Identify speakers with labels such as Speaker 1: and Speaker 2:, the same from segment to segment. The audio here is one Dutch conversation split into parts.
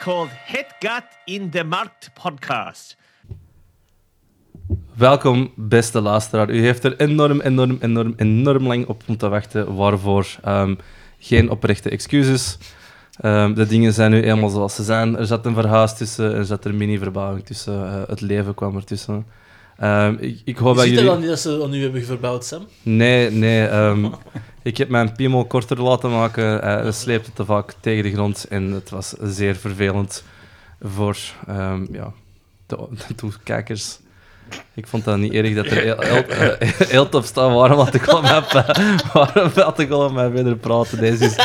Speaker 1: called Hetgat in the Markt podcast.
Speaker 2: Welkom, beste luisteraar. U heeft er enorm, enorm, enorm, enorm lang op moeten wachten. Waarvoor? Ehm, geen oprechte excuses. Ehm, de dingen zijn nu eenmaal zoals ze zijn. Er zat een verhuis tussen, er zat een mini-verbouwing tussen, eh, het leven kwam ertussen. Ehm ik, ik hoop
Speaker 3: Je
Speaker 2: dat
Speaker 3: ziet er
Speaker 2: jullie...
Speaker 3: dan niet dat ze dat nu hebben verbouwd, Sam.
Speaker 2: Nee, nee. ehm, ik heb mijn piemel korter laten maken. Eh dat sleepte te vaak tegen de grond. En het was zeer vervelend voor ehm, ja, de, de toekijkers. Ik vond dat niet erg dat er heel, heel, eh, heel top staan. Waarom had ik al met, waarom had ik al met mij verder praten? Deze is...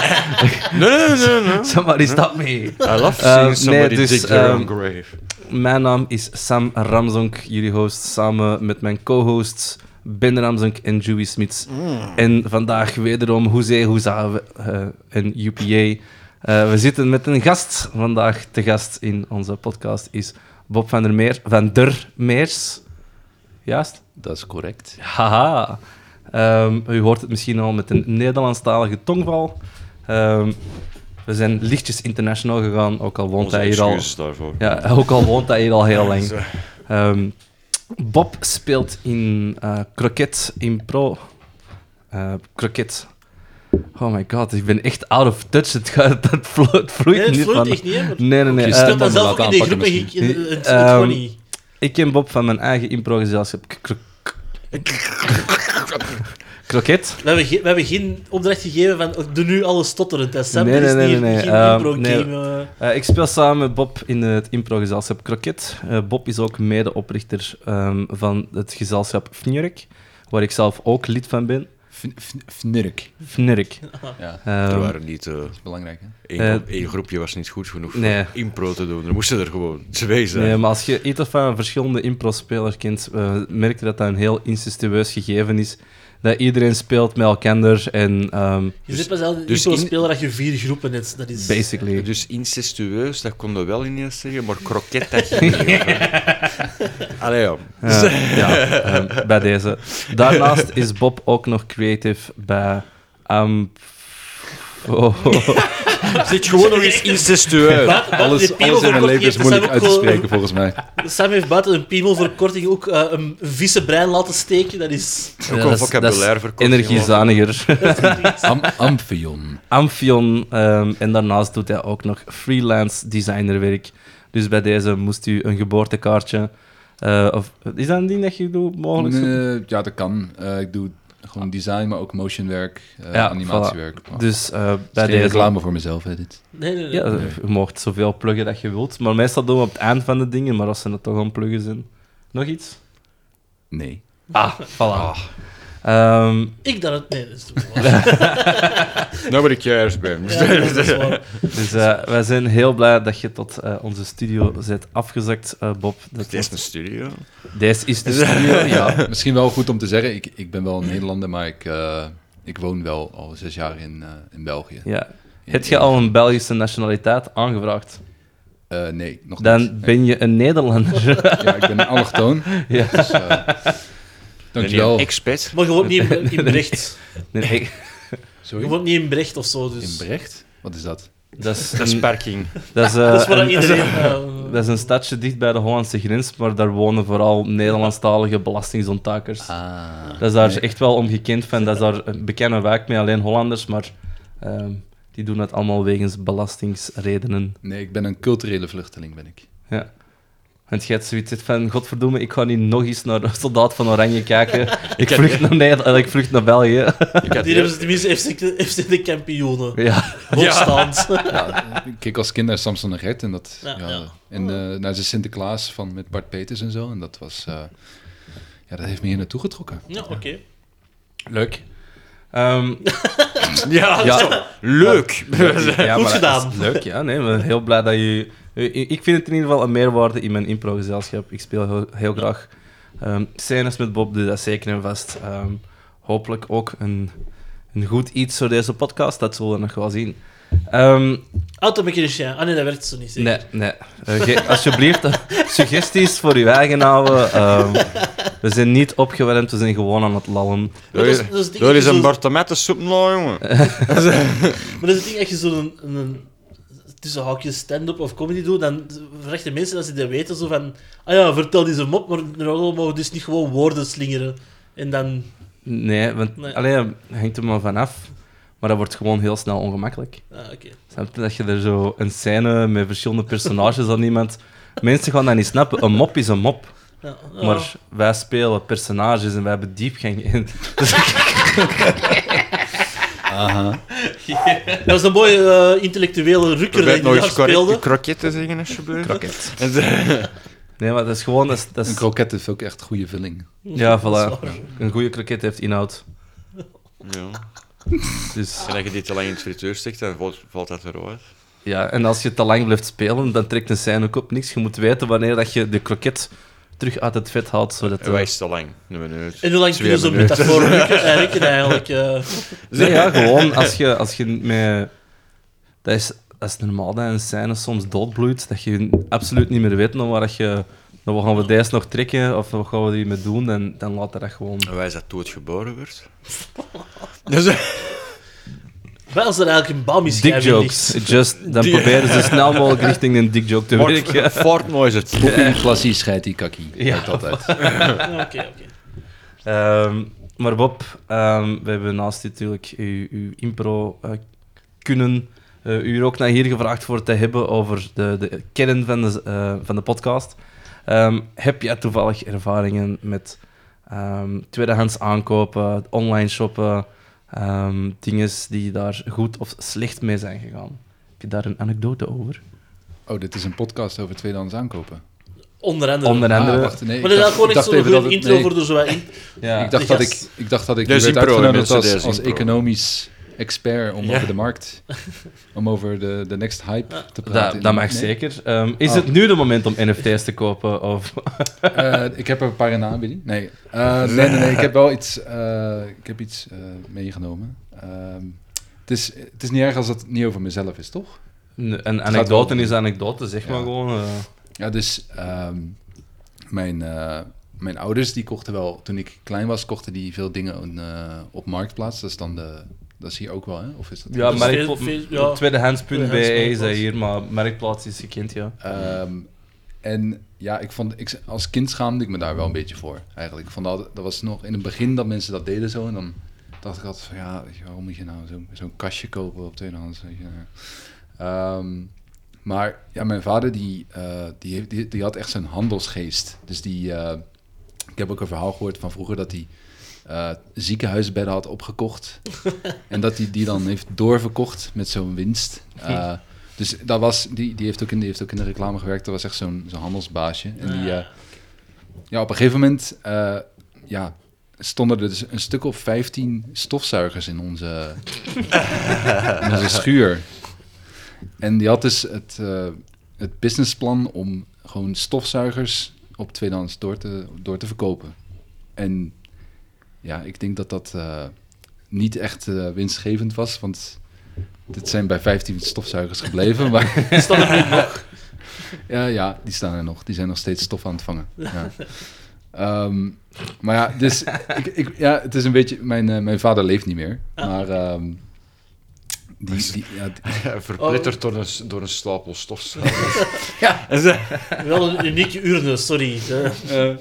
Speaker 4: No, no, no, no.
Speaker 2: Somebody stop me.
Speaker 4: I love
Speaker 2: Eh,
Speaker 4: seeing
Speaker 2: nee,
Speaker 4: somebody
Speaker 2: dus,
Speaker 4: dig their own
Speaker 2: ehm,
Speaker 4: grave.
Speaker 2: Mijn naam is Sam Ramzonk, jullie host, samen met mijn co-hosts Ben Ramzonk en Joey Smits. En vandaag wederom Hoezee Hoeza eh, en UPA. Eh, we zitten met een gast. Vandaag te gast in onze podcast is Bob van der Meer, van der Meers. Juist?
Speaker 5: Dat is correct.
Speaker 2: Haha. Ehm, u hoort het misschien al met een Nederlandstalige tongval. Ehm, we zijn lichtjes international gegaan, ook al woont
Speaker 4: Onze
Speaker 2: hij hier al
Speaker 4: excuses daarvoor.
Speaker 2: ja, ook al woont hij hier al heel lang.
Speaker 4: Zo.
Speaker 2: Ehm, Bob speelt in eh Croquet in Pro. Eh, croquet. Oh my god, ik ben echt out of touch. Het, gaat, dat vlo- het vloeit
Speaker 3: Nee, het
Speaker 2: niet
Speaker 3: vloeit
Speaker 2: van-
Speaker 3: echt niet, hè. maar-
Speaker 2: Nee, nee, nee.
Speaker 3: Je
Speaker 2: eh,
Speaker 3: stond dan
Speaker 5: maar
Speaker 3: zelf ook
Speaker 5: laat
Speaker 3: in die groep en
Speaker 5: aanpakken
Speaker 3: ik...
Speaker 2: misschien.
Speaker 3: Het het
Speaker 2: Ehm,
Speaker 3: gewoon niet.
Speaker 2: ik ken Bob van mijn eigen improgezelschap. K- kro- k- Croquet.
Speaker 3: We hebben, ge- we hebben geen opdracht gegeven van "Oh, doe nu alles stotterend. Hè, Sam,
Speaker 2: Nee,
Speaker 3: Er is
Speaker 2: nee, nee,
Speaker 3: niet-
Speaker 2: nee, nee.
Speaker 3: geen
Speaker 2: Ehm,
Speaker 3: impro-game. eh.
Speaker 2: Eh, ik speel samen met Bob in het improgezelschap Croquet. Eh, Bob is ook medeoprichter ehm, van het gezelschap Fnurk, waar ik zelf ook lid van ben.
Speaker 5: Fn- fn- Fnurk.
Speaker 2: Fnurk.
Speaker 5: Ja,
Speaker 4: Er
Speaker 2: Ehm,
Speaker 4: waren niet... eh,
Speaker 5: is belangrijk. Hè?
Speaker 4: één,
Speaker 2: Eh,
Speaker 4: gro- één groepje was niet goed genoeg
Speaker 2: nee.
Speaker 4: voor impro te doen. Er moesten er gewoon twee zijn.
Speaker 2: Nee, maar als je iets van verschillende impro-spelers kent, eh, merk je dat dat een heel incestueus gegeven is. Dat iedereen speelt met elkaar en ehm,
Speaker 3: Je zit pas zelf
Speaker 4: dus
Speaker 3: een
Speaker 4: in-
Speaker 3: speler dat je vier groepen hebt. Dat is...
Speaker 2: basically.
Speaker 4: Dus incestueus, dat kon je wel ineens zeggen, maar kroket dat ging niet. hoor. Allee, ja.
Speaker 2: Eh, ja, ehm, bij deze. Daarnaast is Bob ook nog creative bij. ehm, oh,
Speaker 3: Zit gewoon nog eens
Speaker 4: Incestueus.
Speaker 3: Buiten- buiten
Speaker 5: Alles,
Speaker 3: die piemel
Speaker 5: alles in mijn
Speaker 3: verkort
Speaker 5: leven is
Speaker 3: heeft,
Speaker 5: moeilijk
Speaker 3: Sam
Speaker 5: uit
Speaker 3: ook
Speaker 5: te
Speaker 3: gewoon-
Speaker 5: spreken, volgens mij.
Speaker 3: Sam heeft buiten een piemelverkorting ook eh, een visse brein laten steken. Dat is...
Speaker 4: Ook
Speaker 2: ja,
Speaker 4: al
Speaker 2: dat is- dat is
Speaker 4: vocabulaire verkort.
Speaker 2: Energiezaniger.
Speaker 5: Am Amphion.
Speaker 2: Amphion. ehm, en daarnaast doet hij ook nog freelance designerwerk. Dus bij deze moest u een geboortekaartje. eh, of, is dat een ding dat je doet, mogelijk?
Speaker 5: Nee, ja, dat kan. Eh, ik doe gewoon design, maar ook motionwerk, eh
Speaker 2: Ja,
Speaker 5: animatiewerk. Wow.
Speaker 2: Dus eh,
Speaker 5: Het
Speaker 2: bij
Speaker 5: is geen
Speaker 2: deze...
Speaker 5: reclame voor mezelf, hè, dit.
Speaker 3: Nee, nee, nee.
Speaker 2: Ja, je mocht zoveel pluggen dat je wilt. Maar meestal doen we op het eind van de dingen, maar als ze het toch aan pluggen zijn. Nog iets?
Speaker 5: Nee.
Speaker 2: Ah, voilà. Ehm,
Speaker 3: Ik dan het... Nee, dat is toch wel waar.
Speaker 4: Nou ben ik juist ben.
Speaker 3: Ja, dat is waar.
Speaker 2: dus eh, wij zijn heel blij dat je tot eh, onze studio bent afgezakt, eh, Bob. Dat
Speaker 4: Het is
Speaker 2: was-
Speaker 4: een studio.
Speaker 2: Deze is de studio, ja.
Speaker 5: Misschien wel goed om te zeggen, ik, ik ben wel een Nederlander, maar ik, eh, ik woon wel al zes jaar in, eh, in België.
Speaker 2: ja. Heb je al een Belgische nationaliteit aangevraagd?
Speaker 5: Eh, nee, nog niet.
Speaker 2: Dan
Speaker 5: Nee.
Speaker 2: ben je een Nederlander.
Speaker 5: Ja, ik ben een allochtoon.
Speaker 2: ja.
Speaker 5: Dus, eh, dankjewel.
Speaker 4: Expert.
Speaker 3: Maar je woont niet in, in Brecht.
Speaker 2: Nee, ik-
Speaker 3: Je
Speaker 5: Sorry?
Speaker 3: woont niet in Brecht of zo, dus...
Speaker 5: In Brecht? Wat is dat?
Speaker 2: dat is,
Speaker 4: Dat is
Speaker 2: een-
Speaker 4: parking.
Speaker 2: dat is, eh,
Speaker 3: Dat is waar
Speaker 2: een-
Speaker 3: iedereen... eh,
Speaker 2: Dat is een stadje dicht bij de Hollandse grens, maar daar wonen vooral Nederlandstalige belastingzonttakers.
Speaker 5: Ah.
Speaker 2: dat is daar echt wel om gekend van. Dat is daar een bekende wijk met alleen Hollanders, maar ehm, die doen dat allemaal wegens belastingsredenen.
Speaker 5: Nee, ik ben een culturele vluchteling, ben ik.
Speaker 2: Ja. Want jij hebt zoiets van, godverdomme, ik ga niet nog eens naar de Soldaat van Oranje kijken. Ik vlucht naar, Nederland, ik vlucht naar België.
Speaker 4: Ik had
Speaker 3: Hier
Speaker 4: eerst-
Speaker 3: hebben ze tenminste FC, de- FC de kampioenen.
Speaker 2: ja.
Speaker 3: Opstand.
Speaker 5: Ja, ik keek als kind naar Samson en Gert en dat...
Speaker 3: Ja,
Speaker 5: Ja,
Speaker 3: ja. Oh.
Speaker 5: En eh, naar de Sinterklaas van, met Bart Peters en zo. En dat was... eh, ja, dat heeft me hier naartoe getrokken.
Speaker 3: Ja, oké.
Speaker 2: Leuk. Ehm,
Speaker 4: Ja,
Speaker 2: Ja.
Speaker 4: zo. leuk.
Speaker 2: ja,
Speaker 3: Goed
Speaker 2: maar
Speaker 3: gedaan.
Speaker 2: dat is Leuk, ja. Nee, maar heel blij dat je... Ik ik vind het in ieder geval een meerwaarde in mijn improgezelschap. Ik speel heel, heel graag ehm scènes met Bob, dus dat zeker en vast. Ehm, hopelijk ook een, een goed iets voor deze podcast. Dat zullen we nog wel zien. Ehm,
Speaker 3: Automechanicien. Ah nee, dat werkt zo niet zeker.
Speaker 2: nee, nee. Eh, ge- alsjeblieft, eh, suggesties voor uw eigen houden. Ehm, we zijn niet opgewermd, we zijn gewoon aan het lallen.
Speaker 4: Wil
Speaker 3: Dat is- dat is
Speaker 4: je-
Speaker 3: het
Speaker 4: wil je eens
Speaker 3: dingetje
Speaker 4: een
Speaker 3: zo-
Speaker 4: bord tomatensoep nou, jongen?
Speaker 3: Maar dat is het ding dat je zo'n een, een tussen haakjes stand-up of comedy doe, dan verrechten mensen dat ze dat weten zo van... Ah ja, vertel deze mop, maar normaal mogen dus niet gewoon woorden slingeren. En dan...
Speaker 2: Nee, want
Speaker 3: Nee.
Speaker 2: allee, dat hangt er maar vanaf. Maar dat wordt gewoon heel snel ongemakkelijk.
Speaker 3: Ah, oké.
Speaker 2: Snap je dat je er zo een scène met verschillende personages aan iemand. Mensen gaan dat niet snappen. Een mop is een mop.
Speaker 3: Ja, ja.
Speaker 2: Maar wij spelen personages en wij hebben diepgang in.
Speaker 3: Dat was een mooie eh, intellectuele rukker die
Speaker 4: Probeer nog
Speaker 3: daar
Speaker 4: eens correct
Speaker 3: speelde.
Speaker 4: kroket te zeggen, alsjeblieft.
Speaker 2: Kroket.
Speaker 4: En ze-
Speaker 2: Nee, maar dat is gewoon. Dat is, dat
Speaker 5: Een
Speaker 2: is-
Speaker 5: kroket heeft ook echt goede vulling.
Speaker 2: ja,
Speaker 3: Dat is
Speaker 2: voilà.
Speaker 3: waar.
Speaker 2: Een goede kroket heeft inhoud.
Speaker 4: Ja.
Speaker 2: Dus,
Speaker 4: En als je dit te lang in het frituur steekt, dan valt, valt dat eruit.
Speaker 2: ja. En als je te lang blijft spelen, dan trekt een scène ook op niks. Je moet weten wanneer dat je de kroket terug uit het vet haalt. Zodat,
Speaker 4: En
Speaker 2: eh,
Speaker 4: wij is te lang. Een minuut.
Speaker 3: En hoe lang
Speaker 4: Twee
Speaker 3: duurde zo'n
Speaker 4: minuten.
Speaker 3: metafoor rukken eigenlijk? eigenlijk eh,
Speaker 2: Nee, ja, gewoon als je, als je met... Dat is, dat is normaal dat een scène soms doodbloedt, dat je absoluut niet meer weet naar waar dat je... Nou, wat gaan we deze nog trekken of wat gaan we hiermee doen? Dan, dan laat dat gewoon...
Speaker 4: En wij is dat dood geboren werd. Dus,
Speaker 3: Wel is er eigenlijk een
Speaker 2: Dick
Speaker 3: bami-schijf in
Speaker 2: jokes.
Speaker 3: ligt.
Speaker 2: Just, dan proberen ze snel mogelijk richting een dick joke te werken.
Speaker 4: Fort Noise het.
Speaker 5: Poep in klassie scheidt die kakkie.
Speaker 2: Ja.
Speaker 5: Ja. altijd.
Speaker 3: Ja, Oké, oké.
Speaker 2: Ehm, maar Bob, ehm, we hebben naast dit natuurlijk uw, uw impro eh, kunnen. eh, u er ook naar hier gevraagd voor te hebben over de, de kern van de, eh, van de podcast. Ehm, heb jij toevallig ervaringen met ehm, tweedehands aankopen, online shoppen, ehm dingen die daar goed of slecht mee zijn gegaan? Heb je daar een anekdote over?
Speaker 5: Oh, dit is een podcast over tweedehands aankopen.
Speaker 3: Onder andere.
Speaker 2: Onder andere.
Speaker 5: Ah, wacht, nee,
Speaker 3: Maar
Speaker 5: ik
Speaker 3: dat is
Speaker 5: dacht-
Speaker 3: gewoon
Speaker 5: ik
Speaker 3: echt
Speaker 5: dacht
Speaker 3: zo'n
Speaker 5: even dat
Speaker 3: goede
Speaker 5: het-
Speaker 3: intro
Speaker 5: nee,
Speaker 3: voor de zowel in-
Speaker 2: ja.
Speaker 5: Ik dacht,
Speaker 3: de
Speaker 5: dat ik,
Speaker 3: gast.
Speaker 5: ik dacht dat ik
Speaker 4: Dat is
Speaker 5: werd
Speaker 4: impro,
Speaker 5: uitgenodigd
Speaker 4: mensen, dat
Speaker 5: als,
Speaker 4: is
Speaker 5: als
Speaker 4: impro.
Speaker 5: economisch expert om
Speaker 4: Ja.
Speaker 5: over de markt, om over de, de next hype te praten.
Speaker 2: dat, dat mag
Speaker 5: Nee.
Speaker 2: zeker. Ehm, is
Speaker 5: Oh.
Speaker 2: het nu de moment om NFT's te kopen? Of...
Speaker 5: Eh, ik heb er een paar in de aanbieding. Nee. Eh, nee, nee, nee. Ik heb wel iets, eh, ik heb iets eh, meegenomen. Ehm, het, is, het is niet erg als het niet over mezelf is, toch?
Speaker 2: Een- Een
Speaker 5: gaat wel
Speaker 2: anekdote
Speaker 5: om-
Speaker 2: is anekdote, zeg maar
Speaker 5: Ja.
Speaker 2: gewoon. eh.
Speaker 5: Ja, dus ehm, mijn, eh, mijn ouders die kochten wel, toen ik klein was, kochten die veel dingen in, eh, op Marktplaats. Dat is dan de, dat is hier ook wel, hè? Of is dat...
Speaker 2: Ja,
Speaker 3: Dus
Speaker 2: maar
Speaker 3: veel-
Speaker 2: ik op
Speaker 3: veel- ja.
Speaker 2: op tweedehands.be is dat
Speaker 3: Tweedehands.be.
Speaker 2: hier, maar Marktplaats is gekend, ja.
Speaker 5: Ehm, en ja, ik vond, ik, als kind schaamde ik me daar wel een beetje voor, eigenlijk. Ik vond dat, dat was nog in het begin dat mensen dat deden zo. En dan dacht ik altijd van, ja, weet je, waarom moet je nou zo- zo'n kastje kopen op tweedehands? Weet je. Ehm, maar ja, mijn vader die, eh, die, heeft- die, die had echt zo'n handelsgeest. Dus die, eh, ik heb ook een verhaal gehoord van vroeger dat hij eh, ziekenhuisbedden had opgekocht. en dat hij die dan heeft doorverkocht met zo'n winst. Eh, dus dat was, die, die, heeft ook in, die heeft ook in de reclame gewerkt. Dat was echt zo'n zo'n handelsbaasje. En die, eh, ja, op een gegeven moment eh, ja, stonden er dus een stuk of 15 stofzuigers in onze, in onze schuur. En die had dus het, eh, het businessplan om gewoon stofzuigers op tweedehands door te, door te verkopen. En ja, ik denk dat dat eh, niet echt eh, winstgevend was, want dit zijn bij 15 stofzuigers gebleven. Maar
Speaker 3: Die staan er nu nog.
Speaker 5: ja, ja, die staan er nog. Die zijn nog steeds stof aan het vangen. Ja. Ehm, maar ja, dus ik, ik, ja, het is een beetje... Mijn, eh, mijn vader leeft niet meer, maar... ehm, die, die, ja, die-
Speaker 4: Verpletterd door, een, s- door een stapel stofzuigers.
Speaker 5: Ja.
Speaker 4: En ze-
Speaker 3: Wel een unieke urne, sorry. Eh,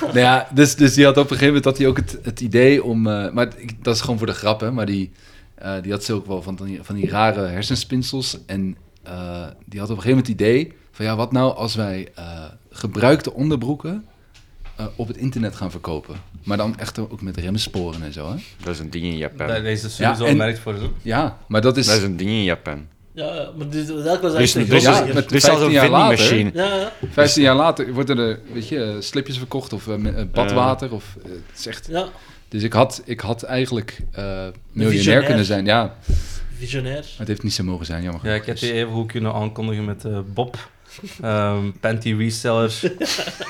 Speaker 5: nou ja, dus, dus die had op een gegeven moment had hij ook het, het idee om... eh, maar ik- dat is gewoon voor de grap, hè. Maar die, eh, die had ze ook wel van die, van die rare hersenspinsels. En eh, die had op een gegeven moment het idee van... Ja, wat nou als wij eh, gebruikte onderbroeken eh, op het internet gaan verkopen? Maar dan echt ook met remsporen en zo, hè?
Speaker 4: Dat is een ding in Japan.
Speaker 2: Daar
Speaker 4: Dat
Speaker 2: is er sowieso
Speaker 5: Ja, en-
Speaker 2: een markt voor. zo.
Speaker 5: Ja, maar dat is...
Speaker 4: is een ding in Japan.
Speaker 3: ja, maar dit, dat was
Speaker 4: Er is,
Speaker 3: eigenlijk
Speaker 4: er is,
Speaker 5: Ja,
Speaker 3: een
Speaker 5: met
Speaker 4: er is zelfs een
Speaker 5: 15 jaar later.
Speaker 4: vendingmachine.
Speaker 3: Ja, ja.
Speaker 5: 15 jaar later worden er, weet je, eh, slipjes verkocht of eh, me- eh, badwater of... eh, het is echt...
Speaker 3: ja,
Speaker 5: Dus ik had, ik had eigenlijk eh miljonair
Speaker 3: visionair.
Speaker 5: kunnen zijn, ja. Maar
Speaker 3: visionair.
Speaker 5: het heeft niet zo mogen zijn, jammer
Speaker 2: Ja, ik had
Speaker 5: genoeg.
Speaker 2: die even goed kunnen aankondigen met eh, Bob, ehm, panty reseller.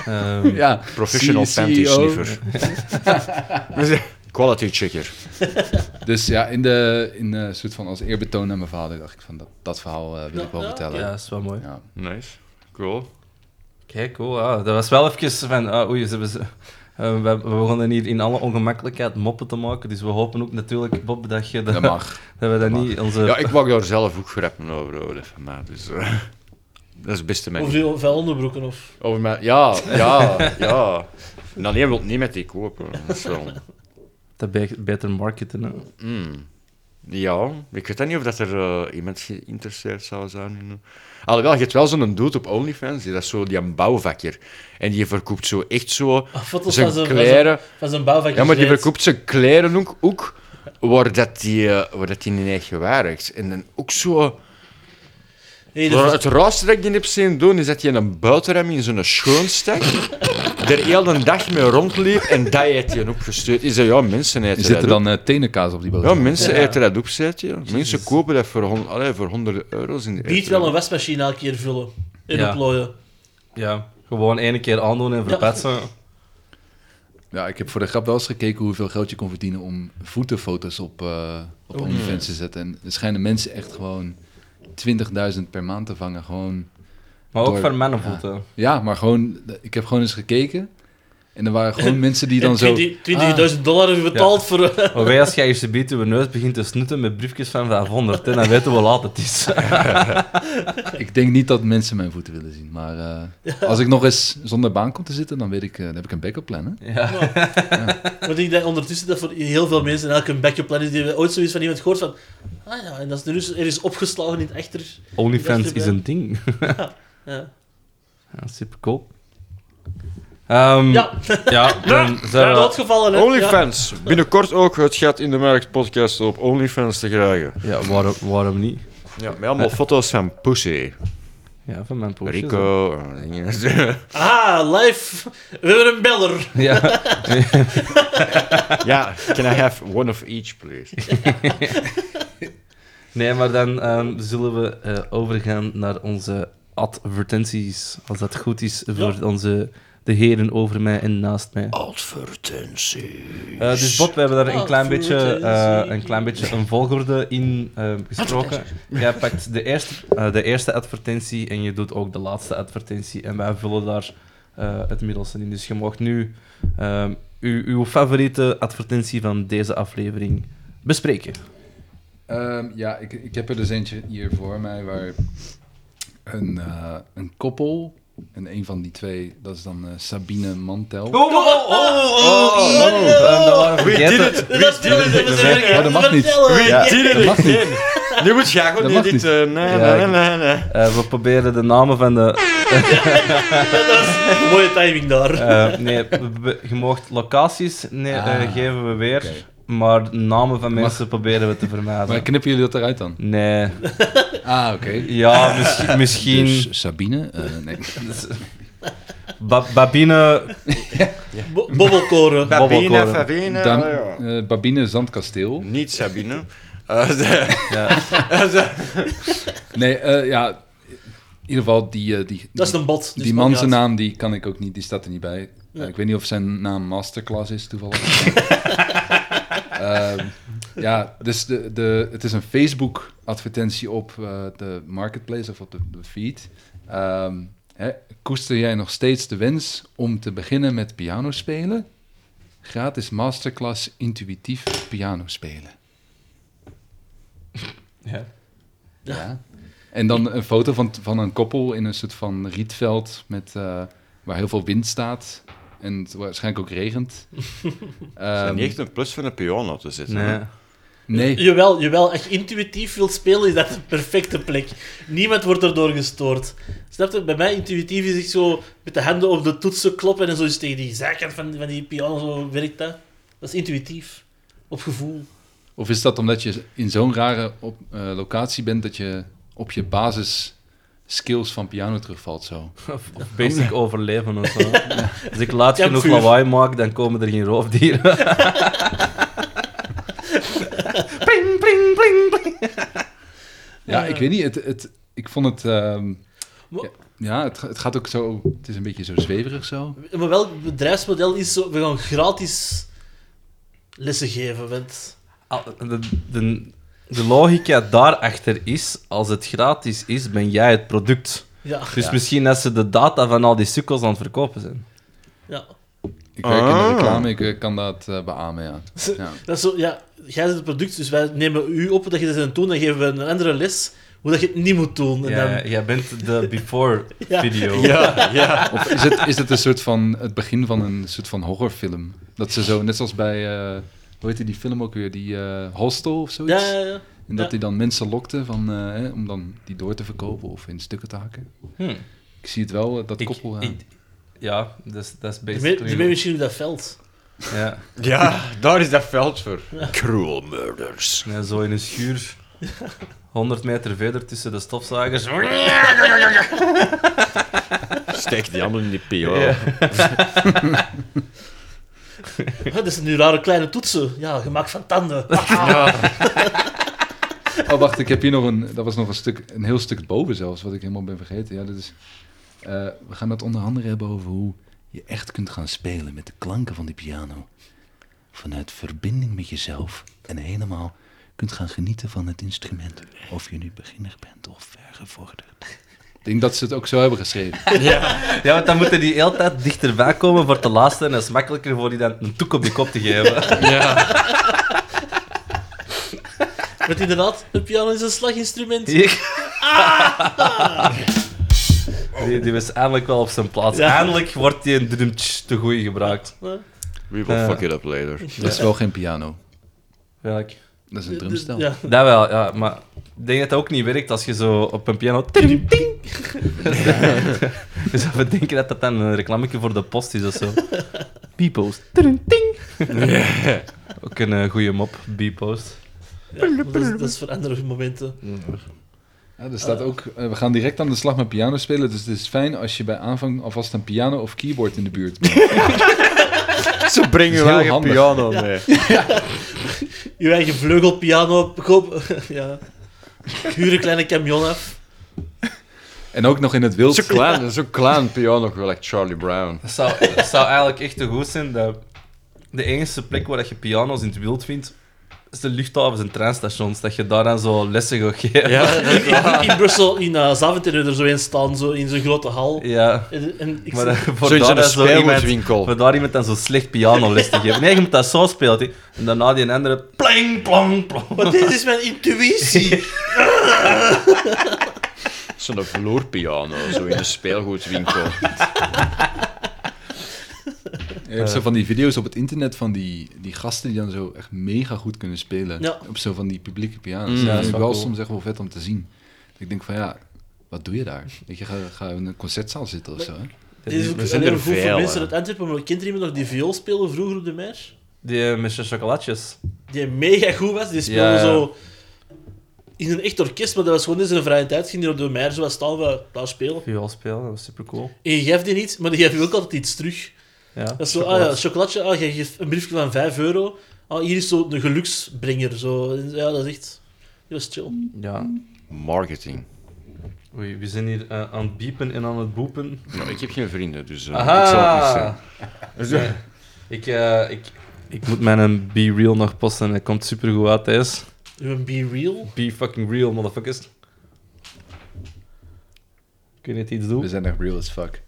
Speaker 2: ehm,
Speaker 5: Ja,
Speaker 4: Professional
Speaker 5: C- E
Speaker 4: panty
Speaker 5: CEO.
Speaker 4: sniffer. Quality checker.
Speaker 5: Dus ja, in de, in eh, soort van als eerbetoon aan mijn vader dacht ik van dat, dat verhaal eh, wil ik wel
Speaker 3: Ja,
Speaker 5: vertellen.
Speaker 2: ja, is wel mooi. oh,
Speaker 5: Ja.
Speaker 4: Nice. Cool.
Speaker 2: Kijk, cool. ah, dat was wel even van... ah, oei, ze hebben ze... Eh, we, we begonnen hier in alle ongemakkelijkheid moppen te maken, dus we hopen ook natuurlijk, Bob, dat, je dat,
Speaker 5: Dat mag.
Speaker 2: dat we dat
Speaker 4: mag.
Speaker 2: niet... Onze...
Speaker 4: Ja, ik mag daar zelf ook grappen over houden van mij, dus... eh, dat is het beste
Speaker 3: Of
Speaker 4: manier.
Speaker 3: veel vuil onderbroeken of...
Speaker 4: Over mij, ja, ja, ja. Dan nee, wil niet met die kopen. Dat is wel-
Speaker 2: Dat be- beter marketen. hè.
Speaker 4: Mm. Ja, ik weet dan niet of dat er eh, iemand geïnteresseerd zou zijn. In, eh. Alhoewel, je hebt wel zo'n dude op OnlyFans, die, dat is zo, die een bouwvakker. En die verkoopt zo echt zo
Speaker 3: Ah, Foto's
Speaker 4: zijn
Speaker 3: van zijn, van
Speaker 4: kleren.
Speaker 3: zijn- van zijn bouwvakker.
Speaker 4: Ja, maar die verkoopt zijn kleren ook, ook waar dat die, eh, waar dat die niet echt gewaardigd. En dan ook zo...
Speaker 3: Nee, dat
Speaker 4: Maar
Speaker 3: is-
Speaker 4: dus het raarste dat ik die heb zien doen, is dat je een buitenrem in zo'n schoon stak, er heel de dag mee rondliep en dat heeft je opgestuurd. Is dat, ja, mensen eten
Speaker 5: Zit er
Speaker 4: dat
Speaker 5: dan eh, tenenkaas op die boot?
Speaker 4: op. Ja, mensen
Speaker 3: Ja.
Speaker 4: eten dat op, zei het, ja. Mensen kopen dat voor, hon- allee, voor honderden euro's. In de
Speaker 3: Biedt wel een wasmachine elke keer vullen. En
Speaker 2: Ja.
Speaker 3: oplooien.
Speaker 2: Ja, gewoon één keer aandoen en verpetsen.
Speaker 5: Ja, ik heb voor de grap wel eens gekeken hoeveel geld je kon verdienen om voetenfoto's op, eh op OnlyFans te zetten. En er schijnen mensen echt gewoon 20.000 per maand te vangen. Gewoon,
Speaker 2: Maar ook
Speaker 5: Door-
Speaker 2: voor mannenvoeten.
Speaker 5: ja, maar gewoon, ik heb gewoon eens gekeken. En er waren gewoon mensen die dan zo... Ah.
Speaker 3: 20 20.000 dollar hebben we betaald voor... eh,
Speaker 2: Maar wij, als jij je biedt uw neus begint te snoeten met briefjes van 500, hè, dan weten we hoe laat het is.
Speaker 5: Ik denk niet dat mensen mijn voeten willen zien. Maar eh, als ik nog eens zonder baan kom te zitten, dan weet ik, eh, dan heb ik een backup plan. Hè?
Speaker 2: Ja.
Speaker 3: Maar ik denk dat ondertussen dat voor heel veel mensen elke backup plan is die we ooit zoiets van iemand gehoord van... Ah ja, en dat is nu dus ergens opgeslagen in het echter.
Speaker 2: OnlyFans
Speaker 3: Echt
Speaker 2: is
Speaker 3: erbij.
Speaker 2: een ding.
Speaker 3: Ja.
Speaker 2: Ja, super cool. Ehm,
Speaker 3: Ja.
Speaker 2: ja, dan zijn we-
Speaker 3: Doodgevallen, hè?
Speaker 4: OnlyFans. Binnenkort ook het Gat in de Markt podcast op OnlyFans te krijgen.
Speaker 2: ja waarom, waarom niet?
Speaker 4: Ja, met allemaal foto's van Pussy,
Speaker 2: Ja, van mijn poosjes.
Speaker 4: Rico. en dingen.
Speaker 3: Ja. Ah, live. We hebben een beller.
Speaker 2: Ja,
Speaker 4: Ja, can I have one of each, please?
Speaker 2: nee, maar dan ehm, zullen we eh, overgaan naar onze advertenties. Als dat goed is voor onze, de heren over mij en naast mij.
Speaker 4: Advertentie.
Speaker 2: Eh, dus Bob, we hebben daar een klein, beetje, eh,
Speaker 3: Advertentie.
Speaker 2: een klein beetje een volgorde in eh, gesproken. Jij pakt de eerste, eh, de eerste advertentie en je doet ook de laatste advertentie. En wij vullen daar eh, het middelste in. Dus je mag nu ehm, uw, uw favoriete advertentie van deze aflevering bespreken.
Speaker 5: Ehm, ja, ik, ik heb er dus eentje hier voor mij waar een, eh, een koppel en een van die twee, dat is dan eh, Sabine Mantel.
Speaker 2: Oh, oh,
Speaker 3: Oh,
Speaker 2: ehm, dat waren we vergeten.
Speaker 3: Dat willen ze zeggen.
Speaker 5: Maar oh, dat mag niet.
Speaker 3: Vertellen.
Speaker 2: Ja.
Speaker 4: Dit is
Speaker 5: dat mag niet.
Speaker 4: Nu moet je gewoon
Speaker 5: Dat
Speaker 4: niet
Speaker 5: mag
Speaker 4: dit...
Speaker 5: niet.
Speaker 4: eh, nee,
Speaker 2: Ja,
Speaker 4: nee,
Speaker 2: ik-
Speaker 4: nee, nee.
Speaker 2: Eh, we proberen de namen van de
Speaker 3: Dat is een mooie timing daar.
Speaker 2: Eh, nee, we- we- je mocht locaties nee,
Speaker 5: Ah,
Speaker 2: eh, geven we weer, maar namen van mensen proberen we te
Speaker 5: Maar
Speaker 2: vermijden.
Speaker 5: knippen jullie dat eruit dan?
Speaker 2: Nee,
Speaker 5: Ah, oké.
Speaker 2: ja, misschien. misschien
Speaker 5: Dus Sabine, eh, nee.
Speaker 2: Ba- Babine,
Speaker 3: Bo- Bobbelkoren.
Speaker 4: Babina,
Speaker 2: Babbelkoren.
Speaker 4: Favina...
Speaker 5: Dan,
Speaker 4: oh ja.
Speaker 5: eh, Babine Zandkasteel.
Speaker 4: Niet Sabine. Eh, de-
Speaker 2: ja,
Speaker 5: Nee, eh, ja, in ieder geval die... eh, die
Speaker 3: Dat is een bot. dus
Speaker 5: die
Speaker 3: maakt
Speaker 5: man
Speaker 3: niet
Speaker 5: zijn
Speaker 3: uit.
Speaker 5: naam, die kan ik ook niet, die staat er niet bij. Eh, ik weet niet of zijn naam Masterclass is toevallig. Ehm, ja, dus de, de, het is een Facebook-advertentie op eh, de marketplace of op de, de feed. Ehm, hè, koester jij nog steeds de wens om te beginnen met piano spelen? Gratis Masterclass intuïtief piano spelen.
Speaker 2: ja.
Speaker 5: Ja. En dan een foto van, van een koppel in een soort van rietveld met, eh, waar heel veel wind staat. En het waarschijnlijk ook regent. Ehm,
Speaker 4: Niet echt een plus van een piano te zitten.
Speaker 2: Nee.
Speaker 4: hè.
Speaker 5: nee,
Speaker 3: Jawel, jawel, als je intuïtief wilt spelen, is dat de perfecte plek. Niemand wordt erdoor gestoord. Snap je? Bij mij intuïtief is echt zo met de handen op de toetsen kloppen en zo eens tegen die zijkant van, van die piano zo werkt dat. Dat is intuïtief. Op gevoel.
Speaker 5: of is dat omdat je in zo'n rare op, eh, locatie bent dat je op je basis skills van piano terugvalt zo?
Speaker 2: Of, of basic overleven of zo. Als ik laat genoeg
Speaker 3: Kampvuur.
Speaker 2: lawaai maak, dan komen er geen roofdieren. pling, pling, pling, pling.
Speaker 5: Ja, ik weet niet. Het, het, ik vond het... ehm,
Speaker 3: Maar-
Speaker 5: ja, ja, het, ga- het gaat ook zo... Het is een beetje zo zweverig zo.
Speaker 3: Maar welk bedrijfsmodel is zo, we gaan gratis lessen geven, want...
Speaker 2: Al- Ah, De, de, de logica daarachter is, als het gratis is, ben jij het product.
Speaker 3: Ja,
Speaker 2: Dus misschien dat ze de data van al die sukkels aan het verkopen zijn.
Speaker 3: ja.
Speaker 5: Ik werk in
Speaker 4: Ah.
Speaker 5: de reclame, ik eh, kan dat eh, beamen, ja. ja.
Speaker 3: Dat is zo, ja, jij bent het product, dus wij nemen u op dat je dat aan het doen en geven we een andere les hoe dat je het niet moet doen. En
Speaker 2: Ja,
Speaker 3: dan,
Speaker 2: jij bent de before
Speaker 3: Ja.
Speaker 2: video.
Speaker 4: Ja, ja.
Speaker 5: Of is het, is het een soort van het begin van een soort van horrorfilm? Dat ze zo, net zoals bij, eh hoe heette die film ook weer, die eh, Hostel of zoiets?
Speaker 3: ja, ja, ja.
Speaker 5: En dat
Speaker 3: Ja.
Speaker 5: die dan mensen lokte van, eh, hè, om dan die door te verkopen of in stukken te hakken.
Speaker 3: Hmm.
Speaker 2: Hm.
Speaker 5: Ik zie het wel, eh, dat
Speaker 2: Ik-
Speaker 5: koppel. ja.
Speaker 2: ik- ja, dat is- dat is
Speaker 3: Je weet-
Speaker 2: basically...
Speaker 3: je weet misschien hoe dat veld.
Speaker 2: ja.
Speaker 4: Ja, daar is dat veld voor. Cruel murders.
Speaker 2: Ja, zo in een schuur, 100 meter verder tussen de stofzagers.
Speaker 4: Steek die handen in die PO.
Speaker 2: Ja.
Speaker 3: Hè, dat zijn nu rare kleine toetsen. Ja, gemaakt van tanden.
Speaker 5: Oh, wacht, ik heb hier nog een. Dat was nog een stuk, een heel stuk boven zelfs, wat ik helemaal ben vergeten. Ja, dat is. eh, we gaan het onder andere hebben over hoe je echt kunt gaan spelen met de klanken van die piano. Vanuit verbinding met jezelf en helemaal kunt gaan genieten van het instrument. Of je nu beginner bent of vergevorderd. Ik denk dat ze het ook zo hebben geschreven.
Speaker 2: Ja, want dan moeten die heel tijd dichterbij komen voor te laatste en dat is makkelijker voor die dan een toek op je kop te geven.
Speaker 3: Met inderdaad, een piano is een slaginstrument.
Speaker 2: Ik- Die, die was eindelijk wel op zijn plaats.
Speaker 3: Ah, Ja.
Speaker 2: Eindelijk wordt die een drumtsch te goed gebruikt.
Speaker 3: Hè?
Speaker 4: We will fuck it up later.
Speaker 5: Dat is wel geen piano.
Speaker 2: Welk?
Speaker 5: Dat is een
Speaker 3: De-
Speaker 5: drumstel.
Speaker 3: Ja.
Speaker 2: Dat wel, ja, maar ik denk dat dat ook niet werkt als je zo op een piano. Ting, ting. Je zou even denken dat dat dan een reclametje voor de post is of zo. B-post. Ting, ting. Ook een eh, goede mop, B-post.
Speaker 3: Ja, maar dat, is, dat is voor andere momenten.
Speaker 5: Ja, er staat ook, eh, we gaan direct aan de slag met piano spelen, dus het is fijn als je bij aanvang alvast een piano of keyboard in de buurt brengt.
Speaker 4: Ze brengen
Speaker 5: Dat is
Speaker 4: wel
Speaker 5: heel
Speaker 4: een
Speaker 5: handig.
Speaker 4: piano mee.
Speaker 3: Je eigen vleugelpiano koop. Ja. Huur een kleine camion af.
Speaker 5: En ook nog in het wild.
Speaker 4: Zo'n klein, zo'n klein piano, gewoon like Charlie Brown.
Speaker 2: Het zou, het zou eigenlijk echt te goed zijn dat de enige plek waar dat je piano's in het wild vindt, is de luchthavens en treinstations. Dat je daar dan zo lessen gaat geven. Ja.
Speaker 3: In, in Brussel, in eh, Zaventem, hebben we er zo een staan, zo in zo'n grote hal. En, en ik
Speaker 2: Maar
Speaker 3: zeg-
Speaker 2: dat- voor
Speaker 4: Zo in
Speaker 2: daar
Speaker 4: zo'n
Speaker 2: dan zo iemand-
Speaker 4: speelgoedwinkel.
Speaker 2: Voor daar iemand dan zo slecht pianoles te geven. Nee, je moet dat zo spelen. hè. En daarna die andere... Pling, plong, plong.
Speaker 3: Maar dit is mijn intuïtie.
Speaker 4: Zo'n vloerpiano, zo in een speelgoedwinkel.
Speaker 5: Je hebt Eh,
Speaker 2: Eh.
Speaker 5: zo van die video's op het internet van die, die gasten die dan zo echt mega goed kunnen spelen.
Speaker 3: Ja.
Speaker 5: Op zo van die publieke piano's.
Speaker 2: Mm. ja,
Speaker 5: dat
Speaker 2: dat
Speaker 5: is
Speaker 2: is
Speaker 5: wel,
Speaker 2: wel cool.
Speaker 5: soms echt wel vet om te zien. Dat Ik denk van ja, wat doe je daar? Weet je, ga, ga in een concertzaal zitten of zo. hè?
Speaker 3: dit is
Speaker 4: Er
Speaker 3: ook
Speaker 4: zijn
Speaker 3: alleen
Speaker 4: er
Speaker 3: maar goed
Speaker 4: veel,
Speaker 3: voor mensen
Speaker 4: hè.
Speaker 3: uit Antwerpen. Maar kent er iemand nog die viool speelde vroeger op de mer?
Speaker 2: Die eh, met zijn chocolatjes.
Speaker 3: Die mega goed was. Die speelde
Speaker 2: Ja, ja.
Speaker 3: zo in een echt orkest, maar dat was gewoon in zijn vrije tijd. Ging die op de mer zo wat staan, wat daar spelen.
Speaker 2: Viool spelen, dat was supercool.
Speaker 3: En je geeft die niet, maar die geeft je ook altijd iets terug.
Speaker 2: Ja,
Speaker 3: Dat is zo, ah ja, chocolatje, ah, je geeft een briefje van 5 euro. Ah, hier is zo een geluksbrenger. Zo. En Ja, dat is echt... Dat was chill.
Speaker 2: Ja.
Speaker 4: Marketing.
Speaker 2: Oei, we zijn hier eh, aan het biepen en aan het boepen.
Speaker 4: Nou, ik heb geen vrienden, dus eh,
Speaker 2: Aha!
Speaker 4: ik zal het niet zeggen.
Speaker 2: Nee. Ik, eh, ik, ik moet mijn eh, Be Real nog posten en dat komt supergoed uit, Thijs.
Speaker 3: Een Be Real.
Speaker 2: Be fucking real, motherfuckers. Kun je net iets
Speaker 5: We
Speaker 2: doen?
Speaker 5: zijn echt real as fuck.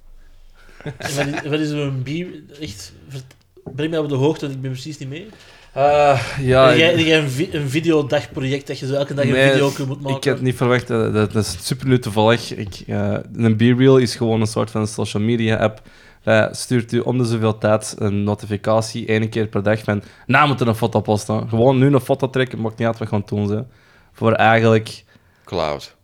Speaker 3: En wat is, wat is een Be Echt... vert- Breng mij op de hoogte, want ik ben precies niet mee.
Speaker 2: Eh, ja,
Speaker 3: Heb jij,
Speaker 2: ik-
Speaker 3: heb jij een, vi- een videodagproject dat je zo elke dag een
Speaker 2: Nee,
Speaker 3: video ook moet maken?
Speaker 2: Ik had niet verwacht, dat, dat, dat is super nu toevallig. Ik, eh, een B-reel is gewoon een soort van social media app. Dat stuurt u om de zoveel tijd een notificatie, één keer per dag, van nou moet er een foto posten. Gewoon nu een foto trekken, maakt niet uit wat we gaan doen. Ze. Voor eigenlijk...
Speaker 4: Cloud.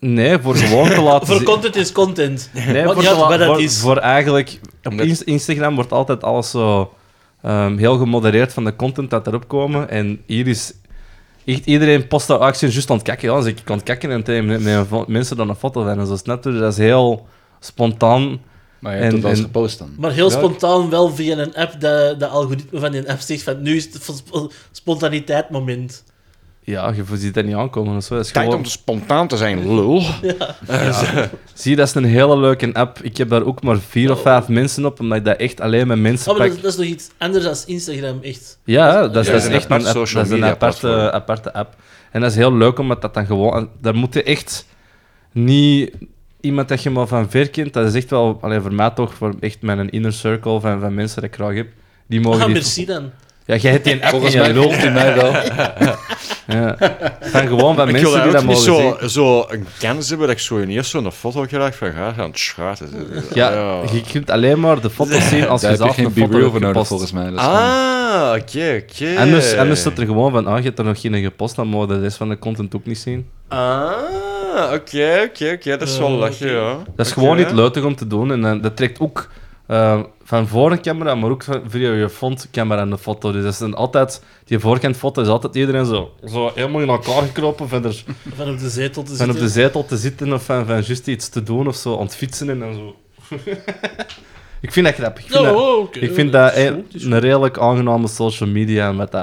Speaker 2: Nee, voor gewoon te laten
Speaker 3: Voor
Speaker 2: zien-
Speaker 3: content is content.
Speaker 2: Nee,
Speaker 3: Maakt
Speaker 2: voor,
Speaker 3: niet
Speaker 2: te
Speaker 3: uit
Speaker 2: la-
Speaker 3: wat dat
Speaker 2: voor-
Speaker 3: is.
Speaker 2: voor eigenlijk... Op
Speaker 4: Omdat-
Speaker 2: Inst- Instagram wordt altijd alles zo ehm, heel gemodereerd van de content dat erop komen. En hier is... Echt, iedereen post daar actie juist aan het kijken. Ja, dus ik kan het kijken en tegen me- me- vo- mensen dan een foto van. En zo snap je? Dus dat is heel spontaan.
Speaker 5: Maar je hebt
Speaker 2: En-
Speaker 5: het wel eens
Speaker 2: en-
Speaker 5: gepost dan.
Speaker 3: Maar heel
Speaker 2: Ja, ik-
Speaker 3: spontaan wel via een app, dat de algoritme van die app zegt van nu is het sp- spontaniteit moment.
Speaker 2: Ja, je ziet dat niet aankomen of zo. Dat is
Speaker 4: Tijd
Speaker 2: gewoon...
Speaker 4: om te spontaan te zijn, lul.
Speaker 2: Zie, dat is een hele leuke app. Ik heb daar ook maar vier of vijf mensen op, omdat ik dat echt alleen met mensen
Speaker 3: Oh, maar
Speaker 2: pak.
Speaker 3: dat, is- dat is nog iets anders dan Instagram, echt.
Speaker 2: Ja, dat is,
Speaker 4: Ja,
Speaker 2: dat is
Speaker 4: een
Speaker 2: echt
Speaker 4: apart
Speaker 2: een, app-
Speaker 4: social
Speaker 2: dat is een
Speaker 4: media
Speaker 2: aparte,
Speaker 4: platform.
Speaker 2: aparte app. En dat is heel leuk omdat dat dan gewoon... Daar moet je echt niet iemand dat je maar van ver kent, dat is echt wel, alleen voor mij toch, voor echt mijn inner circle van, van mensen dat ik graag heb, die mogen
Speaker 3: Ah,
Speaker 2: die-
Speaker 3: merci dan.
Speaker 2: Ja, jij hebt die app
Speaker 5: Volgens
Speaker 2: in je
Speaker 5: mij
Speaker 2: lul.
Speaker 5: loopt hij mij wel.
Speaker 2: Ja. Van gewoon van
Speaker 4: Ik wil
Speaker 2: mensen die dat
Speaker 4: dat ook niet
Speaker 2: mogen
Speaker 4: zo,
Speaker 2: zien.
Speaker 4: zo een kans hebben dat ik zo ineens zo'n foto krijg van ga gaan schaten.
Speaker 2: Ja, je kunt alleen maar de foto's zien als
Speaker 5: Daar
Speaker 2: je
Speaker 5: heb
Speaker 2: zelf
Speaker 5: je geen
Speaker 2: een foto
Speaker 5: b-roll
Speaker 2: hebt
Speaker 5: voor nodig,
Speaker 2: gepost. dus-
Speaker 5: volgens mij. Dat is gewoon-
Speaker 4: Ah, oké, oké.
Speaker 2: Anders, anders staat er gewoon van, ah, je hebt er nog geen gepost, dan mogen we de rest van de content ook niet zien.
Speaker 4: Ah, oké, oké, oké. Dat is wel
Speaker 3: Eh,
Speaker 4: lachen,
Speaker 3: oké.
Speaker 4: ja.
Speaker 2: Dat is
Speaker 4: Oké.
Speaker 2: gewoon niet leutig om te doen. En eh, dat trekt ook eh, van voor een camera, maar ook van via je frontcamera aan de foto. Dus dat is dan altijd, die voorkantfoto is altijd iedereen zo, zo helemaal in elkaar gekropen. Verder
Speaker 3: Van op de zetel te
Speaker 2: van
Speaker 3: zitten.
Speaker 2: op de zetel te zitten of van, van juist iets te doen of zo, aan het fietsen en dan zo. ik vind dat grappig. Ik vind dat,
Speaker 3: Oh, oké.
Speaker 2: ik vind
Speaker 3: Ja,
Speaker 2: dat
Speaker 3: is
Speaker 2: eh,
Speaker 3: goed, is goed.
Speaker 2: een redelijk aangename social media. Met dat,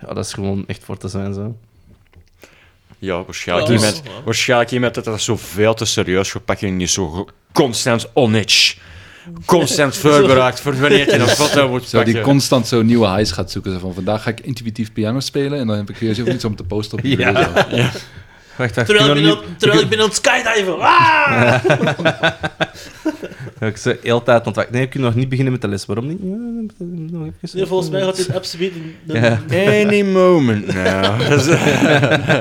Speaker 2: ja, dat is gewoon echt voor te zijn. Zo.
Speaker 4: Ja, waarschijnlijk,
Speaker 3: Ja, dat is
Speaker 4: iemand,
Speaker 3: wel waar.
Speaker 4: waarschijnlijk iemand dat dat zo veel te serieus gepakt en niet zo ge- constant on edge. Constant voorbereid voor wanneer je een foto moet
Speaker 5: Zo, die
Speaker 4: pakken.
Speaker 5: constant zo nieuwe highs gaat zoeken. Zo van, vandaag ga ik intuïtief piano spelen en dan heb ik serieus ook iets om te posten op die
Speaker 2: Ja.
Speaker 5: video, zo.
Speaker 2: Wacht, wacht,
Speaker 3: Terwijl,
Speaker 2: kunnen
Speaker 3: ik
Speaker 2: we
Speaker 3: ben,
Speaker 2: niet-
Speaker 3: aan- terwijl ik ben aan het skydiven. Ah!
Speaker 2: Ja, ik zei heel de tijd ontwaakt. Nee, ik kan nog niet beginnen met de les. Waarom niet? Ja, nog even.
Speaker 3: Nee, volgens mij gaat dit absoluut een, een,
Speaker 2: Ja.
Speaker 4: Any moment now. Dat is-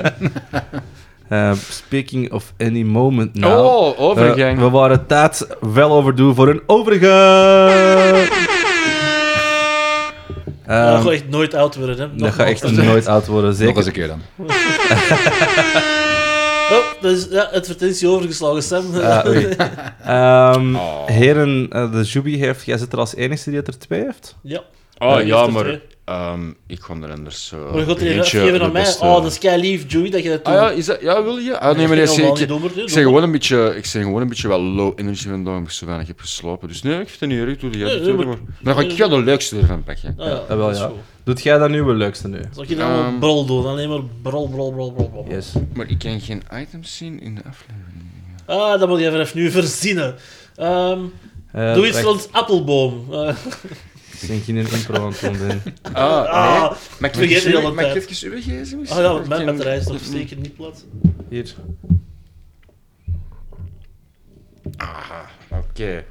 Speaker 2: Eh, speaking of any moment now.
Speaker 4: oh, overgang.
Speaker 2: Nou, Eh, we waren tijd wel overdoen voor een overgang.
Speaker 3: Ah, dat
Speaker 2: Ehm
Speaker 3: gaat echt nooit oud worden. Hè.
Speaker 2: dat
Speaker 3: Nogmaals.
Speaker 2: gaat echt nooit oud worden,
Speaker 5: Nog eens
Speaker 2: zeker.
Speaker 5: een keer dan.
Speaker 3: Oh, dat is ja, advertentie overgeslagen, Sam.
Speaker 2: Ah, oei. Ehm,
Speaker 4: Oh.
Speaker 2: Heren, eh, de Jubi heeft... Jij zit er als enige die het er twee heeft?
Speaker 3: ja.
Speaker 4: oh ja,
Speaker 3: eerste
Speaker 4: maar
Speaker 3: twee.
Speaker 4: ehm, ik kwam er anders. eh,
Speaker 3: Maar god,
Speaker 4: eentje
Speaker 3: even
Speaker 4: de
Speaker 3: aan mij.
Speaker 4: beste-
Speaker 3: Oh, dat is kei lief, Joey, dat je dat doet.
Speaker 4: Ah ja, is dat, ja, wil je? Ah, nee,
Speaker 3: Ik
Speaker 4: maar
Speaker 3: ging helemaal
Speaker 4: nee, ik,
Speaker 3: niet dus.
Speaker 4: ik,
Speaker 3: doen, maar doe,
Speaker 4: ik
Speaker 3: doe
Speaker 4: ben gewoon een beetje, ik ben gewoon een beetje wel low energy vandaag, omdat ik zo weinig heb geslapen. Dus nee, ik vind het niet erg, doe jij
Speaker 3: Nee,
Speaker 4: dat
Speaker 3: nee,
Speaker 4: ook
Speaker 3: maar-
Speaker 4: maar. Maar dan ga ik jou de leukste ervan pakken.
Speaker 3: Ah, ja,
Speaker 2: Ja, wel,
Speaker 3: dat is
Speaker 2: ja.
Speaker 3: goed.
Speaker 2: Doet jij dan nu je leukste nu?
Speaker 3: Zal ik je dan wel
Speaker 4: Ehm.
Speaker 3: brol doen? Alleen maar brol, brol, brol, brol, brol.
Speaker 2: Yes.
Speaker 4: Maar ik kan geen items zien in de aflevering.
Speaker 3: Ah, dat moet je vanaf nu verzinnen. Ehm,
Speaker 2: Eh,
Speaker 3: doe iets
Speaker 2: wacht,
Speaker 3: rond appelboom. Eh,
Speaker 2: Ik denk geen impro aan het doen. ben.
Speaker 4: Ah,
Speaker 3: ah,
Speaker 4: Maar ik
Speaker 3: Vergeet
Speaker 4: vergeet
Speaker 3: het de hele
Speaker 4: Mag
Speaker 3: tijd.
Speaker 4: ik even uw gsm eens?
Speaker 3: ah ja,
Speaker 4: Ik
Speaker 3: want mijn
Speaker 4: ken-
Speaker 3: batterij is nog zeker niet plat.
Speaker 2: Hier.
Speaker 4: Oké.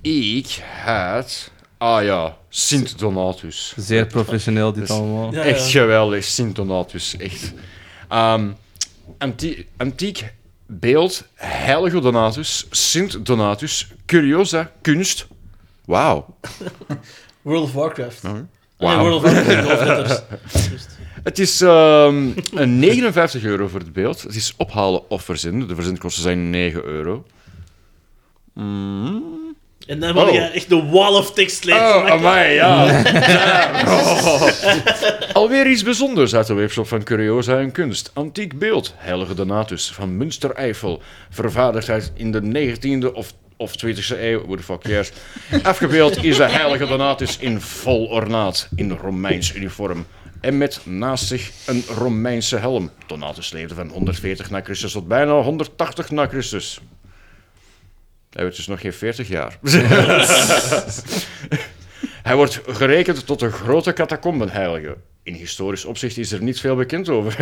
Speaker 4: Ik had... Ah ja, Sint Donatus.
Speaker 2: Zeer professioneel dit
Speaker 4: Dus-
Speaker 2: allemaal.
Speaker 3: Ja,
Speaker 4: Echt
Speaker 3: ja.
Speaker 4: geweldig, Sint Donatus. Echt. Ehm, antie- antiek beeld, heilige Donatus, Sint Donatus, curiosa, kunst. Wauw.
Speaker 3: World of Warcraft. Ah, nee,
Speaker 4: Wauw.
Speaker 3: World of Warcraft. World of Letters. Juist.
Speaker 4: Het is ehm, een 59 euro voor het beeld. Het is ophalen of verzenden. De verzendkosten zijn 9 euro. Mm.
Speaker 3: En dan wil je
Speaker 4: Oh.
Speaker 3: echt de wall of text lezen.
Speaker 4: Oh,
Speaker 3: Dat-
Speaker 4: amai, ja. Oh. Alweer iets bijzonders uit de webshop van Curiosa en Kunst. Antiek beeld, heilige Donatus van Münstereifel. Vervaardigd uit in de 19e of, of 20e eeuw, what the fuck cares. Afgebeeld is de heilige Donatus in vol ornaat, in Romeins uniform. En met naast zich een Romeinse helm. Donatus leefde van 140 na Christus tot bijna 180 na Christus. Hij werd dus nog geen 40 jaar. Hij wordt gerekend tot een grote catacombenheilige. In historisch opzicht is er niet veel bekend over.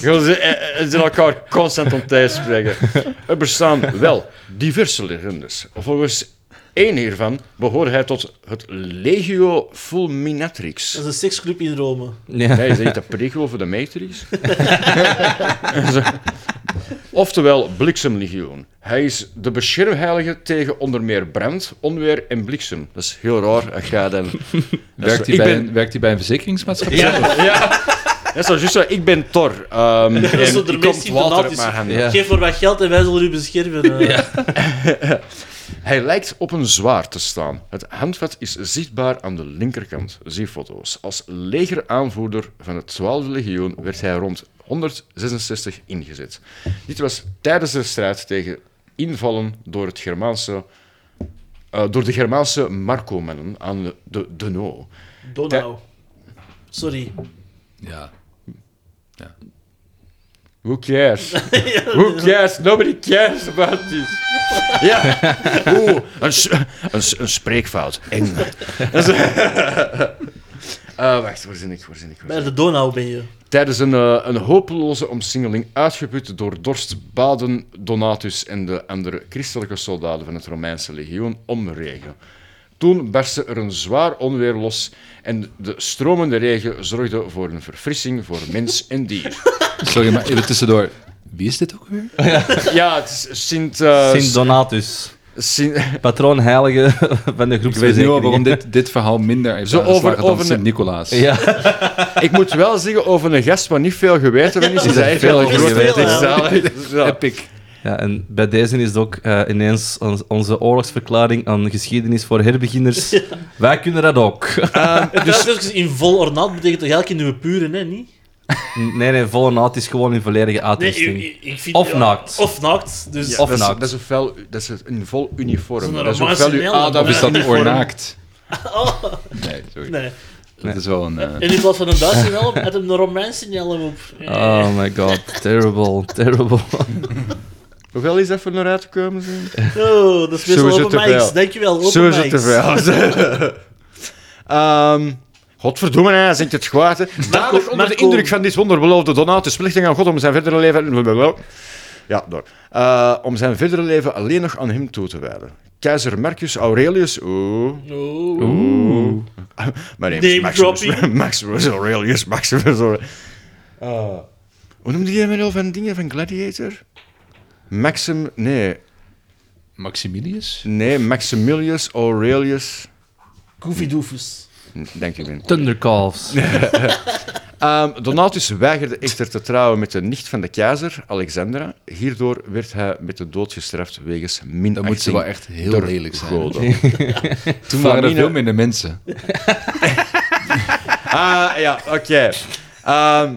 Speaker 4: Gewoon, ze, eh, eh, ze elkaar constant om tijd spreken. Er bestaan wel diverse legendes. Volgens één hiervan behoort hij tot het Legio Fulminatrix.
Speaker 3: Dat is een seksclub in Rome.
Speaker 2: Ja.
Speaker 4: Nee, is dat niet de prequel voor de Matrix? Zo. Oftewel, Bliksemlegioen. Hij is de beschermheilige tegen onder meer brand, onweer en bliksem. Dat is heel raar. Ik ga dan... Dat is
Speaker 5: Werkt
Speaker 4: zo-
Speaker 5: hij,
Speaker 4: ik
Speaker 5: bij,
Speaker 4: ben...
Speaker 5: een, werkt hij bij een verzekeringsmaatschappij?
Speaker 4: Ja, ja. Dat is zo, juist zo, ik ben Thor. ehm, en
Speaker 3: zo de meest
Speaker 4: er komt water uit
Speaker 3: symptomatische-
Speaker 4: mijn handen.
Speaker 2: Ja.
Speaker 3: Geef voor wat geld en wij zullen u beschermen. eh.
Speaker 4: Hij lijkt op een zwaard te staan. Het handvat is zichtbaar aan de linkerkant. Zie foto's. Als legeraanvoerder van het 12e legioen werd hij rond 166 ingezet. Dit was tijdens de strijd tegen invallen door, het Germaanse, eh, door de Germaanse Marcomannen aan de- de Donau.
Speaker 3: Donau. Sorry.
Speaker 5: Ja.
Speaker 4: Who cares? Who cares? Nobody cares about this. Ja. Oeh, een, s- een, s- een spreekfout. Eng. Dat is- Eh, wacht, waar zin ik? Waar zin ik? Waar zin
Speaker 3: Bij
Speaker 4: ik?
Speaker 3: de Donau ben je.
Speaker 4: Tijdens een, eh, een hopeloze omsingeling, uitgeput door dorst, baden Donatus en de andere christelijke soldaten van het Romeinse legioen om regen. Toen barstte er een zwaar onweer los en de stromende regen zorgde voor een verfrissing voor mens en dier.
Speaker 5: Sorry, maar even tussendoor. Wie is dit ook weer?
Speaker 4: Ja, het is Sint... eh,
Speaker 2: Sint Donatus,
Speaker 4: Sint-
Speaker 2: patroon heilige van de
Speaker 5: Ik weet nu al waarom
Speaker 2: groepsverzekeringen.
Speaker 5: dit, dit verhaal minder heeft
Speaker 4: Zo
Speaker 5: Zo
Speaker 4: over-
Speaker 5: dan
Speaker 4: over de-
Speaker 5: Sint-Nicolaas.
Speaker 2: Ja,
Speaker 4: ik moet wel zeggen, over een gast waar niet veel geweten van is, is
Speaker 2: Ja,
Speaker 4: hij echt
Speaker 2: veel
Speaker 4: wel een grote
Speaker 2: geweten.
Speaker 4: zalig. Ja.
Speaker 5: Epic.
Speaker 2: ja, en bij deze is het ook eh, ineens ons- onze oorlogsverklaring aan geschiedenis voor herbeginners. Wij kunnen dat ook.
Speaker 3: Dus... in vol ornaat betekent toch elke keer nieuwe puren, hè? Niet?
Speaker 2: nee, nee, volle naad is gewoon in volledige uitrusting.
Speaker 3: ik vind...
Speaker 2: Of naakt.
Speaker 3: Of naakt. Dus...
Speaker 4: Ja,
Speaker 2: Of
Speaker 4: dat, is,
Speaker 2: naakt.
Speaker 4: dat is een fel- dat is een vol uniform.
Speaker 3: Zonder
Speaker 4: Dat is
Speaker 3: een
Speaker 4: ook fel uw
Speaker 3: margineel.
Speaker 4: Adam
Speaker 5: Of is dat
Speaker 4: uniform.
Speaker 5: oornaakt? Nee, sorry.
Speaker 3: Nee.
Speaker 5: Dat is wel een... eh,
Speaker 3: En in plaats van een Duitse helm, had hem een Romeinse helm op. Eh,
Speaker 4: Ah.
Speaker 2: Oh my god, terrible, terrible.
Speaker 4: Hoeveel is dat voor naar uitgekomen? zijn?
Speaker 3: Oh, dat is best wel
Speaker 4: Sowieso
Speaker 3: open
Speaker 4: te veel.
Speaker 3: mics. Dankjewel, open
Speaker 4: Zo is het te
Speaker 3: mics.
Speaker 4: veel. Ehm, Godverdomme, hij zingt het kwaad. hè. Dadelijk onder de
Speaker 3: Marco.
Speaker 4: indruk van dit wonder beloofde Donatus plichting aan God om zijn verdere leven... Ja, door. Eh, om zijn verdere leven alleen nog aan hem toe te wijden. Keizer Marcus Aurelius... Oeh.
Speaker 3: Oh.
Speaker 2: Oeh.
Speaker 4: My name
Speaker 3: Name
Speaker 4: is Maximus,
Speaker 3: dropping.
Speaker 4: Maximus Aurelius Maximus Aurelius. Ah. hoe noemde jij mij al van dingen van Gladiator? Maxim... Nee.
Speaker 5: Maximilius?
Speaker 4: Nee, Maximilius Aurelius...
Speaker 3: Goofy doofus.
Speaker 4: Dank je wel.
Speaker 2: Thundercalves.
Speaker 4: Ehm, Donatus weigerde echter te trouwen met de nicht van de keizer, Alexandra. Hierdoor werd hij met de dood gestraft wegens minachting.
Speaker 5: Dan moet ze wel echt heel
Speaker 4: door
Speaker 5: lelijk zijn.
Speaker 4: goden.
Speaker 5: Toen waren er
Speaker 4: Famine-
Speaker 5: veel minder mensen.
Speaker 4: Ah, ja, oké. Ehm,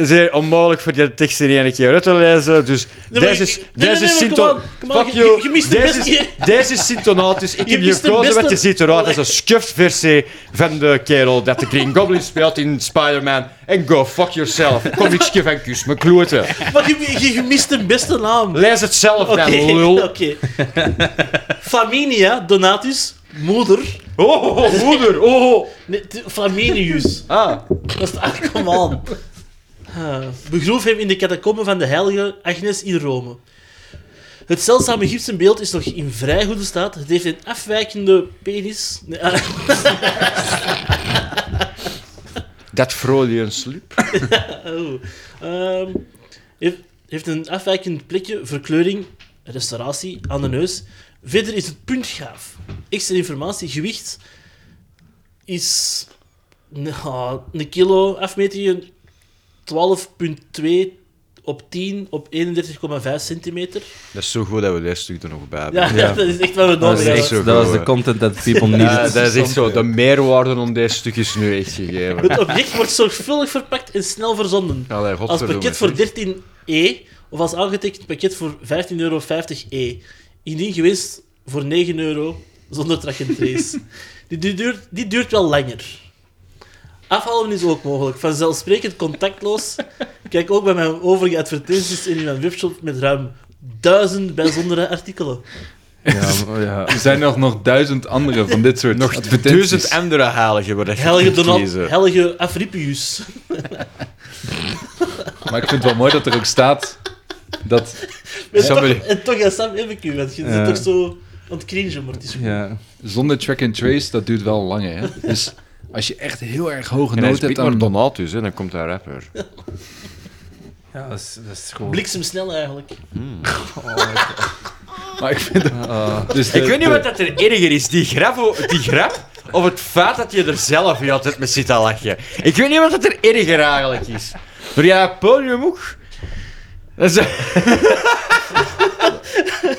Speaker 4: zeer onmogelijk voor die tekst in één keer uit te lezen. Dus
Speaker 3: Nee, maar
Speaker 4: deze is,
Speaker 3: ik- nee,
Speaker 4: deze
Speaker 3: nee,
Speaker 4: is
Speaker 3: nee,
Speaker 4: Sint-
Speaker 3: come on, come on,
Speaker 4: Fuck
Speaker 3: je-
Speaker 4: you.
Speaker 3: je mist de
Speaker 4: Deze
Speaker 3: beste-
Speaker 4: is- Deze is Sintonatus. Ik
Speaker 3: Je
Speaker 4: heb je
Speaker 3: mist de
Speaker 4: gekozen, want je
Speaker 3: beste-
Speaker 4: ziet eruit als een scuffed versie van de kerel dat de Green Goblin speelt in Spider-Man. En go fuck yourself. Kom ik van kus, mijn kloten.
Speaker 3: Maar je, je, je mist de beste naam.
Speaker 4: Lees het zelf
Speaker 3: Oké,
Speaker 4: dan, lul.
Speaker 3: oké. Familia, Donatus, moeder.
Speaker 4: Oh, oh, oh, moeder. Oh, oh.
Speaker 3: Nee, t- Flaminius.
Speaker 4: Ah,
Speaker 3: Dat is ah, come on. Ah, begroef hem in de catacomben van de heilige Agnes in Rome. Het zeldzame gipsen beeld is nog in vrij goede staat. Het heeft een afwijkende penis. Nee, ah,
Speaker 4: dat Freudian sleep.
Speaker 3: oh. Ehm, heeft, heeft een afwijkend plekje, verkleuring, restauratie aan de neus. Verder is het punt gaaf. Extra informatie, gewicht is nou, een kilo afmetingen 12,2 op 10 op 31,5 centimeter.
Speaker 4: Dat is zo goed dat we dit stuk er nog bij hebben.
Speaker 3: Ja, dat is echt wat we
Speaker 2: Dat is
Speaker 3: nodig
Speaker 4: echt
Speaker 3: hebben.
Speaker 2: echt-
Speaker 4: zo
Speaker 2: dat
Speaker 4: goed,
Speaker 2: was de
Speaker 4: hè.
Speaker 2: content that people
Speaker 4: Ja,
Speaker 2: needed.
Speaker 4: dat is echt zo. De meerwaarde om deze stuk is nu echt gegeven.
Speaker 3: Het object wordt zorgvuldig verpakt en snel verzonden.
Speaker 4: Allee,
Speaker 3: Als
Speaker 4: godverdomme,
Speaker 3: pakket voor
Speaker 4: zeg.
Speaker 3: 13e of als aangetekend pakket voor 15,50 euro e. Indien gewenst voor 9 euro zonder track and trace. dit, dit duurt, dit duurt wel langer. Afhalen is ook mogelijk. Vanzelfsprekend contactloos. Kijk ook bij mijn overige advertenties in mijn webshop met ruim duizend bijzondere artikelen.
Speaker 2: Ja, maar ja.
Speaker 5: Er zijn nog, nog duizend andere van dit soort
Speaker 4: Nog
Speaker 5: advertenties.
Speaker 4: duizend andere heiligen waar dat je
Speaker 3: Helge,
Speaker 4: kunt
Speaker 3: Donald,
Speaker 4: kiezen.
Speaker 3: Helge Afripius.
Speaker 5: Maar ik vind het wel mooi dat er ook staat dat...
Speaker 3: En toch,
Speaker 5: Somebody-
Speaker 3: en toch, ja, Sam heb ik u. want Je
Speaker 2: Ja.
Speaker 3: zit toch zo aan het cringen, maar het is goed.
Speaker 2: Ja.
Speaker 5: Zonder track and trace, dat duurt wel langer. Hè? Dus als je echt heel erg hoge
Speaker 4: En hij
Speaker 5: nood
Speaker 4: speelt
Speaker 5: hebt
Speaker 4: maar
Speaker 5: aan...
Speaker 4: Donatus, hè, dan komt daar rapper.
Speaker 2: ja, dat is, dat is gewoon...
Speaker 3: Bliksemsnel eigenlijk.
Speaker 5: Maar ik vind het- dus
Speaker 4: Ik weet niet wat dat er erger is, die grap, o- die grap of het feit dat je er zelf je altijd mee zit te lachen. Ik weet niet wat dat er erger eigenlijk is. Doe jij dat podium ook? Dat is-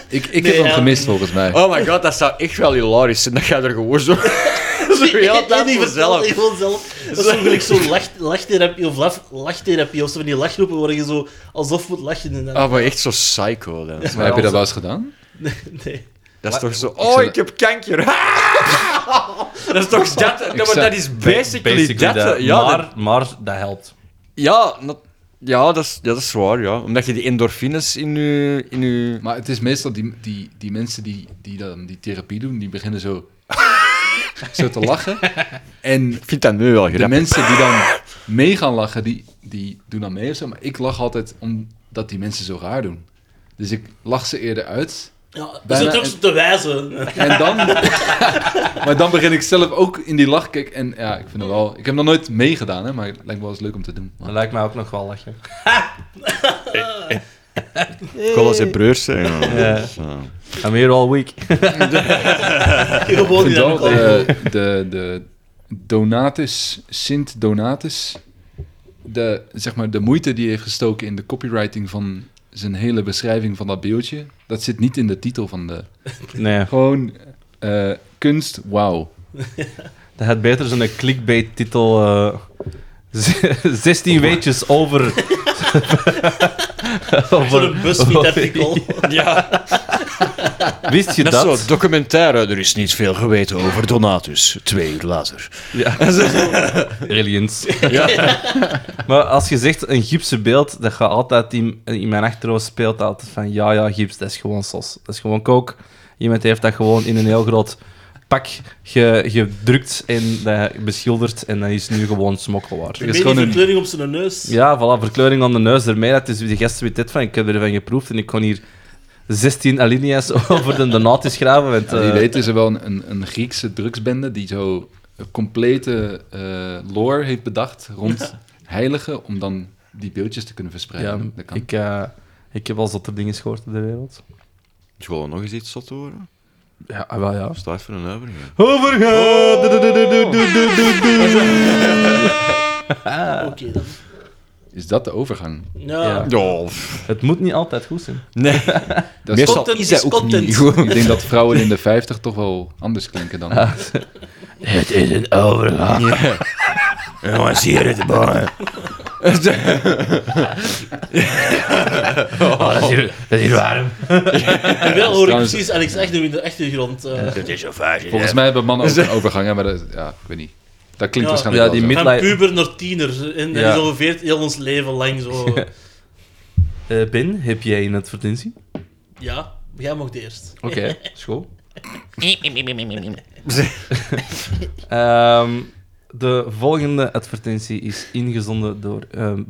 Speaker 5: Ik, ik
Speaker 3: Nee,
Speaker 5: heb hem
Speaker 3: ja.
Speaker 5: gemist volgens mij.
Speaker 4: Oh my god, dat zou echt wel hilarisch zijn. Dat gaat er gewoon zo... zo heel de tijd
Speaker 3: En die
Speaker 4: voor
Speaker 3: vertelt
Speaker 4: zelf.
Speaker 3: die gewoon zelf. Dat is zo gelijk zo'n lach- lachtherapie of laf- lachtherapie. Of zo van die lachroepen waar je zo alsof moet lachen. En dan,
Speaker 4: Ah, maar echt zo psycho dan.
Speaker 5: maar heb je dat wel eens gedaan?
Speaker 3: nee.
Speaker 4: Dat is toch zo...
Speaker 5: Ik
Speaker 4: Oh,
Speaker 5: zou-
Speaker 4: ik heb kanker. dat is toch dat... dat- maar
Speaker 5: zou-
Speaker 4: dat is basically, dat.
Speaker 2: dat.
Speaker 4: Ja,
Speaker 2: maar,
Speaker 4: dat-
Speaker 2: maar dat helpt.
Speaker 4: ja, nat- ja, dat is, ja, dat is waar, ja. Omdat je die endorfines in je... In je...
Speaker 5: Maar het is meestal die, die, die mensen die, die dan die therapie doen, die beginnen zo... zo te lachen. En
Speaker 4: Ik vind dat nu wel
Speaker 5: de
Speaker 4: grappig.
Speaker 5: mensen die dan mee gaan lachen, die, die doen dan mee of zo. Maar ik lach altijd omdat die mensen zo raar doen. Dus ik lach ze eerder uit.
Speaker 3: Ja, dat
Speaker 5: Bijna-
Speaker 3: is ook zo te wijzen.
Speaker 5: En dan... maar dan begin ik zelf ook in die lachkick. En ja, ik vind het wel... Ik heb nog nooit meegedaan, hè, maar het lijkt me wel eens leuk om te doen.
Speaker 2: Dat lijkt mij ook nog wel lachen.
Speaker 4: Ik wil wel zijn broers zijn.
Speaker 2: Ja.
Speaker 4: Dus, eh,
Speaker 2: I'm here all week.
Speaker 3: Gewoon
Speaker 5: Ik
Speaker 3: niet
Speaker 5: vind
Speaker 3: aan de
Speaker 5: wel eh,
Speaker 3: kant.
Speaker 5: de, de, de Donatus, Sint Donatus, de, zeg maar, de moeite die hij heeft gestoken in de copywriting van zijn hele beschrijving van dat beeldje, dat zit niet in de titel van de...
Speaker 2: Nee,
Speaker 5: Gewoon eh, kunst, wauw.
Speaker 2: dat had beter zo'n clickbait-titel. eh, z- 16 weetjes over.
Speaker 3: Voor
Speaker 2: over
Speaker 3: een busfietsartikel.
Speaker 4: ja,
Speaker 2: wist je
Speaker 4: net
Speaker 2: dat?
Speaker 4: zo, documentaire. Er is niet veel geweten over Donatus. Twee uur later.
Speaker 2: Ja. Aliens.
Speaker 4: Ja.
Speaker 2: Maar als je zegt een gipsen beeld, dat gaat altijd in, in mijn achterhoofd speelt altijd van ja, ja, gips, dat is gewoon sos. Dat is gewoon kook. Iemand heeft dat gewoon in een heel groot pak ge- gedrukt en dat beschilderd en dat is nu gewoon smokkelwaar.
Speaker 3: Ik
Speaker 5: is
Speaker 3: weet
Speaker 5: gewoon
Speaker 3: die
Speaker 5: een-
Speaker 3: verkleuring op zijn neus.
Speaker 2: Ja, voilà, verkleuring aan de neus ermee. Dat is de gasten weet dit van, ik heb ervan geproefd en ik kon hier 16 alinea's over de donatie schrijven. Want,
Speaker 5: Ja,
Speaker 2: eh,
Speaker 5: die weten is er wel een, een, een Griekse drugsbende die zo een complete eh, lore heeft bedacht rond heiligen, om dan die beeldjes te kunnen
Speaker 2: ja,
Speaker 5: verspreiden. dat kan.
Speaker 2: ik, eh, ik heb al zotte dingen gehoord op de wereld.
Speaker 6: Je wil nog eens iets zot horen?
Speaker 2: Ja, ah, wel ja.
Speaker 6: Staat voor een overgang.
Speaker 2: Overgaan!
Speaker 3: Oké dan.
Speaker 5: Is dat de overgang?
Speaker 3: Ja.
Speaker 2: Ja.
Speaker 4: Ja,
Speaker 2: Het moet niet altijd goed zijn.
Speaker 4: nee.
Speaker 5: Dat
Speaker 4: Meestal
Speaker 3: Content
Speaker 4: is
Speaker 3: is
Speaker 4: dat ook
Speaker 3: content.
Speaker 4: niet goed.
Speaker 5: Ik denk dat vrouwen in de 50 toch wel anders klinken dan.
Speaker 4: Het is een overgang. Jongens, hier is de boy.
Speaker 2: Dat is warm.
Speaker 3: En wel hoor ik
Speaker 5: Trouwens-
Speaker 3: precies Alex echt nu in de achtergrond. eh,
Speaker 4: Het is een vuistje.
Speaker 5: Volgens mij hebben mannen ook een overgang, hè, maar dat, ja, ik weet niet. Dat klinkt
Speaker 3: Ja.
Speaker 5: waarschijnlijk
Speaker 2: Ja, die
Speaker 5: wel zo.
Speaker 2: mid-
Speaker 3: Van
Speaker 2: Midlife-
Speaker 3: puber naar tiener. En dat
Speaker 2: Ja.
Speaker 3: is ongeveer heel ons leven lang zo.
Speaker 2: Eh, ben, heb jij een advertentie?
Speaker 3: Ja, jij mocht eerst.
Speaker 2: Oké, school.
Speaker 7: Hey,
Speaker 2: Ehm, de volgende advertentie is ingezonden door ehm,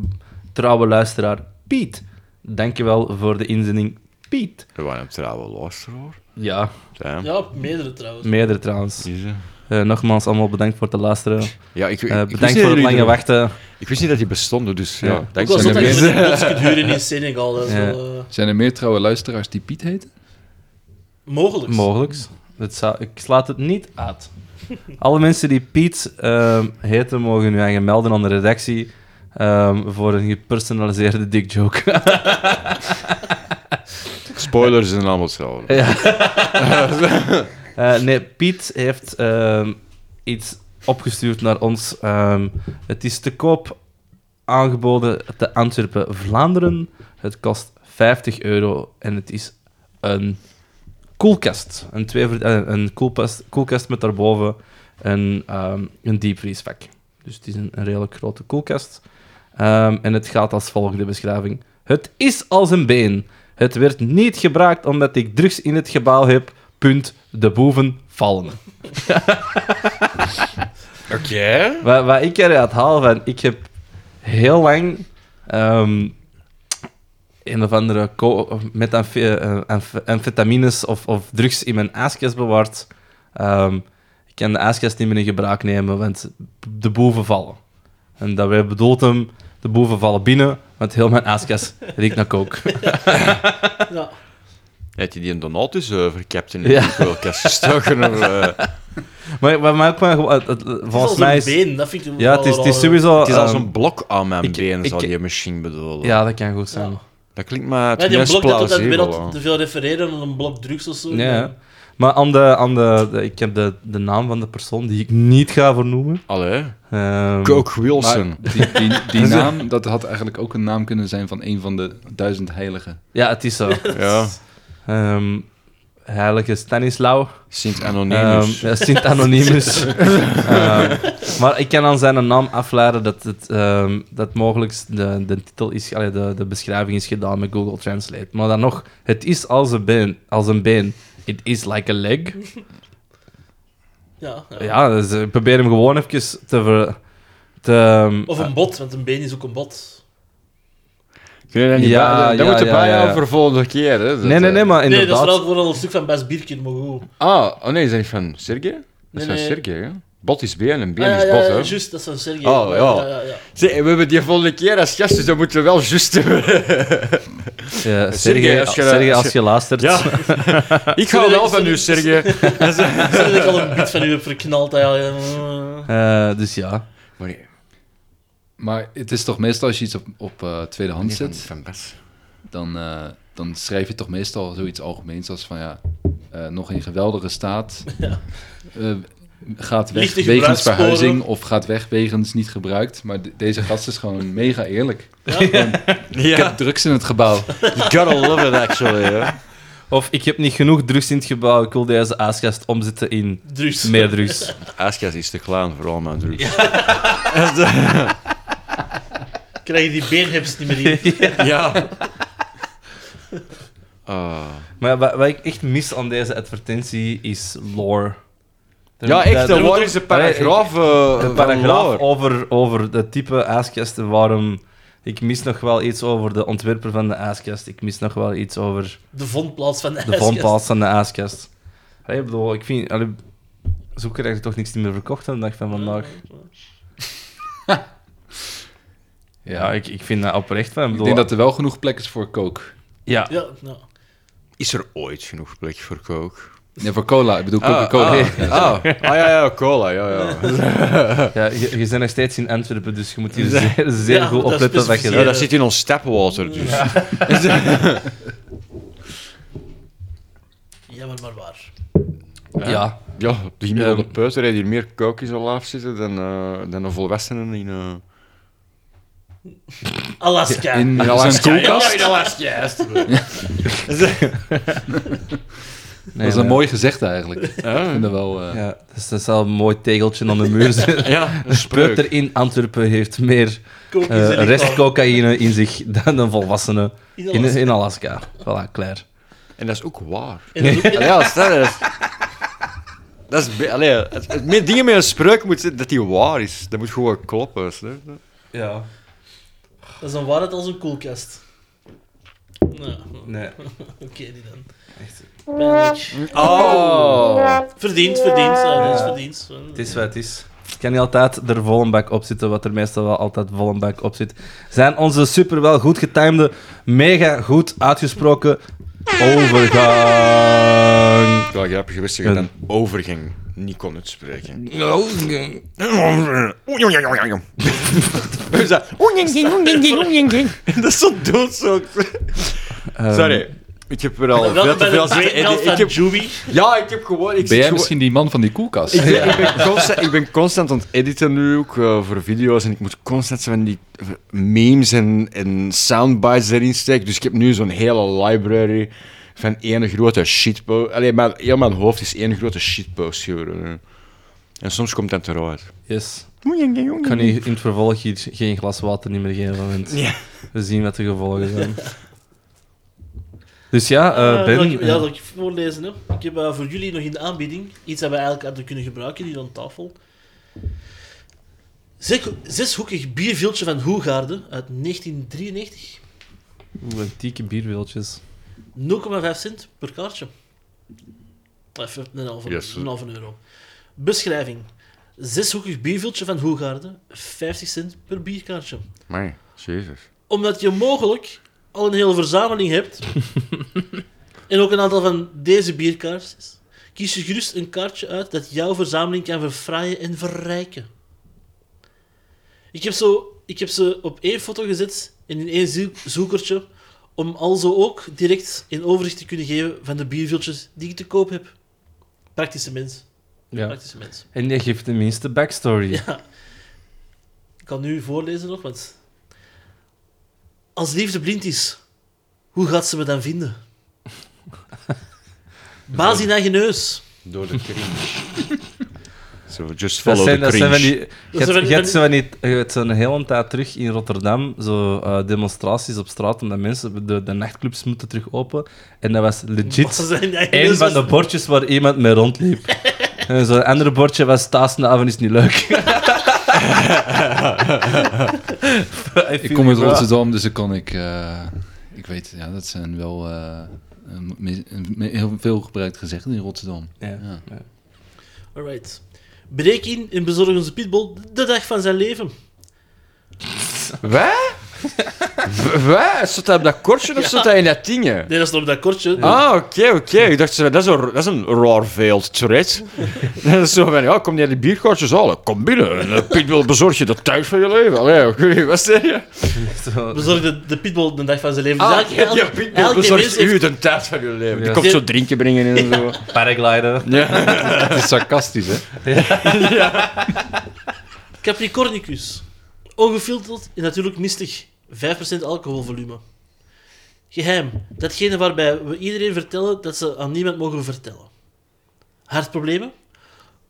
Speaker 2: trouwe luisteraar Piet. Dankjewel voor de inzending, Piet.
Speaker 6: We waren een trouwe luisteraar.
Speaker 2: Ja,
Speaker 6: Damn.
Speaker 3: Ja, meerdere trouwens.
Speaker 2: meerdere trouwens.
Speaker 6: Is, eh.
Speaker 2: Eh, nogmaals, allemaal bedankt voor het luisteren.
Speaker 6: Ja, ik, ik,
Speaker 2: Eh,
Speaker 6: ik
Speaker 2: bedankt
Speaker 6: wist niet
Speaker 2: voor
Speaker 6: dat
Speaker 2: het lange
Speaker 6: jullie er-
Speaker 2: wachten.
Speaker 6: Ik wist niet dat die bestonden, dus ja,
Speaker 2: Ja.
Speaker 3: Ook
Speaker 6: dankzij
Speaker 3: al zat
Speaker 6: de
Speaker 3: dat je
Speaker 6: mensen.
Speaker 3: met een kunt huren in Senegal. Dat is
Speaker 2: Ja.
Speaker 3: wel, eh,
Speaker 5: Zijn er meer trouwe luisteraars die Piet heten?
Speaker 3: mogelijk.
Speaker 2: Mogelijk. Het zou, ik slaat het niet uit. Alle mensen die Piet ehm, heten, mogen nu eigen melden aan de redactie ehm, voor een gepersonaliseerde dick joke.
Speaker 6: Spoilers zijn allemaal hetzelfde.
Speaker 2: Eh, nee, Piet heeft ehm, iets opgestuurd naar ons. Ehm, het is te koop aangeboden te Antwerpen, Vlaanderen. Het kost 50 euro en het is een koelkast. Een, twee, eh, een koelkast, koelkast met daarboven een, ehm een diepvriesvak. Dus het is een, een redelijk grote koelkast. Ehm, en het gaat als volgt, de beschrijving. Het is als een been. Het werd niet gebruikt omdat ik drugs in het gebouw heb. Punt. De boeven vallen.
Speaker 4: Oké.
Speaker 2: Wat, wat ik eruit haal van... Ik heb heel lang... ehm, een of andere co- met amf- eh, amf- amfetamines of, of drugs in mijn aaskast bewaard. Ehm, ik kan de aaskast niet meer in gebruik nemen, want de boeven vallen. En dat wij bedoelt hem, de boeven vallen binnen, want heel mijn aaskast riekt naar kook.
Speaker 3: Ja.
Speaker 6: Had je die een Donatus eh, verkapt in de
Speaker 2: Ja.
Speaker 6: koelkast gestoken? Of, eh,
Speaker 2: Maar, maar, maar ook maar gewoon- het- het-
Speaker 3: Het is
Speaker 2: volgens
Speaker 3: als
Speaker 2: mij
Speaker 3: een
Speaker 2: is...
Speaker 3: been, dat vind ik eh,
Speaker 2: Ja, het is, het is sowieso...
Speaker 6: het is als
Speaker 2: ehm,
Speaker 6: een blok aan mijn
Speaker 2: ik-
Speaker 6: benen,
Speaker 2: ik-
Speaker 6: zal je misschien bedoelen.
Speaker 2: Ja, dat kan goed zijn.
Speaker 6: Dat klinkt maar het
Speaker 3: Ja, die
Speaker 6: meest
Speaker 3: blok dat dat weer
Speaker 6: plausibel.
Speaker 3: al te veel refereren aan een blok drugs of zo.
Speaker 2: Ja. Maar aan de, aan de, de- ik heb de, de naam van de persoon die ik niet ga vernoemen.
Speaker 6: Allee,
Speaker 2: Ehm,
Speaker 6: Coke Wilson.
Speaker 5: Maar die, die, die naam, dat had eigenlijk ook een naam kunnen zijn van een van de duizend heiligen.
Speaker 2: Ja, het is zo.
Speaker 6: ja.
Speaker 2: Ehm, heilige Stanislao.
Speaker 6: Sint
Speaker 2: Ehm,
Speaker 6: Anonymous.
Speaker 2: ja, Sint Anonymous. Ehm, maar ik kan aan zijn naam afleiden dat, het, ehm, dat mogelijk de, de titel is, allee, de, de beschrijving is gedaan met Google Translate. Maar dan nog, het is als een been. Als een been. It is like a leg.
Speaker 3: Ja, ja.
Speaker 2: Ja, dus eh, probeer hem gewoon even te... Ver, te
Speaker 3: Of een bot, want een been is ook een bot.
Speaker 8: Kun je dat niet
Speaker 2: Ja,
Speaker 8: bij- dat
Speaker 2: ja,
Speaker 8: moet
Speaker 2: ja,
Speaker 8: erbij
Speaker 2: ja.
Speaker 8: houden voor de volgende keer. Hè? Dat,
Speaker 2: nee, nee, nee,
Speaker 8: eh,
Speaker 2: maar
Speaker 3: Nee, dat is
Speaker 2: inderdaad...
Speaker 3: vooral gewoon een stuk van Bas Bierkin, maar goed.
Speaker 8: Ah, oh nee, is dat niet van Sergej? Dat
Speaker 3: Nee,
Speaker 8: is van
Speaker 3: nee.
Speaker 8: Sergej, hè? Bot is been en been
Speaker 3: Ah, ja,
Speaker 8: is
Speaker 3: ja,
Speaker 8: bot,
Speaker 3: ja,
Speaker 8: hè?
Speaker 3: juist, dat is van Sergej.
Speaker 8: Oh, ja.
Speaker 3: ja, ja.
Speaker 8: Zee, we hebben die volgende keer als gast, dus dat moeten we wel juist hebben. Sergej,
Speaker 2: Ja, Eh, Sergej,
Speaker 8: als je-
Speaker 2: Sergej,
Speaker 8: als
Speaker 2: als je luistert...
Speaker 8: Ik hou wel van u, Sergej.
Speaker 3: Sorry dat ik al een bit van u heb verknald. eigenlijk.
Speaker 2: Eh, dus ja.
Speaker 8: Maar nee,
Speaker 5: Maar het is toch meestal als je iets op, op eh, tweedehands
Speaker 8: van,
Speaker 5: zet,
Speaker 8: van Bas.
Speaker 5: dan, eh, dan schrijf je toch meestal zoiets algemeens als van ja, eh, nog in geweldige staat. eh, gaat weg
Speaker 3: Lichte
Speaker 5: wegens
Speaker 3: gebruikssporen.
Speaker 5: verhuizing of gaat weg wegens niet gebruikt. Maar de- deze gast is gewoon mega eerlijk. Gewoon, Ik heb drugs in het gebouw.
Speaker 4: Gotta love it, actually. hè.
Speaker 2: Of ik heb niet genoeg drugs in het gebouw, ik wil deze aaskast omzetten in
Speaker 3: Drugs.
Speaker 2: meer drugs.
Speaker 4: Askas is te klaar voor allemaal drugs.
Speaker 3: Krijg je die beenheps niet meer in.
Speaker 4: Ja. Ah.
Speaker 2: Maar wat, wat ik echt mis aan deze advertentie is lore. Er
Speaker 4: Ja,
Speaker 2: moet-
Speaker 4: echt,
Speaker 2: daar-
Speaker 4: er wordt eens een paragraaf. eh,
Speaker 2: Een
Speaker 4: van
Speaker 2: paragraaf
Speaker 4: lore.
Speaker 2: over, over de type aaskasten waarom... Ik mis nog wel iets over de ontwerper van de aaskast. Ik mis nog wel iets over
Speaker 3: De vondplaats van de
Speaker 2: de
Speaker 3: ijskast.
Speaker 2: vondplaats van de aaskast. Allee, ik bedoel, ik vind... Allee, zo krijg je toch niks meer verkocht aan de dag van vandaag. Ja, ik, ik vind dat oprecht van. Ik
Speaker 5: Ik
Speaker 2: bedoel,
Speaker 5: denk dat er wel genoeg plek is voor coke.
Speaker 2: ja,
Speaker 3: Ja, nou.
Speaker 4: Is er ooit genoeg plek voor coke?
Speaker 5: Nee, voor cola. Ik bedoel
Speaker 4: Ah,
Speaker 5: Coca-Cola.
Speaker 4: ah, ah. Ah, ja, ja, cola, ja, ja.
Speaker 2: Ja, je, je bent nog steeds in Antwerpen, dus je moet hier zeer, zeer
Speaker 3: Ja,
Speaker 2: goed
Speaker 3: dat is
Speaker 2: opletten wat je
Speaker 3: specifiek.
Speaker 4: Ja,
Speaker 2: doet.
Speaker 4: dat zit in ons stepwater, dus.
Speaker 3: Jammer maar waar.
Speaker 2: Ja.
Speaker 4: Ja, op de gemiddelde peuter heeft hier meer coke in zijn laaf zitten dan, eh, dan een volwassene in... eh,
Speaker 3: Alaska.
Speaker 5: In
Speaker 4: in
Speaker 5: zijn
Speaker 4: Alaska.
Speaker 5: koelkast.
Speaker 4: Ah, Ja, in Alaska, ja, is het wel.
Speaker 2: Nee,
Speaker 5: Dat is een
Speaker 2: nee.
Speaker 5: mooi gezegd eigenlijk. Ik vind dat wel... eh,
Speaker 2: Ja, dus dat is wel een mooi tegeltje aan de muur. zitten.
Speaker 4: Ja, een
Speaker 2: Spreuk
Speaker 4: spreuk.
Speaker 2: er in Antwerpen heeft meer
Speaker 3: Kook
Speaker 2: eh,
Speaker 3: in
Speaker 2: rest
Speaker 3: Alaska.
Speaker 2: cocaïne in zich dan een volwassene
Speaker 3: In
Speaker 2: in,
Speaker 3: Alaska.
Speaker 2: in Alaska. Voilà, klaar.
Speaker 4: En dat is ook waar.
Speaker 3: En dat is ook-
Speaker 4: Allee, ja, stel dat is... Dat is be- allee, het, het meer dingen met een spreuk moet zijn dat die waar is. Dat moet gewoon kloppen. snap je?
Speaker 2: Ja.
Speaker 3: dat is een waarheid als een koelkast. Nou, oké
Speaker 2: Nee.
Speaker 3: die dan. Pijnlijk. Verdiend, verdiend. Ja, dat is verdiend.
Speaker 2: Het is wat het is. Het kan niet altijd er vol een bak op zitten, wat er meestal wel altijd vol een bak op zit. Zijn onze super wel goed getimede, mega goed uitgesproken overgang.
Speaker 4: Wel grappig geweest dat je dan overging niet kon uitspreken. dat is zo dood zo.
Speaker 5: Ehm.
Speaker 4: Sorry. Ik heb er
Speaker 3: Wel
Speaker 4: al veel
Speaker 3: bij
Speaker 4: te
Speaker 3: de
Speaker 4: veel zitten
Speaker 3: brain
Speaker 4: editen.
Speaker 3: health
Speaker 4: Ik
Speaker 3: van
Speaker 4: heb,
Speaker 3: Juby.
Speaker 4: ja, ik heb gewoon... Ik
Speaker 5: Ben
Speaker 4: zit
Speaker 5: jij
Speaker 4: gewoon-
Speaker 5: misschien die man van die koelkast?
Speaker 4: Ik ben, ik, ben constant, ik ben constant aan het editen nu ook eh, voor video's en ik moet constant zo van die memes en, en soundbites erin steken. Dus ik heb nu zo'n hele library van één grote shitpost. Allee, maar heel mijn hoofd is één grote shitpost geworden. nu. En soms komt dat eruit.
Speaker 2: Yes. Ik kan u in het vervolg hier geen glas water niet meer geven, want we zien wat de gevolgen zijn. Dus ja, eh,
Speaker 3: Eh, zal
Speaker 2: Ben,
Speaker 3: ik- ja, zal ik voorlezen. Hè? Ik heb eh, voor jullie nog in de aanbieding iets dat we eigenlijk hadden kunnen gebruiken hier aan tafel. Zek- zeshoekig bierviltje van Hoegaarden uit 1993.
Speaker 2: eh, oeh, antieke bierwiltjes.
Speaker 3: 0,5 cent per kaartje. Even een halve,
Speaker 4: Yes.
Speaker 3: een halve euro. Beschrijving. Zeshoekig bierviltje van Hoegaarden, 50 cent per bierkaartje.
Speaker 4: Maar, jezus.
Speaker 3: Omdat je mogelijk al een hele verzameling hebt. en ook een aantal van deze bierkaartjes. Kies je gerust een kaartje uit dat jouw verzameling kan verfraaien en verrijken. Ik heb, zo, ik heb ze op één foto gezet en in één zoek- zoekertje. Om alzo ook direct een overzicht te kunnen geven van de bierviltjes die ik te koop heb. Praktische mens.
Speaker 2: Ja.
Speaker 3: Praktische mens.
Speaker 2: En je geeft tenminste backstory.
Speaker 3: Ik kan nu voorlezen nog, want... Als liefde blind is, hoe gaat ze me dan vinden? Baas in eigen neus.
Speaker 4: Door de cringe. so,
Speaker 2: Dat
Speaker 4: just follow
Speaker 2: zijn,
Speaker 4: the
Speaker 2: dat zijn van die,
Speaker 4: cringe.
Speaker 2: je
Speaker 3: zijn van
Speaker 2: hebt-
Speaker 3: die-
Speaker 2: je hebt zo van die- je hebt zo'n hele tijd terug in Rotterdam zo eh, demonstraties op straat omdat mensen de, de nachtclubs moeten terug open. En dat was legit
Speaker 3: Baas in eigen
Speaker 2: Eén
Speaker 3: neus
Speaker 2: van
Speaker 3: was-
Speaker 2: de bordjes waar iemand mee rondliep. En zo'n andere bordje was Taastenavond is niet leuk.
Speaker 5: Ik kom uit Rotterdam, dus dan kan ik... eh, ik weet, ja, dat zijn wel eh, een mis- een- heel veel gebruikt gezegden in Rotterdam.
Speaker 2: Ja.
Speaker 5: Ja.
Speaker 3: Alright. Breek in en bezorg onze pitbull de dag van zijn leven.
Speaker 4: Wat? W- Wat? Zat hij op dat kortje of zat hij in dat dingetje?
Speaker 3: Nee, dat is nog op dat kortje.
Speaker 4: Ah, oké, oké. Ik dacht, dat is een, dat is een raar veeld tred. dat is zo van, ja, kom naar de bierkortjes halen. Kom binnen. En eh, Pitbull bezorg je de thuis van je leven. Allee, oké, wat zeg je?
Speaker 2: Zo.
Speaker 3: Bezorg de, de pitbull de dag van zijn leven.
Speaker 4: Ah,
Speaker 3: Dus elke-
Speaker 4: ja,
Speaker 3: elke-
Speaker 4: Pitbull
Speaker 3: elke mens
Speaker 4: bezorgt
Speaker 3: heeft-
Speaker 4: u de thuis van je leven. Die
Speaker 2: Ja.
Speaker 4: komt zo drinken brengen en zo.
Speaker 2: Paraglider.
Speaker 4: Ja.
Speaker 5: Het is sarcastisch, hè?
Speaker 3: Capricornicus. Ongefilterd en natuurlijk mistig. 5% alcoholvolume. Geheim. Datgene waarbij we iedereen vertellen dat ze aan niemand mogen vertellen. Hartproblemen.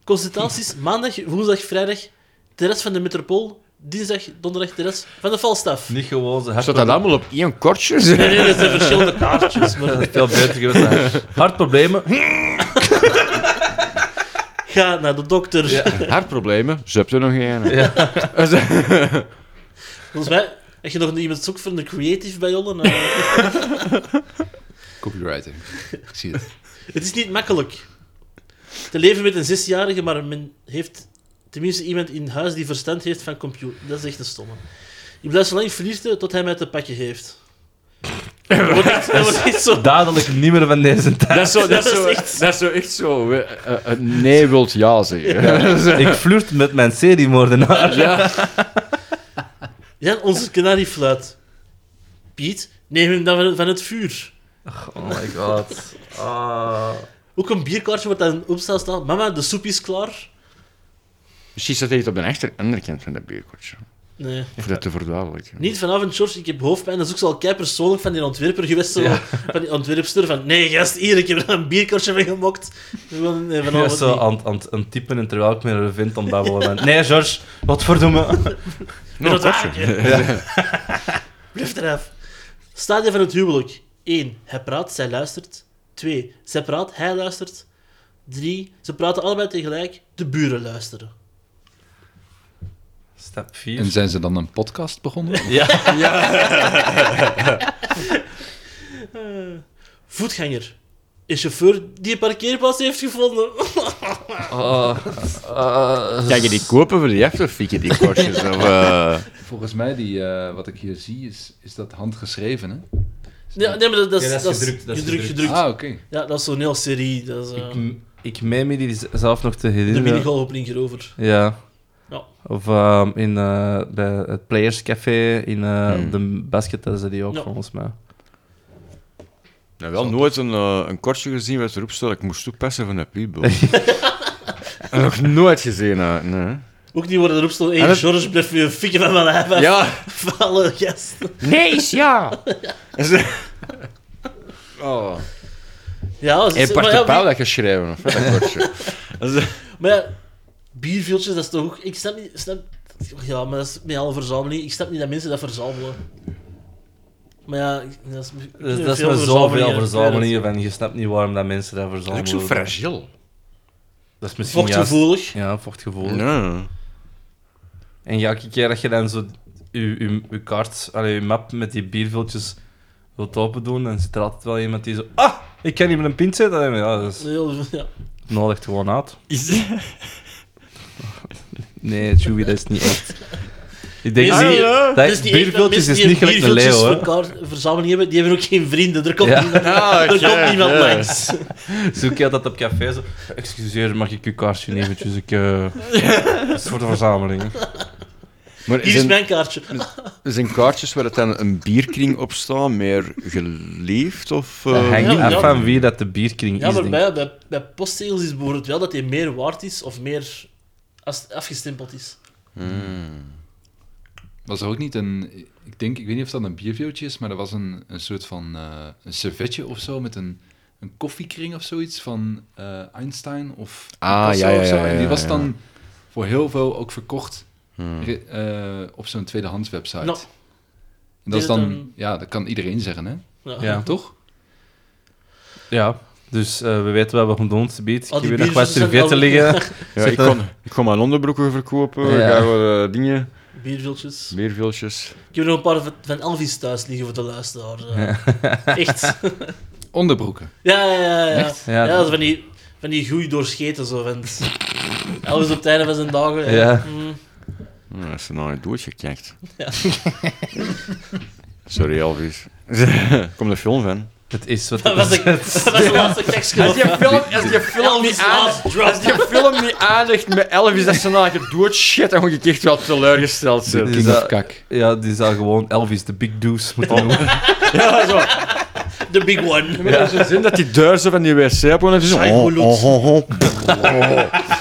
Speaker 3: Consultaties maandag, woensdag, vrijdag. Terras van de metropool. Dinsdag, donderdag, terras van de valstaf.
Speaker 2: Niet gewoon zijn
Speaker 4: Zat dat
Speaker 2: hartproblemen.
Speaker 4: allemaal op één kortje?
Speaker 3: Nee, nee, dat zijn verschillende kaartjes. Maar
Speaker 2: Veel beter geweest. zijn. Hartproblemen.
Speaker 3: ga naar de dokter.
Speaker 4: Hartproblemen? Zup er nog een.
Speaker 3: Volgens mij, als je nog iemand zoekt voor een creative bij Jolle, eh,
Speaker 5: Copywriter. Ik zie het.
Speaker 3: Het is niet makkelijk. Te leven met een zesjarige, maar men heeft tenminste iemand in huis die verstand heeft van computer. Dat is echt een stomme. Je blijft zo lang verliezen tot hij mij te pakken heeft. Dat wordt echt, dat wordt echt zo.
Speaker 2: Dadelijk niet meer van deze tijd.
Speaker 4: Dat is zo, dat is zo,
Speaker 3: Dat is echt-
Speaker 4: dat is zo echt zo. we- eh, eh, nee wilt ja zeggen.
Speaker 2: Ik flirt met mijn seriemoordenaar.
Speaker 3: Ja, onze kanariefluit. Piet, neem hem dan van- van het vuur.
Speaker 2: Oh my god. Ah.
Speaker 3: Ook een bierkaartje wordt aan opstaan staan. Mama, de soep is klaar.
Speaker 4: Misschien staat hij het op de achter, andere kant van dat bierkortje.
Speaker 3: Nee.
Speaker 4: Voor dat te verduidelijken.
Speaker 3: Niet vanavond, George, ik heb hoofdpijn. Dat is ook zo al kei persoonlijk van die ontwerper geweest. Zo, Van die ontwerpster van, nee gast, hier, ik heb er een bierkortje mee gemokt. Gewoon, nee,
Speaker 2: Ik was
Speaker 3: vanavond
Speaker 2: zo ah,
Speaker 3: niet.
Speaker 2: aan, het- aan, het- aan het typen en terwijl ik me er vind om babbelen ben. Nee, George, wat verdomme.
Speaker 3: Wil dat waken? Blijf eraf. Stadia van het huwelijk. 1. Hij praat, zij luistert. 2. Zij praat, hij luistert. 3. Ze praten allebei tegelijk, de buren luisteren.
Speaker 2: Stap
Speaker 5: En
Speaker 2: 4.
Speaker 5: zijn ze dan een podcast begonnen?
Speaker 3: Voetganger. Een chauffeur die een parkeerplaats heeft gevonden.
Speaker 4: Kan je die kopen voor die afterfikken, die kortjes? of, eh,
Speaker 5: Volgens mij, die, eh, wat ik hier zie, is, is dat handgeschreven, hè?
Speaker 3: Nee, nee maar dat, dat,
Speaker 2: Ja, dat is
Speaker 3: dat
Speaker 2: gedrukt, dat is
Speaker 3: gedrukt,
Speaker 2: gedrukt.
Speaker 3: gedrukt.
Speaker 5: Ah, oké.
Speaker 3: Ja, dat is zo'n heel serie. Dat is, eh,
Speaker 2: Ik, ik meen me die zelf nog te
Speaker 3: de
Speaker 2: herinneren.
Speaker 3: minigolfopening hierover.
Speaker 2: Ja.
Speaker 3: Ja.
Speaker 2: Of ehm, in, eh, bij het Players Café in eh,
Speaker 4: Hmm.
Speaker 2: de basket, daar zijn die ook
Speaker 3: Ja.
Speaker 2: volgens mij.
Speaker 4: nou, wel nooit een, eh, een kortje gezien wat erop staat. Ik moest toepassen van de people. Nog nooit gezien, hè. nee.
Speaker 3: Ook niet worden erop
Speaker 2: Ah,
Speaker 3: stond.
Speaker 4: En
Speaker 3: Hey,
Speaker 4: dat-
Speaker 3: George, blijf je fikken van mijn lijf af.
Speaker 4: Ja.
Speaker 3: Vallen, gast.
Speaker 4: Nee, is ja. oh.
Speaker 3: Ja, ze-
Speaker 4: Hey,
Speaker 3: maar
Speaker 4: Bart
Speaker 3: ja,
Speaker 4: de
Speaker 3: wie-
Speaker 4: Pauw dat geschreven, of wat, dat kortje?
Speaker 3: Maar ja, bierviltjes, dat is toch ook... Ik snap niet... Snap, ja, maar dat is met alle verzameling. Ik snap niet dat mensen dat verzamelen. Maar ja, ik- dat is... ik
Speaker 2: Dus
Speaker 3: ken
Speaker 2: dat is
Speaker 3: veel
Speaker 2: maar zoveel
Speaker 3: ik weet
Speaker 2: verzamelingen van je snapt niet waarom dat mensen dat verzamelen.
Speaker 4: fragiel.
Speaker 2: Dat is
Speaker 3: het.
Speaker 2: misschien juist-
Speaker 3: Vochtgevoelig.
Speaker 2: Ja, vochtgevoel.
Speaker 4: Nee.
Speaker 2: En ja, elke keer dat je dan zo je, je, je kaart, allee, je map met die bierviltjes wilt open doen, dan zit er altijd wel iemand die zo... Ah, ik kan niet met een pint zetten. En Ja, dat is
Speaker 3: Heel- Ja.
Speaker 2: nodig gewoon uit. Nee, Chewie, dat is niet echt. Ik denk
Speaker 3: Nee,
Speaker 2: niet-
Speaker 3: zie je,
Speaker 2: dat
Speaker 3: dat is niet echt dat
Speaker 2: bierviltjes
Speaker 3: mensen
Speaker 2: is
Speaker 3: die
Speaker 2: niet gelijk een
Speaker 3: bierviltjes
Speaker 2: leeuw, hè.
Speaker 3: voor elkaar verzameling hebben, die hebben ook geen vrienden. Er komt
Speaker 2: Ja.
Speaker 3: niemand,
Speaker 4: Ah,
Speaker 3: er
Speaker 4: oké,
Speaker 3: komt niemand
Speaker 4: ja.
Speaker 3: langs.
Speaker 2: Zoek je dat op café zo. Excuseer, mag ik uw kaartje nemen? eventjes? Ik, eh, het is voor de verzameling.
Speaker 4: Maar
Speaker 3: Hier is
Speaker 4: zijn,
Speaker 3: mijn kaartje.
Speaker 4: zijn kaartjes waar het dan een bierkring op staat, meer geliefd of... eh,
Speaker 2: Dat hangt
Speaker 3: ja,
Speaker 2: af
Speaker 3: ja.
Speaker 2: van wie dat de bierkring
Speaker 3: Ja,
Speaker 2: is.
Speaker 3: maar
Speaker 2: Denk.
Speaker 3: bij, bij, bij postzegels is bijvoorbeeld wel dat hij meer waard is of meer als het afgestempeld is.
Speaker 5: Was er ook niet een... Ik denk, ik weet niet of dat een bierveeltje is, maar er was een, een soort van eh, een servetje of zo met een, een koffiekring of zoiets van eh, Einstein of
Speaker 4: Ah,
Speaker 5: Picasso
Speaker 4: ja, ja,
Speaker 5: of zo.
Speaker 4: ja,
Speaker 5: En
Speaker 4: ja,
Speaker 5: die was
Speaker 4: ja.
Speaker 5: dan voor heel veel ook verkocht re- eh, op zo'n tweedehands website.
Speaker 3: Nou,
Speaker 5: en
Speaker 3: dit
Speaker 5: dat is
Speaker 3: is
Speaker 5: dan...
Speaker 3: een-
Speaker 5: Ja, dat kan iedereen zeggen, hè?
Speaker 3: ja.
Speaker 2: Ja.
Speaker 5: Toch?
Speaker 2: Ja. Dus eh, we weten waar we gaan doen. Beet.
Speaker 3: Al
Speaker 2: Ik
Speaker 3: Oh, die
Speaker 2: heb hier nog wat
Speaker 3: biertjes
Speaker 2: servetten
Speaker 3: zijn al-
Speaker 2: liggen.
Speaker 4: Ja,
Speaker 2: Zeg
Speaker 4: ik,
Speaker 2: dat-
Speaker 4: kon, ik kon mijn onderbroeken verkopen,
Speaker 2: Ja.
Speaker 4: gaan we eh, dingen,
Speaker 3: Bierviltjes.
Speaker 4: meerviltjes.
Speaker 3: Ik heb nog een paar van- van Elvis thuis liggen voor de luisteraar. eh. Echt.
Speaker 5: Onderbroeken.
Speaker 3: Ja, ja, ja. ja.
Speaker 2: Echt? Ja,
Speaker 3: Ja,
Speaker 2: dat-
Speaker 3: dat is van die, van die goeie doorscheten zo. Van Elvis op het einde van zijn dagen. eh.
Speaker 2: Ja.
Speaker 3: Mm.
Speaker 4: Ja, als ze nou een doodje kijkt. Sorry, Elvis. Kom de film van.
Speaker 2: Het is wat
Speaker 3: Dat
Speaker 2: het
Speaker 3: was
Speaker 2: is.
Speaker 3: ik. Dat was de laatste tekstje.
Speaker 4: film, als je film
Speaker 3: Elvis last drop.
Speaker 4: je film niet aandacht met Elvis, dat ze nou een doodshit en gewoon echt wel teleurgesteld
Speaker 2: zijn.
Speaker 5: King
Speaker 2: Is
Speaker 5: of
Speaker 2: dat-
Speaker 5: kak.
Speaker 2: Ja, die zou gewoon Elvis, de Big Deuce moeten
Speaker 3: Oh.
Speaker 2: noemen.
Speaker 3: The big one.
Speaker 4: Ja. Ze zien dat die deur zo van die wc op gewoon even zo...
Speaker 3: Psycholoot.
Speaker 4: Oh, oh, oh,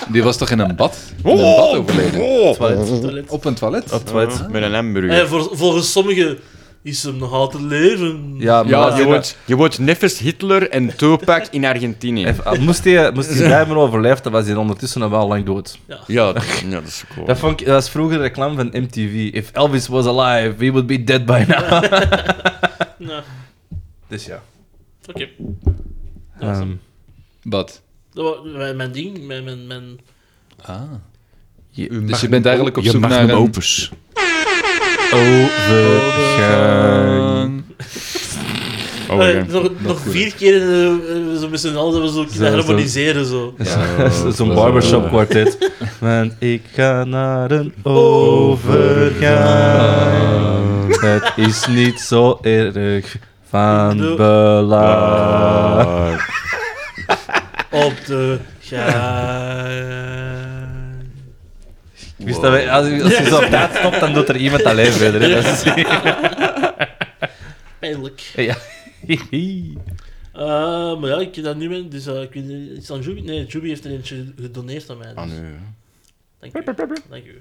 Speaker 5: Die was toch in een bad? In een
Speaker 4: oh.
Speaker 5: bad overleden?
Speaker 4: Oh.
Speaker 2: Toilet.
Speaker 3: Toilet.
Speaker 5: Op een toilet?
Speaker 2: Op toilet.
Speaker 4: Met een
Speaker 3: Eh,
Speaker 4: hamburger.
Speaker 3: voor, volgens sommigen is hem nog altijd leven.
Speaker 2: Ja, maar
Speaker 4: Ja, je wordt, je wordt neffens Hitler en Tupac in Argentinië.
Speaker 2: Even- ah, moest hij, moest hij blijven overleefd, dan was hij ondertussen al wel lang dood.
Speaker 4: Ja, dat, ja, dat is cool.
Speaker 2: Dat, vond ik, dat was vroeger een reclame van MTV. If Elvis was alive, we would be dead by now.
Speaker 3: Nou,
Speaker 2: Dus ja.
Speaker 3: Oké.
Speaker 2: Ehm,
Speaker 5: Bad.
Speaker 3: Dat was mijn, mijn ding. Mijn, mijn, mijn...
Speaker 5: Ah.
Speaker 2: je-
Speaker 5: Dus je bent eigenlijk op zoek naar een...
Speaker 4: opus.
Speaker 2: overgang.
Speaker 4: Oh,
Speaker 3: Eh, nog nog vier keer eh, eh, zo met z'n allen dat we zo kunnen
Speaker 2: zo.
Speaker 3: harmoniseren. Zo.
Speaker 2: Ehm, Zo- Zo'n barbershop kwartet. Want ik ga naar een overgang. Het is niet zo erg van
Speaker 3: Doe.
Speaker 2: belang.
Speaker 3: Op de gang.
Speaker 2: Ik wist dat wij, als, je- als je zo op tijd stopt, dan doet er iemand alleen verder. hè. Dat is-
Speaker 3: Pijnlijk.
Speaker 2: ja.
Speaker 3: Eh, maar ja, ik heb dat nu mee. Dus eh, ik weet niet, is het aan Juby? Nee, Juby heeft er eentje gedoneerd aan
Speaker 4: Ah,
Speaker 3: mij. Dus. Dank u. Dank u.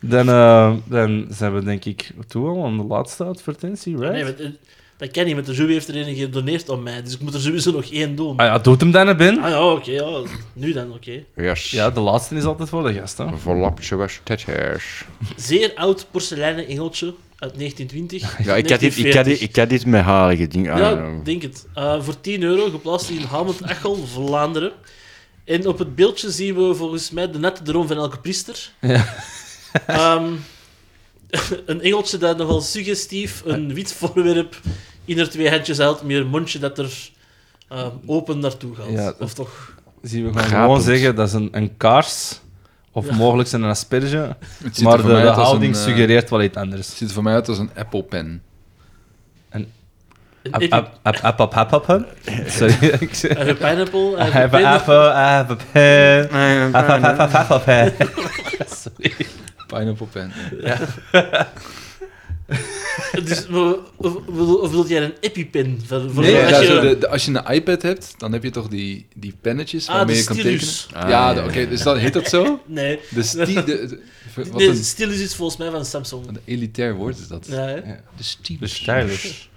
Speaker 2: dan, eh, dan zijn we denk ik toe al aan de laatste advertentie, right?
Speaker 3: Nee, want, eh, dat kan niet, want de Juby heeft er eentje gedoneerd aan mij. Dus ik moet er sowieso nog één doen.
Speaker 2: Ah ja, doet hem dan, hè, Ben.
Speaker 3: Ah ja, oké. ja. Nu dan, oké.
Speaker 4: Yes.
Speaker 2: Ja, de laatste is altijd voor de gast, hè.
Speaker 4: Een verlapje was tetjes.
Speaker 3: Zeer oud porseleinen engeltje uit 1920.
Speaker 4: Ja, ik had, dit, ik, had dit,
Speaker 3: 1940.
Speaker 4: ik had dit met halige dingen
Speaker 3: Ja,
Speaker 4: aan.
Speaker 3: ik denk het. Eh, voor 10 euro, geplaatst in Hamond Achel, Vlaanderen. En op het beeldje zien we volgens mij de nette droom van elke priester. Ehm, een engeltje dat nogal suggestief een wit voorwerp in haar twee handjes houdt, meer een mondje dat er ehm, open naartoe gaat.
Speaker 2: Ja, dat-
Speaker 3: Of toch?
Speaker 2: Zien we gewoon,
Speaker 4: Gapend.
Speaker 2: gewoon zeggen, dat is een, een kaars. Of
Speaker 3: Ja.
Speaker 2: mogelijk zijn een asperge.
Speaker 5: Het ziet er
Speaker 2: Maar de,
Speaker 5: voor mij
Speaker 2: de
Speaker 5: uit als
Speaker 2: houding
Speaker 5: een, eh,
Speaker 2: suggereert wel iets anders.
Speaker 5: Het ziet er voor mij uit als een Apple Pen.
Speaker 3: Een,
Speaker 2: App,
Speaker 3: een,
Speaker 2: app, app, app, app, app, app, app. Sorry, ik zei...
Speaker 3: een pineapple.
Speaker 2: I
Speaker 3: een
Speaker 2: have an
Speaker 3: pin-
Speaker 2: apple, I have a pen. I
Speaker 4: Ah,
Speaker 2: have a- I have a- I have a pen.
Speaker 5: Pineapple Pen.
Speaker 3: Dus, we- of, of- of wil jij een epipen? Voor, voor
Speaker 5: Nee,
Speaker 3: als
Speaker 5: ja,
Speaker 3: je-
Speaker 5: zo de, de- als je een iPad hebt, dan heb je toch die, die pennetjes
Speaker 3: Ah,
Speaker 5: waarmee
Speaker 3: de
Speaker 5: je kan tekenen?
Speaker 3: stylus.
Speaker 4: Ah,
Speaker 5: ja,
Speaker 4: ja,
Speaker 5: de- oké, dus dan heet dat zo?
Speaker 3: Nee,
Speaker 5: De sti- de- de- wat
Speaker 3: nee
Speaker 5: een,
Speaker 3: stylus is volgens mij van Samsung.
Speaker 5: wat een elitair woord is dat.
Speaker 3: Ja, hè?
Speaker 5: De stylus.
Speaker 2: De stylus.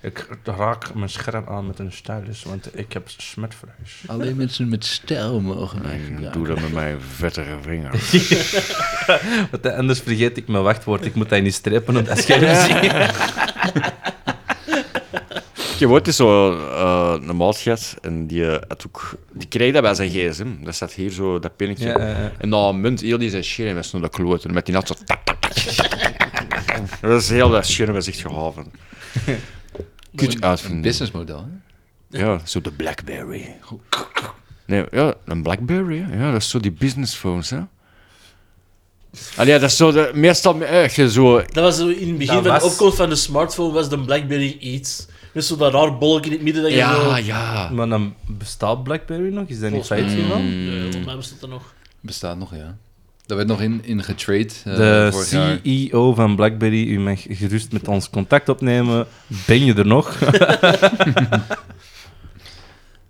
Speaker 2: Ik raak mijn scherm aan met een stylus, want ik heb smetvrees.
Speaker 5: Alleen mensen met stijl mogen mij gebruiken.
Speaker 4: Doe dat met mijn vettige vinger.
Speaker 2: Want anders dus vergeet ik mijn wachtwoord. Ik moet dat niet strepen op dat scherm zien.
Speaker 4: Je wordt dus zo eh, een maatgast en die, eh, had ook, die kreeg dat bij zijn gsm. Dat staat hier zo, dat pinnetje.
Speaker 2: Ja, ja, ja.
Speaker 4: En dan munt heel die zijn scherm is naar de kloten. Met die nat zo... tak, tak, tak, tak, tak, tak, tak. Dat is heel dat scherm is echt gehaven. Kut
Speaker 5: Een
Speaker 4: uitvinden.
Speaker 5: businessmodel, hè?
Speaker 4: ah, Ja, zo de Blackberry. Nee, ja, een Blackberry, hè. ja, dat is zo die business phones, hè. Allee, ja, dat is zo de, meestal echt zo...
Speaker 3: Dat was zo in het begin
Speaker 2: Dat
Speaker 3: van de
Speaker 2: was-
Speaker 3: opkomst van de smartphone, was de BlackBerry iets. Met zo dat raar bolk in het midden dat je zo...
Speaker 4: Ja, ja.
Speaker 2: Maar dan bestaat Blackberry nog? Is dat niet
Speaker 3: Volgens
Speaker 2: 15 dan?
Speaker 3: Nee, volgens mij bestond dat nog.
Speaker 5: Bestaat nog, ja. Daar werd nog in, in getrade eh,
Speaker 2: De
Speaker 5: vorig jaar.
Speaker 2: CEO van BlackBerry, u mag gerust met ons contact opnemen. Ben je er nog?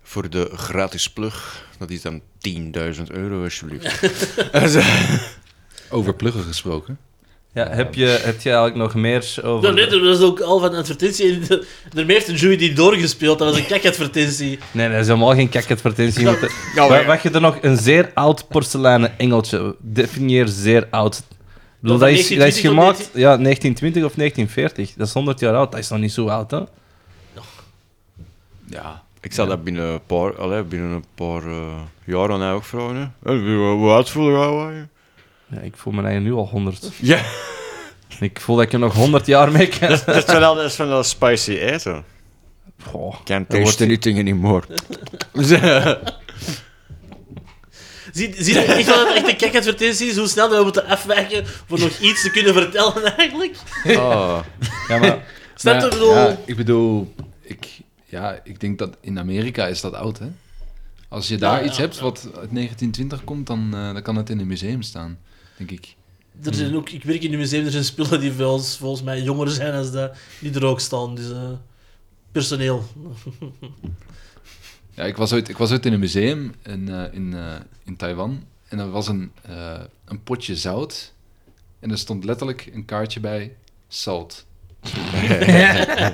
Speaker 4: Voor de gratis plug, dat is dan 10.000 euro, alsjeblieft.
Speaker 5: Over pluggen gesproken.
Speaker 2: Ja, heb, je, heb je eigenlijk nog meer
Speaker 3: Ja,
Speaker 2: over...
Speaker 3: nee, dat was ook al van de advertentie. En de- Daarmee heeft een jury die doorgespeeld. Dat was een kakadvertentie.
Speaker 2: Nee, nee, dat is helemaal geen kakadvertentie. Je moet-
Speaker 4: Ja,
Speaker 2: Wa- Wacht je er nog een zeer oud porseleinen engeltje? Definieer zeer oud. Ik bedoel,
Speaker 3: Dat
Speaker 2: dat,
Speaker 3: van
Speaker 2: is, dat is
Speaker 3: 1920 tot
Speaker 2: gemaakt ja, 1920 of 1940. Dat is 100 jaar oud. Dat is nog niet zo oud, hè?
Speaker 5: Ja.
Speaker 4: Ik zal dat binnen een paar, allee, binnen een paar eh, jaar aan mij ook vragen. hè. Eh, Hoe hoe oud voel je jou eigenlijk?
Speaker 2: Ja, ik voel mijn eigen nu al 100.
Speaker 4: Ja,
Speaker 2: Ik voel dat ik er nog 100 jaar mee kan.
Speaker 4: dat is van dat, dat is van dat spicy eten.
Speaker 2: Goh.
Speaker 4: Can't
Speaker 2: Dat wordt-
Speaker 4: taste anything anymore.
Speaker 3: Zie, zie je echt wel dat het echt een kijkadvertentie is? Hoe snel dat we moeten afwijken voor nog iets te kunnen vertellen, eigenlijk?
Speaker 5: Ah.
Speaker 4: oh.
Speaker 2: Ja, maar
Speaker 3: Snap je wat ik
Speaker 5: Maar
Speaker 3: bedoel?
Speaker 5: Ja, ik bedoel, ik, ja, ik denk dat in Amerika is dat oud, hè? Als je daar
Speaker 3: Ja,
Speaker 5: iets
Speaker 3: ja,
Speaker 5: hebt wat uit 1920 komt, dan, eh, dan kan het in een museum staan, denk ik.
Speaker 3: Er zijn ook, ik werk in een museum, er zijn spullen die wel eens volgens mij jonger zijn dan dat, die er ook staan. Dus eh, personeel.
Speaker 5: Ja, ik was Dus ooit, ik was ooit in een museum in, eh, in, eh, in Taiwan en er was een, eh, een potje zout en er stond letterlijk een kaartje bij salt. en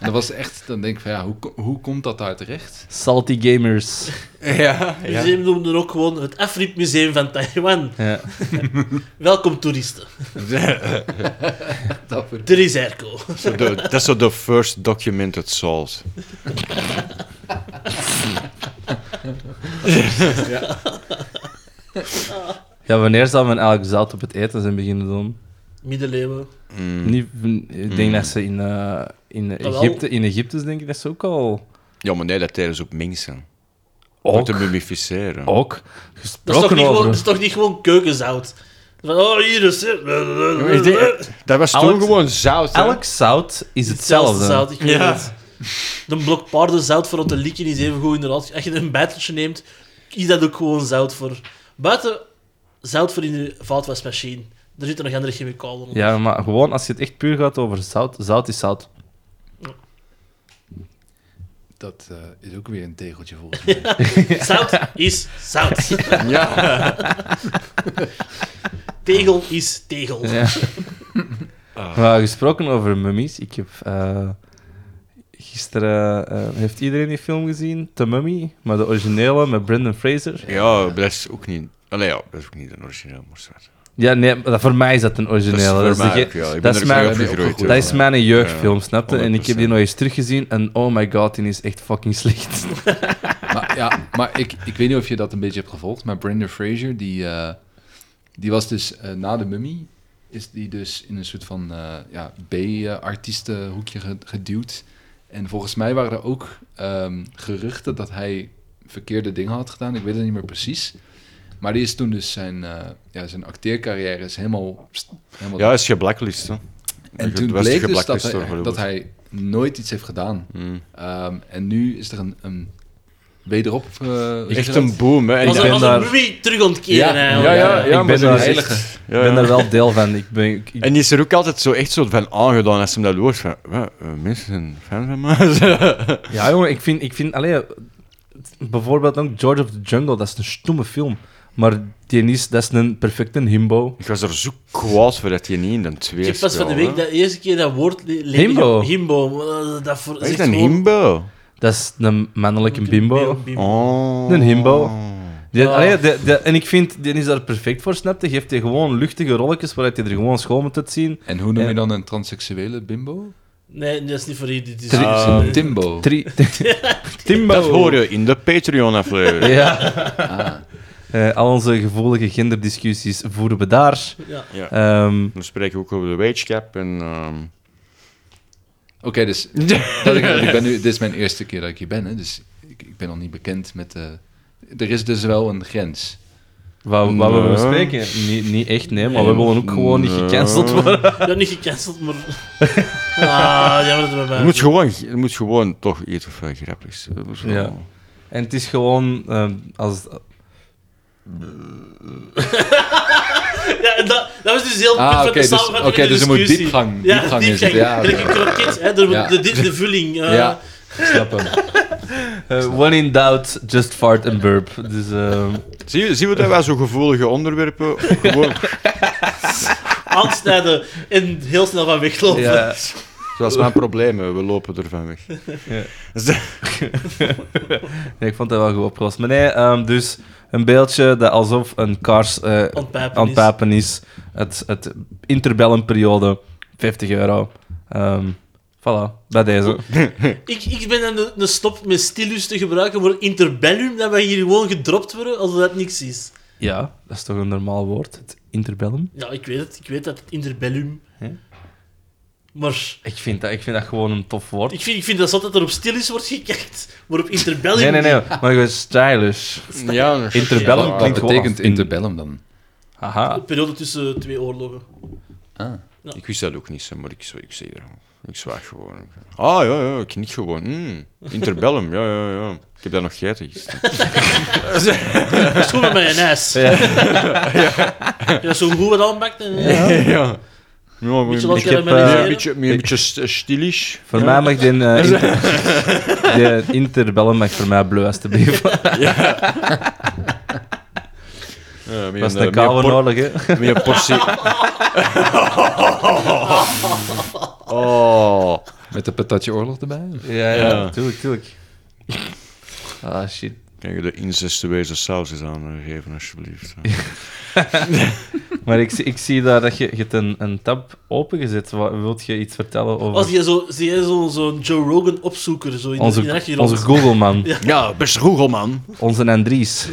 Speaker 5: dat was echt, dan denk ik van ja, hoe, ko- hoe komt dat daar terecht?
Speaker 2: salty gamers.
Speaker 4: ja,
Speaker 3: Het museum noemde er ook gewoon het Afrikmuseum van Taiwan.
Speaker 2: Ja.
Speaker 3: Welkom toeristen.
Speaker 5: Dat voor-
Speaker 3: Er is airco.
Speaker 4: Zo de- dat is zo de first documented salt.
Speaker 2: ja, wanneer zal men eigenlijk zout op het eten zijn beginnen doen?
Speaker 3: Middeleeuwen.
Speaker 2: Niet, ik denk dat ze in, eh, in,
Speaker 3: Jawel.
Speaker 2: Egypte, in Egypte is denk ik dat ze ook al...
Speaker 4: Ja, maar nee, dat deden ze op mensen. Om
Speaker 2: Ook,
Speaker 4: te mummificeren.
Speaker 2: ook
Speaker 3: Dat is, toch
Speaker 2: gesproken
Speaker 3: niet gewoon, dat is
Speaker 2: over.
Speaker 3: toch niet gewoon keukenzout? Van, oh, hier is het.
Speaker 4: Ik denk- Dat was
Speaker 2: Alex-
Speaker 4: toen gewoon zout. hè?
Speaker 2: Elk zout is hetzelfde.
Speaker 3: Zout, ik weet
Speaker 4: Ja.
Speaker 3: het. De blok paardenzout voor op te likken is even goed inderdaad. Als je een bijteltje neemt, is dat ook gewoon zout voor. Buiten zout voor in de vaatwasmachine. Er zitten nog andere chemicaliën onder.
Speaker 2: Ja, maar gewoon als je het echt puur gaat over zout, zout is zout.
Speaker 5: Dat eh, is ook weer een tegeltje volgens mij.
Speaker 3: Zout is zout. Tegel is tegel.
Speaker 2: Ja.
Speaker 4: Ah.
Speaker 2: Maar gesproken over mummies, ik heb eh, gisteren eh, heeft iedereen die film gezien, The Mummy, maar de originele met Brendan Fraser.
Speaker 4: Ja, maar dat is ook niet... Allee, ja, dat is ook niet een origineel, maar zwart.
Speaker 2: Ja, nee, maar dat- voor mij is dat een originele.
Speaker 4: Dat is voor mij
Speaker 2: de
Speaker 4: ook,
Speaker 2: ge-
Speaker 4: ja. Ik ben
Speaker 2: dat
Speaker 4: er
Speaker 2: is
Speaker 4: ook
Speaker 2: mijn-
Speaker 4: mee opgegroeid,
Speaker 2: dat
Speaker 4: ja.
Speaker 2: is mijn jeugdfilm,
Speaker 4: Ja,
Speaker 2: snapte? En ik heb die
Speaker 4: 100%.
Speaker 2: nog eens teruggezien en oh my god, die is echt fucking slecht.
Speaker 5: maar ja, maar ik, ik weet niet of je dat een beetje hebt gevolgd, maar Brenda Fraser, die, eh, die was dus eh, na de mummy, is die dus in een soort van eh, ja, B-artiestenhoekje ge- geduwd. En volgens mij waren er ook ehm, geruchten dat hij verkeerde dingen had gedaan. Ik weet het niet meer precies. Maar die is toen dus zijn, eh, ja, zijn acteercarrière is helemaal... pst, helemaal
Speaker 4: Ja, is geblacklist, hè.
Speaker 5: en
Speaker 4: Je
Speaker 5: toen
Speaker 4: was
Speaker 5: bleek dus dat
Speaker 4: geblacklist door
Speaker 5: hij,
Speaker 4: Hollywood.
Speaker 5: dat hij nooit iets heeft gedaan.
Speaker 4: Mm.
Speaker 5: Ehm, en nu is er een, een wederop... eh, hoe zeg je
Speaker 4: Echt
Speaker 5: dat?
Speaker 4: een boom, hè. En
Speaker 3: Als,
Speaker 2: ik
Speaker 3: een-
Speaker 2: ben
Speaker 3: als
Speaker 2: daar-
Speaker 3: een mummie terug ontkeren,
Speaker 4: Ja,
Speaker 5: Ja,
Speaker 3: eigenlijk.
Speaker 4: ja, ja.
Speaker 2: Ik
Speaker 4: maar
Speaker 2: ben
Speaker 4: ze
Speaker 2: daar
Speaker 4: is
Speaker 2: heilig.
Speaker 4: echt-
Speaker 2: Ik
Speaker 4: ja,
Speaker 2: ben
Speaker 4: ja.
Speaker 2: daar wel deel van. Ik ben, ik- ik-
Speaker 4: En die is er ook altijd zo echt zo van aangedaan als ze hem dat hoort. Van, wat, eh, mensen zijn fan van mij.
Speaker 2: ja, jongen, ik vind, ik vind allee, bijvoorbeeld ook George of the Jungle, dat is een stomme film. Maar die is, dat is een perfecte himbo.
Speaker 4: ik was er zo kwaad voor dat hij niet in de twee
Speaker 3: Ik heb pas van de week
Speaker 4: speelde, hè.
Speaker 3: de eerste keer dat woord le- le-
Speaker 2: Himbo.
Speaker 3: Himbo. eh, Dat voor,
Speaker 4: Wat is
Speaker 3: zegt
Speaker 4: een
Speaker 3: gewoon-
Speaker 4: himbo?
Speaker 2: Dat is een mannelijke bimbo.
Speaker 4: Oh.
Speaker 2: Een himbo. Die,
Speaker 3: Ah.
Speaker 2: allee, die- die- en ik vind, die is daar perfect voor, snap je? Geeft die gewoon luchtige rolletjes waaruit je er gewoon schoon moet uitzien.
Speaker 5: En hoe noem
Speaker 2: Ja.
Speaker 5: je dan een transseksuele bimbo?
Speaker 3: Nee, dat is niet voor hier. Dit is
Speaker 2: Drie-
Speaker 3: Eh,
Speaker 5: Timbo.
Speaker 2: Drie... Timbo.
Speaker 4: Dat hoor je Ah. in de Patreon-aflevering.
Speaker 2: Ja. Eh, al onze gevoelige genderdiscussies voeren we daar.
Speaker 3: ja.
Speaker 4: Ja.
Speaker 2: Ehm,
Speaker 4: Dan spreken we ook over de wage cap en... ehm,
Speaker 5: Oké, dus dat ik, ik ben nu, dit is mijn eerste keer dat ik hier ben, hè, dus ik, ik ben nog niet bekend met... eh er is dus wel een grens.
Speaker 2: Wat, wat we
Speaker 4: Nee.
Speaker 2: bespreken? Niet, niet echt, nee, maar we willen ook gewoon niet
Speaker 4: Nee.
Speaker 2: gecanceld worden.
Speaker 3: Ik ben niet gecanceld, maar... Ah, jammer dat we bij
Speaker 4: Het moet gewoon, het moet gewoon toch iets of eh, grappigs. Dat is wel-
Speaker 2: Ja. En het is gewoon ehm, als.
Speaker 3: Ja, en dat, dat was dus heel
Speaker 5: Ah,
Speaker 3: goed
Speaker 5: oké, dus-
Speaker 3: van de samenvatting
Speaker 5: oké,
Speaker 3: van de
Speaker 5: dus er moet
Speaker 3: discussie.
Speaker 5: diepgang-
Speaker 3: ja,
Speaker 5: diepgang in
Speaker 3: diepgang.
Speaker 5: zitten, ja,
Speaker 3: Er is een kroket, hè, er moet
Speaker 5: Ja.
Speaker 3: de, de, de vulling. eh,
Speaker 5: ja, ik snap hem.
Speaker 2: eh, when in doubt, just fart and burp. Dus, ehm,
Speaker 4: Zie, je- zien we dat wij zo gevoelige onderwerpen gewoon,
Speaker 3: Aansnijden en heel snel van weglopen.
Speaker 2: ja.
Speaker 4: zoals mijn problemen, we lopen ervan weg.
Speaker 2: Nee, ik vond dat wel goed opgelost. Maar nee, ehm, dus een beeldje dat alsof een kaars eh,
Speaker 3: Ontpijpen
Speaker 2: aan
Speaker 3: is.
Speaker 2: het papen is. Het, het interbellum periode, 50 euro. Ehm, Voilà, bij deze.
Speaker 3: Ik, ik ben aan de, de stop met stilus te gebruiken voor interbellum, dat wij hier gewoon gedropt worden als dat niks is.
Speaker 2: Ja, dat is toch een normaal woord, het interbellum?
Speaker 3: Ja, ik weet het. Ik weet dat het interbellum...
Speaker 2: Hè?
Speaker 3: Maar
Speaker 2: Ik vind dat, ik vind dat gewoon een tof woord.
Speaker 3: ik vind, ik vind dat zot dat er op stilus wordt gekijkt, maar op interbellum...
Speaker 2: Nee, nee, nee,
Speaker 3: niet.
Speaker 2: maar gewoon stylish.
Speaker 4: Ja,
Speaker 2: Interbellum
Speaker 5: Wat
Speaker 2: klinkt gewoon
Speaker 5: betekent
Speaker 2: af- in-
Speaker 5: interbellum dan?
Speaker 2: Haha.
Speaker 3: Een periode tussen twee oorlogen.
Speaker 4: ik wist dat ook niet, hè, maar ik, zwa- ik zei er Ik zwaag gewoon. Ah, ja, ja, ik niet gewoon. Mm, Interbellum, ja, ja, ja. Ik heb daar nog geiten gisteren.
Speaker 3: Dat is goed met mijn ijs. Ja. ja, zo goed wat aanpakt. En, ja.
Speaker 4: Ja. ja. maar-
Speaker 3: Beetje los
Speaker 2: Ik heb,
Speaker 4: Ja,
Speaker 3: caramelliseren.
Speaker 4: een beetje, een beetje st- eh, stilisch.
Speaker 2: Voor mij mag die, eh, in- die interbellum mag voor mij bleu, alstublieft. Dat
Speaker 4: Ja, met
Speaker 2: was
Speaker 4: eh,
Speaker 2: een
Speaker 4: met
Speaker 2: koude
Speaker 4: por-
Speaker 2: nodig, hè.
Speaker 4: Met een portie. Oh.
Speaker 5: Met de patatje oorlog erbij?
Speaker 2: Ja,
Speaker 4: Ja.
Speaker 2: ja, tuurlijk, tuurlijk. Ah, shit.
Speaker 4: Kan je de incestueuze sausjes aangeven, alsjeblieft?
Speaker 2: Maar ik, zie- ik zie daar dat je, je hebt een, een tab opengezet. Wat, wilt je iets vertellen over
Speaker 3: Als je zo, zie jij zo- zo'n Joe Rogan opzoeker zo in de- in de
Speaker 2: onze,
Speaker 3: achtergrond.
Speaker 2: onze Google-man,
Speaker 4: Ja, best Googelman.
Speaker 2: onze Andries?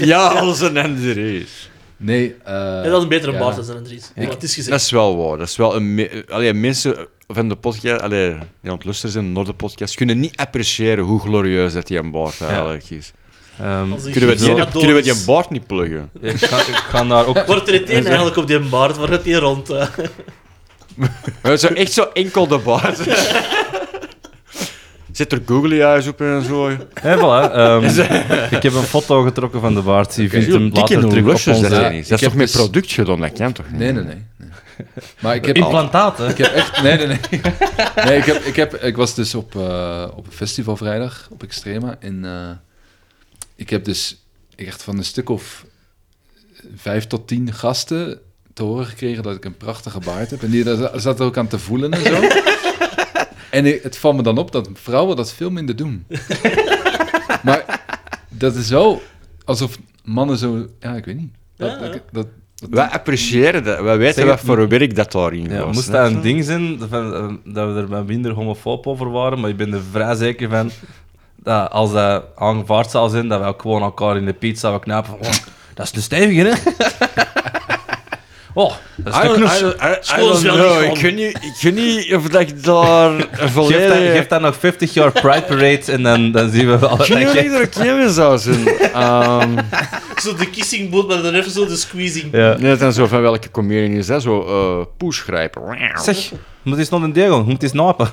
Speaker 4: Ja, als een Andries.
Speaker 5: Nee. eh,
Speaker 3: Ja, dat is een betere
Speaker 5: ja.
Speaker 3: baas dan een Dries. Maar het is gezegd.
Speaker 4: Dat is wel waar. Dat is wel een... me- Allee, mensen van de podcast... Allee, die aan het luisteren zijn naar de podcast, kunnen niet appreciëren hoe glorieus dat die een baard eigenlijk is.
Speaker 2: Ehm,
Speaker 3: Als een
Speaker 4: Kunnen we, die,
Speaker 3: gigantisch-
Speaker 4: kunnen we die baard niet pluggen?
Speaker 2: ik, ga, ik ga daar ook...
Speaker 3: Wordt er het een eigenlijk op die baard? Waar gaat die rond? hè?
Speaker 4: Ja, Zo, echt zo enkel de baard. Zit er googly eyes op en zo.
Speaker 2: Hè, voilà, ehm, ik heb een foto getrokken van de baard. Je vindt hem
Speaker 4: Dikke
Speaker 2: later terug
Speaker 4: Russisch,
Speaker 2: op
Speaker 4: dat,
Speaker 2: onze...
Speaker 5: Ja,
Speaker 4: is niet.
Speaker 5: ik
Speaker 4: dat is toch
Speaker 5: heb
Speaker 4: met
Speaker 5: dus-
Speaker 4: product gedaan? Dat kan toch niet?
Speaker 5: Nee, nee, nee. nee. Maar ik heb,
Speaker 2: Implantaten.
Speaker 5: ik heb echt... Nee, nee, nee. nee ik, heb, ik, heb, ik was dus op, eh, op een festival vrijdag, op Extrema. En eh, ik heb dus echt van een stuk of vijf tot tien gasten te horen gekregen dat ik een prachtige baard heb. En die daar zaten ook aan te voelen en zo. En ik- het valt me dan op dat vrouwen dat veel minder doen. Maar dat is zo alsof mannen zo... Ja, ik weet niet. Dat,
Speaker 3: Ja, ja.
Speaker 5: dat, dat,
Speaker 4: Wij appreciëren dat. Wij weten
Speaker 2: Zeg
Speaker 4: wat
Speaker 2: het-
Speaker 4: voor werk dat daarin
Speaker 2: Ja,
Speaker 4: was.
Speaker 2: moest
Speaker 4: hè?
Speaker 2: dat een ding zijn, van, eh, dat we er wat minder homofoob over waren, maar ik ben er vrij zeker van dat als dat aangevaard zou zijn, dat we ook gewoon elkaar in de piet zouden knapen van, "Oh, dat is een stevige, hè? oh, dat is
Speaker 4: I
Speaker 2: een
Speaker 4: don't- I
Speaker 2: knoes.
Speaker 4: don't- I- I
Speaker 3: School is
Speaker 4: don't
Speaker 3: wel
Speaker 4: know.
Speaker 3: niet
Speaker 4: Ik Oh, weet niet- ik weet niet of dat ik daar
Speaker 2: Geef dat,
Speaker 4: volledig...
Speaker 2: geef dat nog 50 jaar Pride Parade en dan, dan zien we wel.
Speaker 4: Ik weet niet of
Speaker 2: dat
Speaker 4: ik
Speaker 2: je-
Speaker 4: er oké mee zou zijn. Ehm,
Speaker 3: Zo de kissing boot, maar dan even zo de squeezing.
Speaker 2: Ja.
Speaker 4: Net dan zo van welke comedian is dat? Zo eh poesgrijper.
Speaker 2: Zeg, moet eens nog een deel gaan, moet eens napen.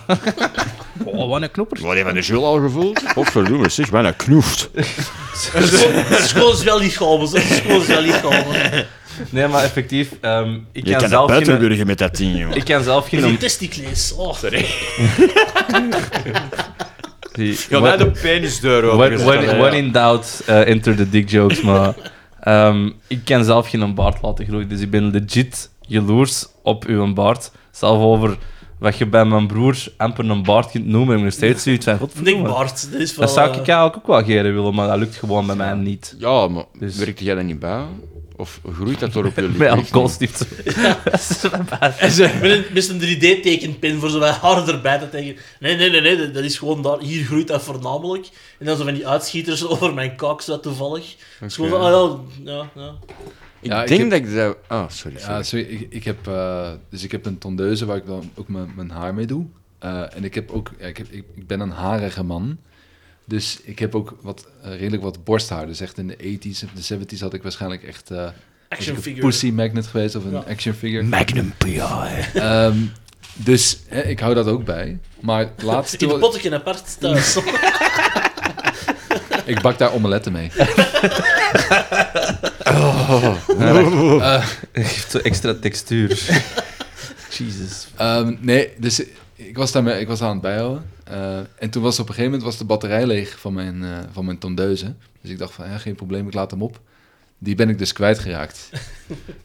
Speaker 2: oh, wat een knoeper.
Speaker 4: Wat heeft van de Jules al gevoeld? Godverdomme, zeg, bijna knoeft.
Speaker 3: Schoon is wel niet gehouden. Schoon is wel niet gehouden.
Speaker 2: Nee, maar effectief, ehm, ik,
Speaker 4: Je
Speaker 2: kan
Speaker 4: kan dat
Speaker 2: zelf
Speaker 4: buiten
Speaker 2: geen,
Speaker 4: burgen met dat ding, joh.
Speaker 2: ik kan zelf
Speaker 3: En die
Speaker 2: geen...
Speaker 3: testicles. Oh.
Speaker 2: die-
Speaker 4: Ja,
Speaker 2: wat-
Speaker 4: naar de penisdeur
Speaker 2: When,
Speaker 4: open.
Speaker 2: when, when in doubt, eh, enter the dick jokes. Maar ehm, ik kan zelf geen baard laten groeien, dus ik ben legit jaloers op uw baard. Zelf over wat je bij mijn broer amper een baard kunt noemen, heb ik nog steeds zoiets van...
Speaker 3: Denk
Speaker 2: godverdomme.
Speaker 3: Bart. Dat is wel...
Speaker 2: Dat zou ik
Speaker 3: eh,
Speaker 2: eigenlijk ook wel geren willen, maar dat lukt gewoon bij mij niet.
Speaker 4: Ja, maar
Speaker 2: Dus-
Speaker 4: werkte jij dat niet bij? Of groeit dat door op jullie?
Speaker 2: Met alcoholstift. zo. Dat is wel bad.
Speaker 3: Met een, met een 3D-tekenpin voor zo wat harder bij te tegen. Nee, nee, nee, nee, dat- dat is gewoon daar. Hier groeit dat voornamelijk. En dan zo van die uitschieters over mijn kaak, zo toevallig. Het is gewoon, ah ja, ja, ja.
Speaker 4: Ik
Speaker 5: Ja, ik
Speaker 4: denk
Speaker 5: heb-
Speaker 4: dat ik dat... Ah, sorry. sorry.
Speaker 5: Ja, sorry, ik, ik heb, eh, dus ik heb een tondeuze waar ik dan ook mijn, mijn haar mee doe. Eh, en ik, heb ook, ja, ik, heb, ik, ik ben een harige man. Dus ik heb ook wat, eh, redelijk wat borsthaar. Dus echt in de 80s en de 70s had ik waarschijnlijk echt eh, was
Speaker 3: Action
Speaker 5: ik een
Speaker 3: figure.
Speaker 5: pussy magnet geweest of een
Speaker 3: Ja.
Speaker 5: action figure. Magnum PI. dus hè, ik hou dat ook bij. Maar laatst,
Speaker 3: In
Speaker 5: toen-
Speaker 3: een potje apart thuis.
Speaker 5: ik bak daar omeletten mee.
Speaker 2: Dat geeft zo extra textuur. Jesus.
Speaker 5: Ehm, nee, dus ik was, daarmee, ik was daar aan het bijhouden. Eh, en toen was op een gegeven moment was de batterij leeg van mijn, eh, van mijn tondeuze. Dus ik dacht van, ja, geen probleem, ik laat hem op. Die ben ik dus kwijtgeraakt.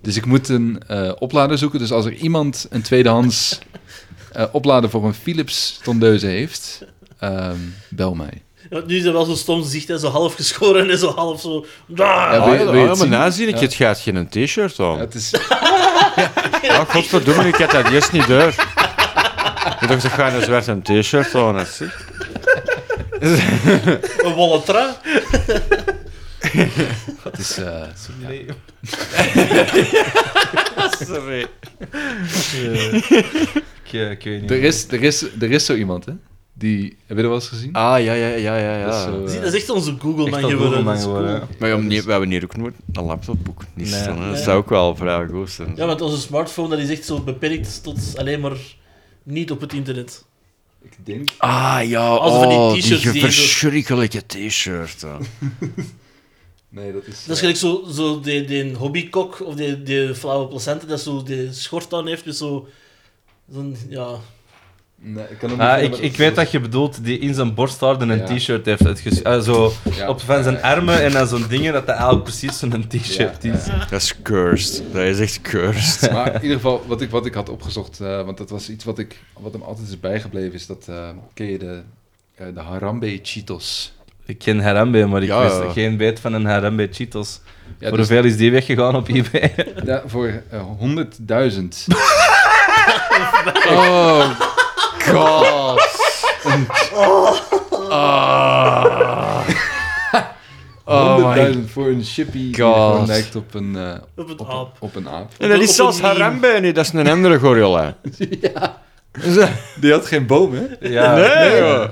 Speaker 5: dus ik moet een eh, oplader zoeken. Dus als er iemand een tweedehands eh, oplader voor een Philips tondeuze heeft, ehm, bel mij.
Speaker 3: Want nu is dat wel zo stom zicht, hè, zo half geschoren en zo half zo.
Speaker 5: Ja,
Speaker 3: Ja,
Speaker 5: wil je- wil je het
Speaker 4: ah, maar
Speaker 5: zien?
Speaker 4: nazien, ik
Speaker 5: Ja.
Speaker 4: het gaat geen t-shirt aan.
Speaker 5: Ja, het is,
Speaker 4: Ah, godverdomme, ik had dat juist niet door.
Speaker 6: Je dacht, ik ga een zwart een t-shirt aan. hè, zie.
Speaker 3: Een wollen trui.
Speaker 5: Het is, eh,
Speaker 6: Sorry.
Speaker 2: Ik, eh, ik weet niet.
Speaker 5: er, is, er, is, er is zo iemand, hè? Die, heb je dat wel eens gezien?
Speaker 6: Ah, ja, ja, ja, ja.
Speaker 5: Dat is
Speaker 6: ja.
Speaker 5: zo, eh,
Speaker 3: Zie, Dat is echt onze
Speaker 2: Echt
Speaker 3: Google-man
Speaker 2: al
Speaker 3: geworden.
Speaker 2: Googleman
Speaker 3: Dat is cool.
Speaker 2: geworden, ja.
Speaker 6: Maar ja, meneer, we hebben hier ook nooit een laptopboek. Niet
Speaker 2: Nee.
Speaker 6: staan, hè. Dat
Speaker 3: Nee.
Speaker 6: zou ook wel vrij goed zijn.
Speaker 3: Ja, want onze smartphone dat is echt zo beperkt tot alleen maar niet op het internet.
Speaker 5: ik denk...
Speaker 6: Ah, ja.
Speaker 3: Als van die
Speaker 6: oh,
Speaker 3: t-shirts die je zo-
Speaker 6: verschrikkelijke t-shirt. hè.
Speaker 5: Nee, dat is...
Speaker 3: Dat is
Speaker 5: eh,
Speaker 3: gelijk zo, zo die, die hobbykok of die, die flauwe placenta dat zo die schort aan heeft met zo... Zo'n, ja...
Speaker 5: nee, ik kan hem
Speaker 2: Ah,
Speaker 5: niet
Speaker 2: ik,
Speaker 5: vinden,
Speaker 2: ik
Speaker 5: maar-
Speaker 2: weet dat je bedoelt die in zijn borsthaarden een
Speaker 5: Ja.
Speaker 2: t-shirt heeft uitges... ah, zo
Speaker 5: Ja.
Speaker 2: op van zijn
Speaker 5: Ja,
Speaker 2: armen en dan zo'n dingen dat dat eigenlijk precies zo'n t-shirt
Speaker 5: Ja,
Speaker 2: is.
Speaker 6: Dat is cursed. Dat is echt cursed.
Speaker 5: Maar in ieder geval, wat ik, wat ik had opgezocht, eh, want dat was iets wat, ik, wat hem altijd is bijgebleven, is dat, eh, ken je de, eh, de Harambe Cheetos?
Speaker 2: Ik ken Harambe, maar ik
Speaker 6: Ja,
Speaker 2: wist
Speaker 6: ja.
Speaker 2: geen weet van een Harambe Cheetos.
Speaker 5: Ja,
Speaker 2: Voor
Speaker 5: dus
Speaker 2: hoeveel is die weggegaan op eBay?
Speaker 5: da- voor eh, 100.000.
Speaker 6: Oh, god. Oh my
Speaker 5: 100.000 voor een shippie die
Speaker 6: God.
Speaker 5: gewoon lijkt op een, eh,
Speaker 3: Op het
Speaker 5: op,
Speaker 3: aap.
Speaker 5: op een aap.
Speaker 6: En dat
Speaker 3: Op
Speaker 6: is
Speaker 3: een
Speaker 6: zelfs
Speaker 3: meme.
Speaker 6: Harambe niet, dat is een andere gorilla. ja. Ah,
Speaker 5: Die had geen boom, hè?
Speaker 2: ja.
Speaker 6: Nee, joh.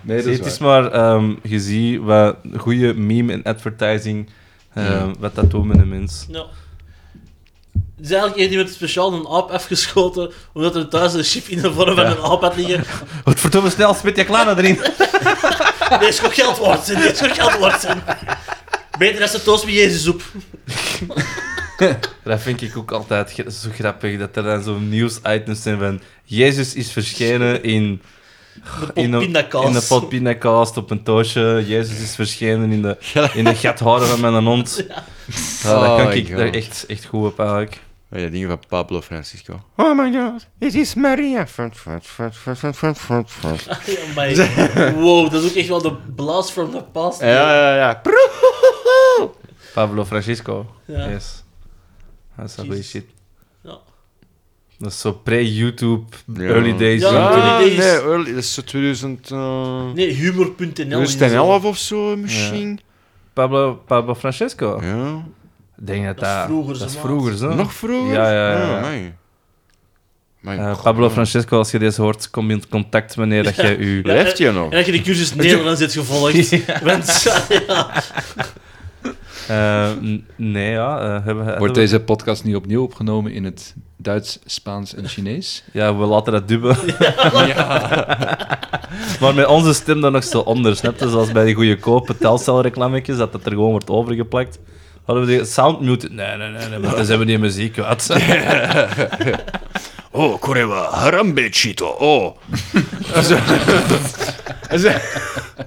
Speaker 5: Nee, dat
Speaker 2: Zie,
Speaker 5: is
Speaker 2: het is
Speaker 5: waar.
Speaker 2: maar ehm, je ziet wat goede meme en advertising, ehm,
Speaker 6: Ja.
Speaker 2: wat dat doet met een mens.
Speaker 3: Ja. Er is eigenlijk één iemand speciaal een aap afgeschoten, omdat er thuis een chip in de vorm van een aap had liggen.
Speaker 2: Wat verdomme snel, spit je klaar erin.
Speaker 3: Deze is gewoon geld waard zijn, deze is gewoon geld waard zijn. Beter dan ze toast met Jezus op.
Speaker 2: Dat vind ik ook altijd ge- zo grappig, dat er dan zo'n nieuwsitems zijn van Jezus is verschenen in...
Speaker 3: De
Speaker 2: in
Speaker 3: pot pindakaas.
Speaker 2: In de pot pindakaas op een toosje. Jezus is verschenen in de, in de gatharen van mijn hond. Ja, dat
Speaker 6: Oh
Speaker 2: kan
Speaker 6: my
Speaker 2: ik daar
Speaker 6: God.
Speaker 2: echt, echt goed op eigenlijk.
Speaker 6: Oh, Ja, dingen van Pablo Francisco.
Speaker 9: Oh my god, it is Maria. Front, front, front, front, front, front, front, front.
Speaker 3: Ja, maar- Oh, wow, dat is ook echt wel de blast from the past.
Speaker 6: Ja, ja, ja.
Speaker 2: Pablo Francisco.
Speaker 3: Ja.
Speaker 2: Yes. Dat is wel goeie
Speaker 3: Jezus.
Speaker 2: shit.
Speaker 3: Ja.
Speaker 2: Dat is zo pre-YouTube,
Speaker 6: Ja.
Speaker 2: early days.
Speaker 3: Ja.
Speaker 2: YouTube.
Speaker 6: Ah,
Speaker 3: Toen
Speaker 6: nee,
Speaker 3: is-
Speaker 6: early, dat is zo 2000... eh,
Speaker 3: Nee, humor.nl. is
Speaker 6: 2011 of zo, misschien?
Speaker 2: Pablo, Pablo Francesco.
Speaker 6: Ja.
Speaker 2: Ik denk dat
Speaker 3: Dat is
Speaker 2: dat...
Speaker 3: vroeger,
Speaker 2: dat is
Speaker 3: zo,
Speaker 2: vroeger, zo. Eh,
Speaker 6: Nog vroeger?
Speaker 2: Oh. Ja, ja, ja.
Speaker 6: Oh, my. My
Speaker 2: Eh,
Speaker 6: god.
Speaker 2: Pablo Francesco, als je deze hoort, kom in contact wanneer dat je u...
Speaker 3: Ja.
Speaker 6: Leeft je nog?
Speaker 3: En dat je de cursus Nederlands hebt gevolgd. Want, ja.
Speaker 2: Eh, n- nee, ja. eh, hebben, hebben
Speaker 5: Wordt
Speaker 2: we-
Speaker 5: deze podcast niet opnieuw opgenomen in het Duits, Spaans en Chinees?
Speaker 2: Ja, we laten dat dubben. maar met onze stem dan nog zo onder, snap je? Zoals bij die goede kopen telcelreclametjes, dat dat er gewoon wordt overgeplakt. Hadden we die sound muted? Nee, nee, nee, nee maar dan zijn we die muziek uit.
Speaker 4: Oh, Korewa, Harambe Chito. Oh.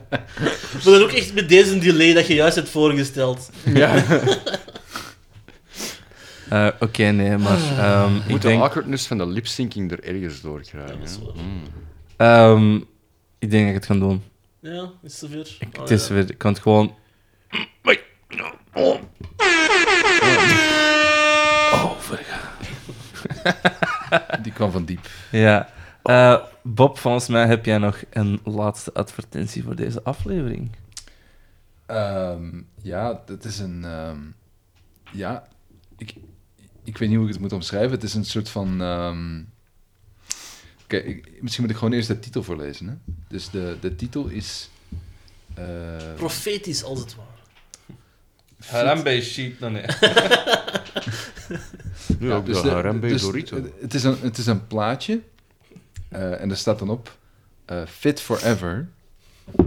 Speaker 3: Maar dan ook echt met deze delay dat je juist hebt voorgesteld.
Speaker 2: Eh, Oké, nee, maar ehm, ik
Speaker 6: Moet de
Speaker 2: denk...
Speaker 6: awkwardness van de lipsyncing er ergens door krijgen.
Speaker 3: Dat is
Speaker 6: hè?
Speaker 3: waar.
Speaker 2: ehm, ik denk dat ik het ga doen.
Speaker 3: Ja, is het zover?
Speaker 2: Ik,
Speaker 3: Ah,
Speaker 2: het is
Speaker 3: ja.
Speaker 2: weer... Ik kan het gewoon... Oh.
Speaker 5: Die kwam van diep.
Speaker 2: Ja. Eh, Bob, volgens mij heb jij nog een laatste advertentie voor deze aflevering.
Speaker 5: Ehm, ja, dat is een. ehm, ja, ik, ik weet niet hoe ik het moet omschrijven. Het is een soort van. ehm, Oké, ik- misschien moet ik gewoon eerst de titel voorlezen. Hè? Dus de, de titel is. eh,
Speaker 3: Profetisch, als het ware.
Speaker 2: Harambe sheet, dan nee.
Speaker 6: Nu
Speaker 5: ja,
Speaker 6: ook
Speaker 5: dus
Speaker 6: de
Speaker 5: de-
Speaker 6: Harambe
Speaker 5: dus
Speaker 6: Dorito.
Speaker 5: het- Het is een, het is een plaatje. eh, en er staat dan op: eh, Fit Forever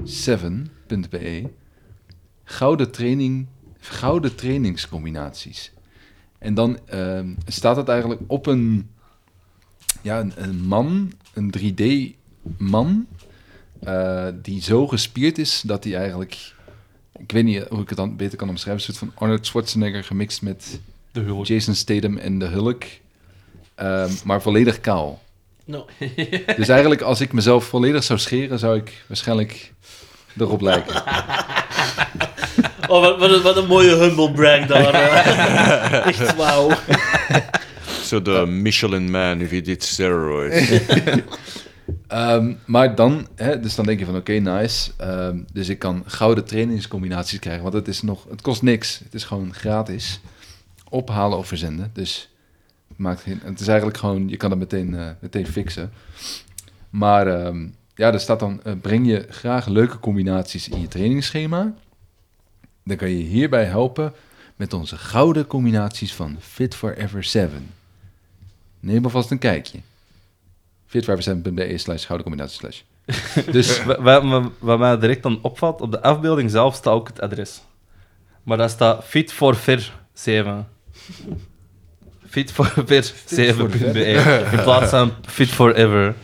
Speaker 5: 7.be E, Gouden training, gouden trainingscombinaties. En dan ehm, staat het eigenlijk op een, ja, een, een man, een 3D-man, eh, die zo gespierd is dat hij eigenlijk, ik weet niet hoe ik het dan beter kan omschrijven, een soort van Arnold Schwarzenegger gemixt met Jason Statham en de Hulk, ehm, maar volledig kaal.
Speaker 3: Nou,
Speaker 5: Dus eigenlijk, als ik mezelf volledig zou scheren, zou ik waarschijnlijk erop lijken.
Speaker 3: eh. oh, wat, wat, een, wat een mooie humble brag daar. hè. Echt wauw.
Speaker 4: Zo de Michelin Man if he did steroids.
Speaker 6: Ehm, maar dan, hè, dus dan denk je van oké, nice. Ehm, dus ik kan gouden trainingscombinaties krijgen, want het, is nog, het kost niks. Het is gewoon gratis. Ophalen of verzenden. Dus het, maakt geen, het is eigenlijk gewoon, je kan het meteen, eh, meteen fixen. Maar ehm, ja, er staat dan, eh, breng je graag leuke combinaties in je trainingsschema. Dan kan je hierbij helpen met onze gouden combinaties van Fit Forever 7. Neem alvast een kijkje. 45% slash schoudercombinatie slash. Dus
Speaker 2: Wa- wa- wa- Wat mij direct dan opvalt, op de afbeelding zelf staat ook het adres. Maar daar staat fit for ver 7. Fit for ver 7.be. E. In plaats van fit forever.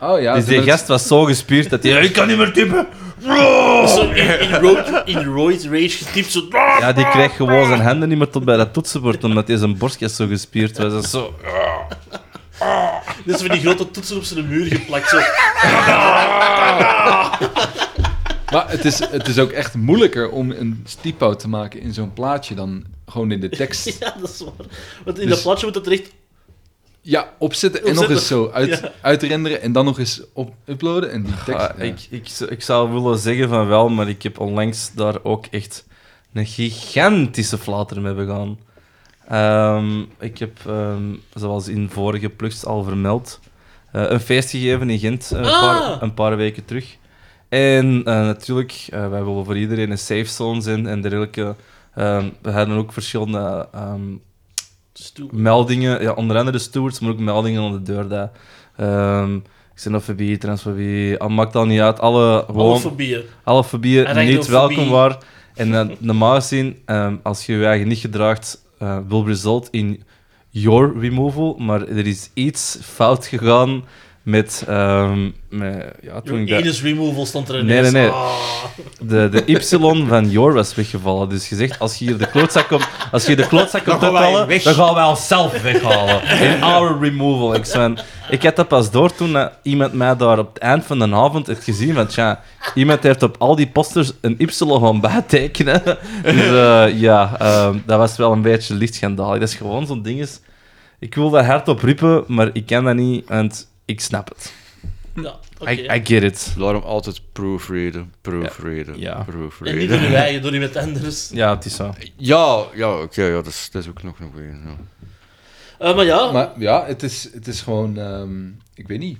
Speaker 6: oh ja,
Speaker 2: dus die
Speaker 6: maar dat-
Speaker 2: gast was zo gespierd dat hij... Ik kan niet meer typen!
Speaker 3: Zo in, in, road, in roid rage getypt, zo...
Speaker 2: Ja, die kreeg gewoon zijn handen niet meer tot bij dat toetsenbord, omdat hij zijn borstjes zo gespierd was. Dat is zo...
Speaker 3: Dit is van die grote toetsen op zijn muur geplakt, zo...
Speaker 6: Maar het is, het is ook echt moeilijker om een typo te maken in zo'n plaatje dan gewoon in de tekst.
Speaker 3: Ja, dat is waar. Want in
Speaker 6: Dus-
Speaker 3: dat plaatje moet dat recht...
Speaker 6: Ja, opzetten en nog
Speaker 3: Opzetten.
Speaker 6: eens zo uit,
Speaker 3: Ja.
Speaker 6: uitrenderen en dan nog eens op, uploaden en die tekst.
Speaker 2: Ah,
Speaker 6: ja.
Speaker 2: ik, ik, zou- ik zou willen zeggen van wel, maar ik heb onlangs daar ook echt een gigantische flater mee begaan. Ehm, ik heb, ehm, zoals in vorige plugs al vermeld, eh, een feest gegeven in Gent eh, een,
Speaker 3: Ah.
Speaker 2: paar, een paar weken terug. En eh, natuurlijk, eh, wij willen voor iedereen een safe zone zijn en dergelijke. Ehm, we hadden ook verschillende ehm,
Speaker 3: Stoel.
Speaker 2: meldingen, ja, onder andere de stewards, maar ook meldingen aan de deur. Dat, ehm xenofobie, transfobie, al maakt al niet uit. Alle, gewoon,
Speaker 3: Homofobieën.
Speaker 2: alle fobieën
Speaker 3: Arachnofobie.
Speaker 2: niet welkom waren. En eh, normaal gezien, ehm, als je je eigen niet gedraagt, eh, will result in your removal. Maar er is iets fout gegaan met... ehm, met ja, toen ik
Speaker 3: Your
Speaker 2: dat-
Speaker 3: anus removal stond er
Speaker 2: Nee,
Speaker 3: ineens.
Speaker 2: nee, nee.
Speaker 3: Ah.
Speaker 2: de, de Y van Jor was weggevallen. Dus gezegd, als je hier de klootzak komt, als je hier de klootzak komt uithalen, dan gaan wij onszelf weghalen. In our removal. Ik, zei, ik had dat pas door toen eh, iemand mij daar op het eind van de avond heeft gezien. Want ja, iemand heeft op al die posters een Y gaan bijtekenen. Dus eh, ja, ehm, dat was wel een beetje licht schandalig. Dat is gewoon zo'n ding. Is, ik wil daar hard op riepen, maar ik kan dat niet. Want ik snap het.
Speaker 3: Ja, oké.
Speaker 2: I, I get it.
Speaker 4: Daarom altijd proofreaden, proofreaden,
Speaker 2: Ja.
Speaker 3: En niet
Speaker 4: proofreaden.
Speaker 3: door uw eigen, door iemand anders.
Speaker 2: Ja, het is zo.
Speaker 4: Ja, ja oké, ja, dat, is, dat is ook nog nog weer. Ja.
Speaker 3: Eh, maar ja,
Speaker 6: Maar ja, het is, het is gewoon, ehm, ik weet niet.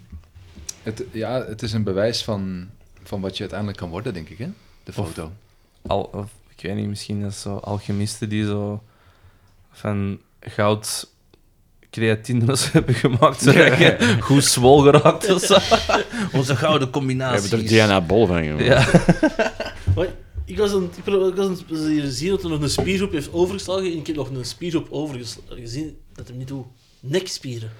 Speaker 6: Het, ja, het is een bewijs van, van wat je uiteindelijk kan worden, denk ik, hè? De foto.
Speaker 2: al, of, ik weet niet, misschien is zo alchemisten die zo van goud creatines hebben gemaakt, zodat je goed zwol geraakt of zo. Onze gouden
Speaker 4: We
Speaker 2: combinatie.
Speaker 4: hebben er DNA-bol van, jongen.
Speaker 2: Ja.
Speaker 3: maar ik was, aan, ik pro- ik was aan het hier zien dat er nog een spiergroep heeft overgeslagen en ik heb nog een spiergroep overgeslagen gezien dat hem niet doet. Nekspieren.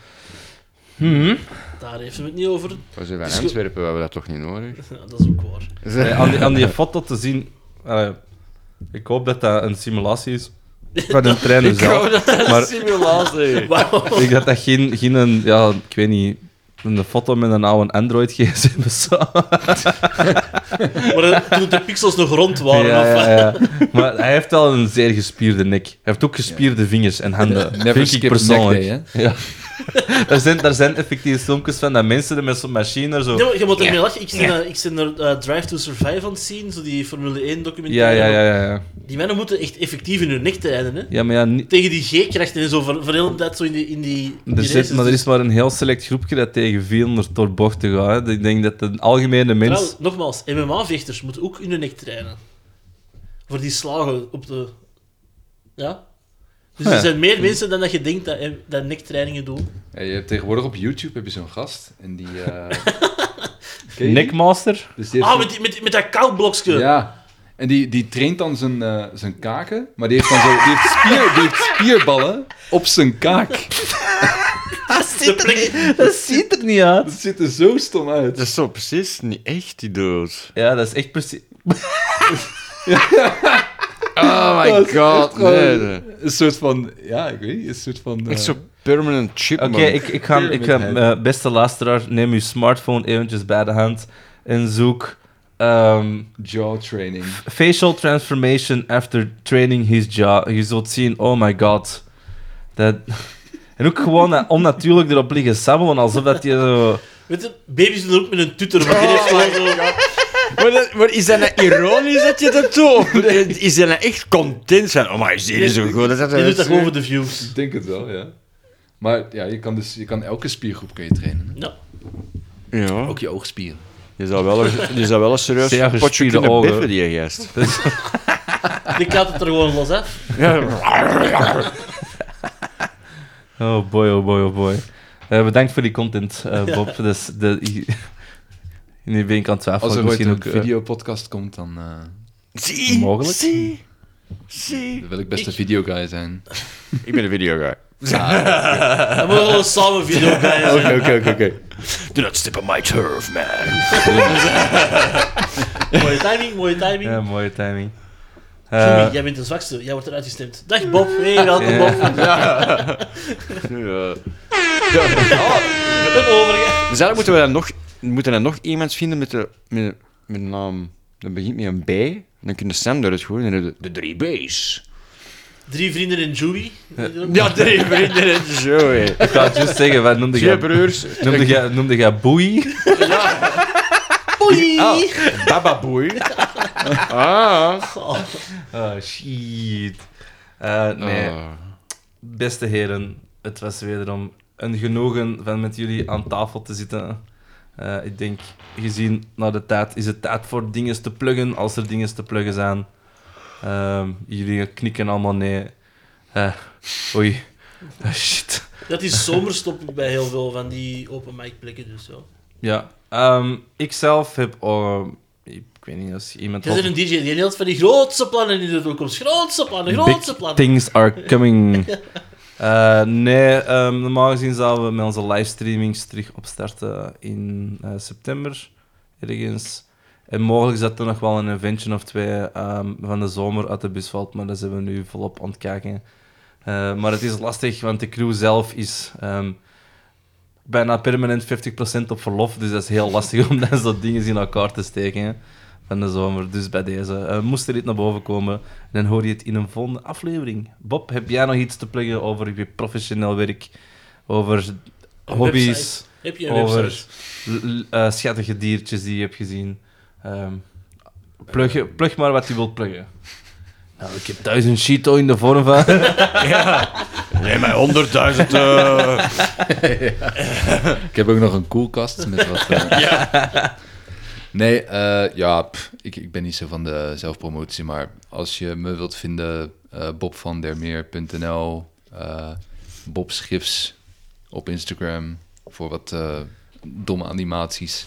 Speaker 3: Daar heeft hem het niet over.
Speaker 4: We zijn
Speaker 3: Dus
Speaker 4: van
Speaker 3: je-
Speaker 4: Antwerpen, we hebben dat toch niet nodig?
Speaker 3: Ja, dat is ook waar.
Speaker 2: Eh, aan, die, aan die foto te zien, eh, ik hoop dat dat een simulatie is van een trainer zelf. Maar
Speaker 4: Simulatie!
Speaker 3: Wauw.
Speaker 2: ik denk dat dat geen, geen een, ja, ik weet niet, een foto met een oude Android gsm is.
Speaker 3: Maar eh, toen de pixels nog rond waren.
Speaker 2: Ja,
Speaker 3: of wat?
Speaker 2: ja, ja. Maar hij heeft wel een zeer gespierde nek. Hij heeft ook gespierde vingers en handen.
Speaker 6: Never
Speaker 2: Vind
Speaker 6: skip
Speaker 2: ik
Speaker 6: leg
Speaker 2: persoonlijk.
Speaker 6: day,
Speaker 2: ja. daar, zijn, daar zijn effectieve filmpjes van dat mensen er met zo'n machine zo...
Speaker 3: Ja, maar je moet ermee lachen. Ik zit eh, ik zit naar eh, Drive to Survive aan het zien, zo die Formule 1
Speaker 2: Ja,
Speaker 3: documentaire.
Speaker 2: ja, ja, ja, ja.
Speaker 3: Die mannen moeten echt effectief in hun nek trainen, hè.
Speaker 2: Ja, maar ja, niet-
Speaker 3: Tegen die G-krachten en zo, voor, voor heel de tijd zo in die... In die, in die
Speaker 2: er,
Speaker 3: races.
Speaker 2: zit, maar er is dus- maar een heel select groepje dat tegen 400 door bochten gaat. hè. Ik denk dat de algemene mens...
Speaker 3: Trouwens, nogmaals, MMA-vechters moeten ook in hun nek trainen. Voor die slagen op de... Ja? Dus er
Speaker 2: Ja.
Speaker 3: zijn meer mensen dan dat je denkt dat, dat nektrainingen doen.
Speaker 6: Ja, je hebt eh, tegenwoordig op YouTube heb je zo'n gast en die... eh, ken je die?
Speaker 2: Neckmaster?
Speaker 6: Dus die heeft
Speaker 3: Ah,
Speaker 6: zo'n-
Speaker 3: met, die- met, die- met dat koudblokje.
Speaker 6: Ja. En die, die traint dan zijn, eh, zijn kaken, maar die heeft dan zo, die heeft, spier, die heeft spierballen op zijn kaak.
Speaker 2: Dat
Speaker 3: De plek-
Speaker 2: dat ziet er niet uit.
Speaker 6: Dat ziet er zo stom uit.
Speaker 4: Dat is zo precies niet echt, die dood.
Speaker 2: Ja, dat is echt precies...
Speaker 4: Oh my god,
Speaker 6: Gewoon
Speaker 4: nee. nee.
Speaker 6: Een soort van, ja, ik weet niet, een soort van... eh,
Speaker 4: Echt zo permanent
Speaker 2: Oké,
Speaker 4: chipmunk.
Speaker 2: ik, ik ga, ik ga eh, beste luisteraar, neem uw smartphone eventjes bij de hand en zoek ehm,
Speaker 6: jaw training.
Speaker 2: facial transformation after training his jaw. Je zult zien, oh my god. Dat, En ook gewoon eh, onnatuurlijk erop liggen sabbelen, alsof dat je zo...
Speaker 3: Weet je, baby's doen er ook met een tutor. Maar die
Speaker 2: Oh.
Speaker 3: heeft gewoon zo...
Speaker 4: Maar, dat- maar is dat nou ironisch dat je dat doet? Of Is dat nou echt content van, oh maar is dit zo goed? Dat, dat,
Speaker 3: Die doet dat gewoon voor de views.
Speaker 6: Ik denk het wel, ja. Maar ja, je kan dus je kan elke spiergroep kun je trainen. hè.
Speaker 3: Ja.
Speaker 4: Ja,
Speaker 6: Ook je oogspieren.
Speaker 4: je zou wel, een- je zou wel een
Speaker 2: Zeer
Speaker 4: serieus potje
Speaker 2: gespierde
Speaker 4: kunnen
Speaker 2: ogen.
Speaker 4: biffen, die gast.
Speaker 3: Die kaat het er gewoon los af.
Speaker 2: Oh boy, oh boy, oh boy. Eh, bedankt voor die content, eh, Bob. Dus de... Nu ben ik aan het twijfelen.
Speaker 6: Als er
Speaker 2: ik
Speaker 6: ooit
Speaker 2: misschien
Speaker 6: een
Speaker 2: ook eh,
Speaker 6: videopodcast komt, dan eh,
Speaker 4: Zie,
Speaker 2: Mogelijk.
Speaker 4: Zie, zie.
Speaker 6: dan wil ik best een videoguy zijn.
Speaker 4: Ik ben een videoguy.
Speaker 3: Dan moeten we gewoon samen video bij.
Speaker 4: Oké, oké, oké, oké. Do not step on my turf, man.
Speaker 3: Mooie timing, mooie timing.
Speaker 2: ja, mooie timing. Eh,
Speaker 3: Jimmy, jij bent de zwakste. Jij wordt eruit gestemd. Dag Bob. Hey, welkom Bob.
Speaker 4: Ja.
Speaker 3: Een overgang.
Speaker 4: Dus eigenlijk moeten we dan nog, we moeten dan nog iemand vinden met, de, met, met een naam. Dat begint met een bij. Dan kunnen Sam eruit gooien. Dan hebben we de, de drie B's.
Speaker 3: Drie vrienden en Joey.
Speaker 4: Ja, drie vrienden en zo, hé.
Speaker 2: ik wou het juist zeggen, wat noemde
Speaker 4: Twee
Speaker 2: jij...
Speaker 4: broers.
Speaker 2: Noemde jij, noemde jij boei?
Speaker 3: Boei.
Speaker 4: Bababoei. Ah.
Speaker 2: Oh, shit. Eh, nee.
Speaker 6: Oh.
Speaker 4: Ah.
Speaker 2: Beste heren, het was wederom een genoegen van met jullie aan tafel te zitten. Eh, ik denk, gezien naar de tijd, is het tijd voor dingen te pluggen als er dingen te pluggen zijn. Ehm, jullie knikken allemaal nee. Eh, oei. Ah, shit.
Speaker 3: Dat is zomerstop bij heel veel van die open mic plekken. Dus zo.
Speaker 2: Ja. Ikzelf ik zelf heb... ehm, ik weet niet als iemand...
Speaker 3: Jij bent een DJ die heeft van die grootste plannen in de toekomst. Grootste plannen, grootste
Speaker 2: Big
Speaker 3: plannen.
Speaker 2: things are coming. Eh, nee, ehm, normaal gezien zouden we met onze livestreamings terug opstarten in eh, september ergens. En mogelijk zat er nog wel een eventje of twee ehm, van de zomer uit de bus valt, maar dat zijn we nu volop aan het kijken. Eh, maar het is lastig, want de crew zelf is ehm, bijna permanent 50% op verlof, dus dat is heel lastig om dat soort dingen in elkaar te steken. hè, Van de zomer, dus bij deze. Eh, moest er dit naar boven komen, dan hoor je het in een volgende aflevering. Bob, heb jij nog iets te pluggen over je professioneel werk? Over hobby's?
Speaker 3: Heb je een
Speaker 2: Over
Speaker 3: website?
Speaker 2: l- l- eh, schattige diertjes die je hebt gezien? Ehm, plug, je- plug maar wat je wilt pluggen. Nou, ik heb thuis een Cheeto in de vorm van...
Speaker 4: Nee, maar honderdduizend... eh,
Speaker 6: Ik heb ook nog een koelkast met wat... eh, Nee, eh, ja, pff, ik, ik ben niet zo van de zelfpromotie, maar als je me wilt vinden, eh bobvandermeer.nl, eh Bob Schiffs op Instagram voor wat eh, domme animaties.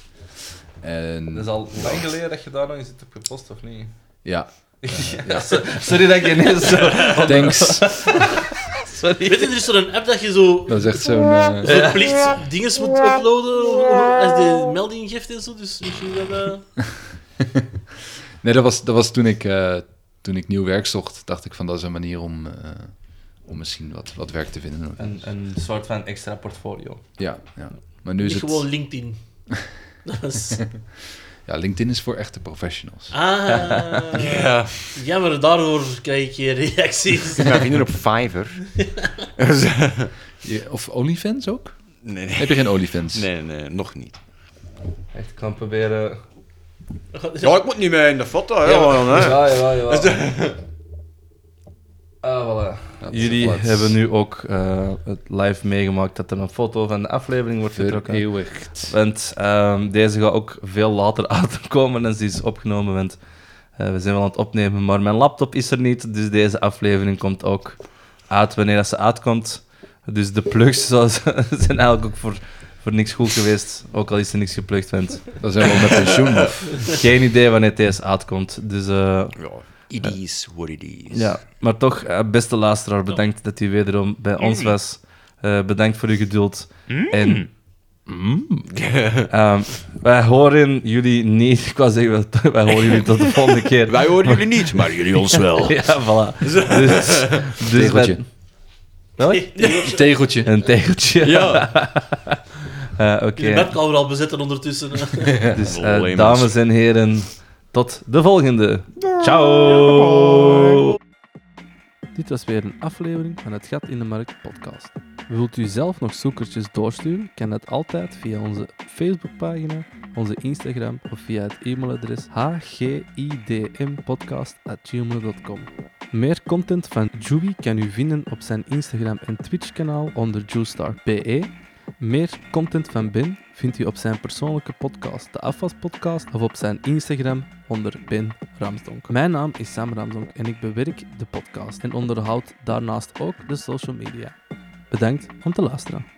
Speaker 6: En
Speaker 2: Dat is al lang geleden dat je daar nog eens iets hebt gepost, of niet?
Speaker 6: ja,
Speaker 2: Ja, so- sorry dat ik je ineens zo...
Speaker 6: thanks.
Speaker 3: Weet je, er is zo'n app dat je zo
Speaker 6: Dat is echt zo'n... eh,
Speaker 3: verplicht dingen moet uploaden om- om- als de melding geeft en zo. Dus misschien dat... eh,
Speaker 6: Nee, dat was, dat was toen, ik, eh, toen ik nieuw werk zocht, dacht ik van dat is een manier om, eh, om misschien wat, wat werk te vinden.
Speaker 2: Een, een soort van extra portfolio.
Speaker 6: Ja, ja. Maar nu is
Speaker 3: niet
Speaker 6: het...
Speaker 3: gewoon LinkedIn. Dat was...
Speaker 6: Ja, LinkedIn is voor echte professionals.
Speaker 3: Ah. Ja. Jammer, daardoor krijg ik hier reacties.
Speaker 4: Ik ben vinden op Fiverr.
Speaker 6: Je- of OnlyFans ook?
Speaker 4: Nee, nee.
Speaker 6: Heb je geen OnlyFans?
Speaker 4: Nee, nee, nog niet.
Speaker 2: Echt, ik kan proberen...
Speaker 4: Ja, ik moet niet mee in de foto, hè. man, hè. Dus-
Speaker 2: Ja, jawel, jawel. Ah, voilà.
Speaker 6: Dat is
Speaker 2: Jullie
Speaker 6: plaats.
Speaker 2: hebben nu ook eh, het live meegemaakt dat er een foto van de aflevering wordt getrokken.
Speaker 6: Vereeuwigd.
Speaker 2: Want ehm, deze gaat ook veel later uitkomen dan ze is opgenomen. Want eh, we zijn wel aan het opnemen, maar mijn laptop is er niet. Dus deze aflevering komt ook uit wanneer dat ze uitkomt. Dus de plugs zoals- zijn eigenlijk ook voor, voor niks goed geweest. Ook al is er niks geplukt, want
Speaker 6: Dan zijn we al met pensioen. of-
Speaker 2: geen idee wanneer deze uitkomt. Dus eh,
Speaker 4: Ja, it is what it is.
Speaker 2: ja, maar toch, eh, beste luisteraar, bedankt dat u wederom bij ons was. Eh, bedankt voor uw geduld.
Speaker 4: Mm.
Speaker 2: En. Ehm, wij horen jullie niet. Ik wou zeggen, wij- wij horen jullie tot de volgende keer.
Speaker 4: Wij horen jullie niet, maar jullie ons wel.
Speaker 2: Ja, voilà. Dus, dus
Speaker 6: Tegeltje.
Speaker 2: Wel?
Speaker 6: Tegeltje.
Speaker 2: Een tegeltje.
Speaker 4: Ja.
Speaker 2: Eh, Oké,
Speaker 3: De webkamer al bezetten ondertussen.
Speaker 2: dus, eh, dames en heren, tot de volgende. Ciao. Dit was weer een aflevering van het Gat in de Markt podcast. Wilt u zelf nog zoekertjes doorsturen? Kan dat altijd via onze Facebookpagina, onze Instagram of via het e-mailadres hgidmpodcast.gmail.com. Meer content van Juby kan u vinden op zijn Instagram en Twitch-kanaal onder JuStar.be. Meer content van Ben vindt u op zijn persoonlijke podcast, de Afwas Podcast, of op zijn Instagram onder Ben Ramsdonk. Mijn naam is Sam Ramsdonk en ik bewerk de podcast en onderhoud daarnaast ook de social media. Bedankt om te luisteren.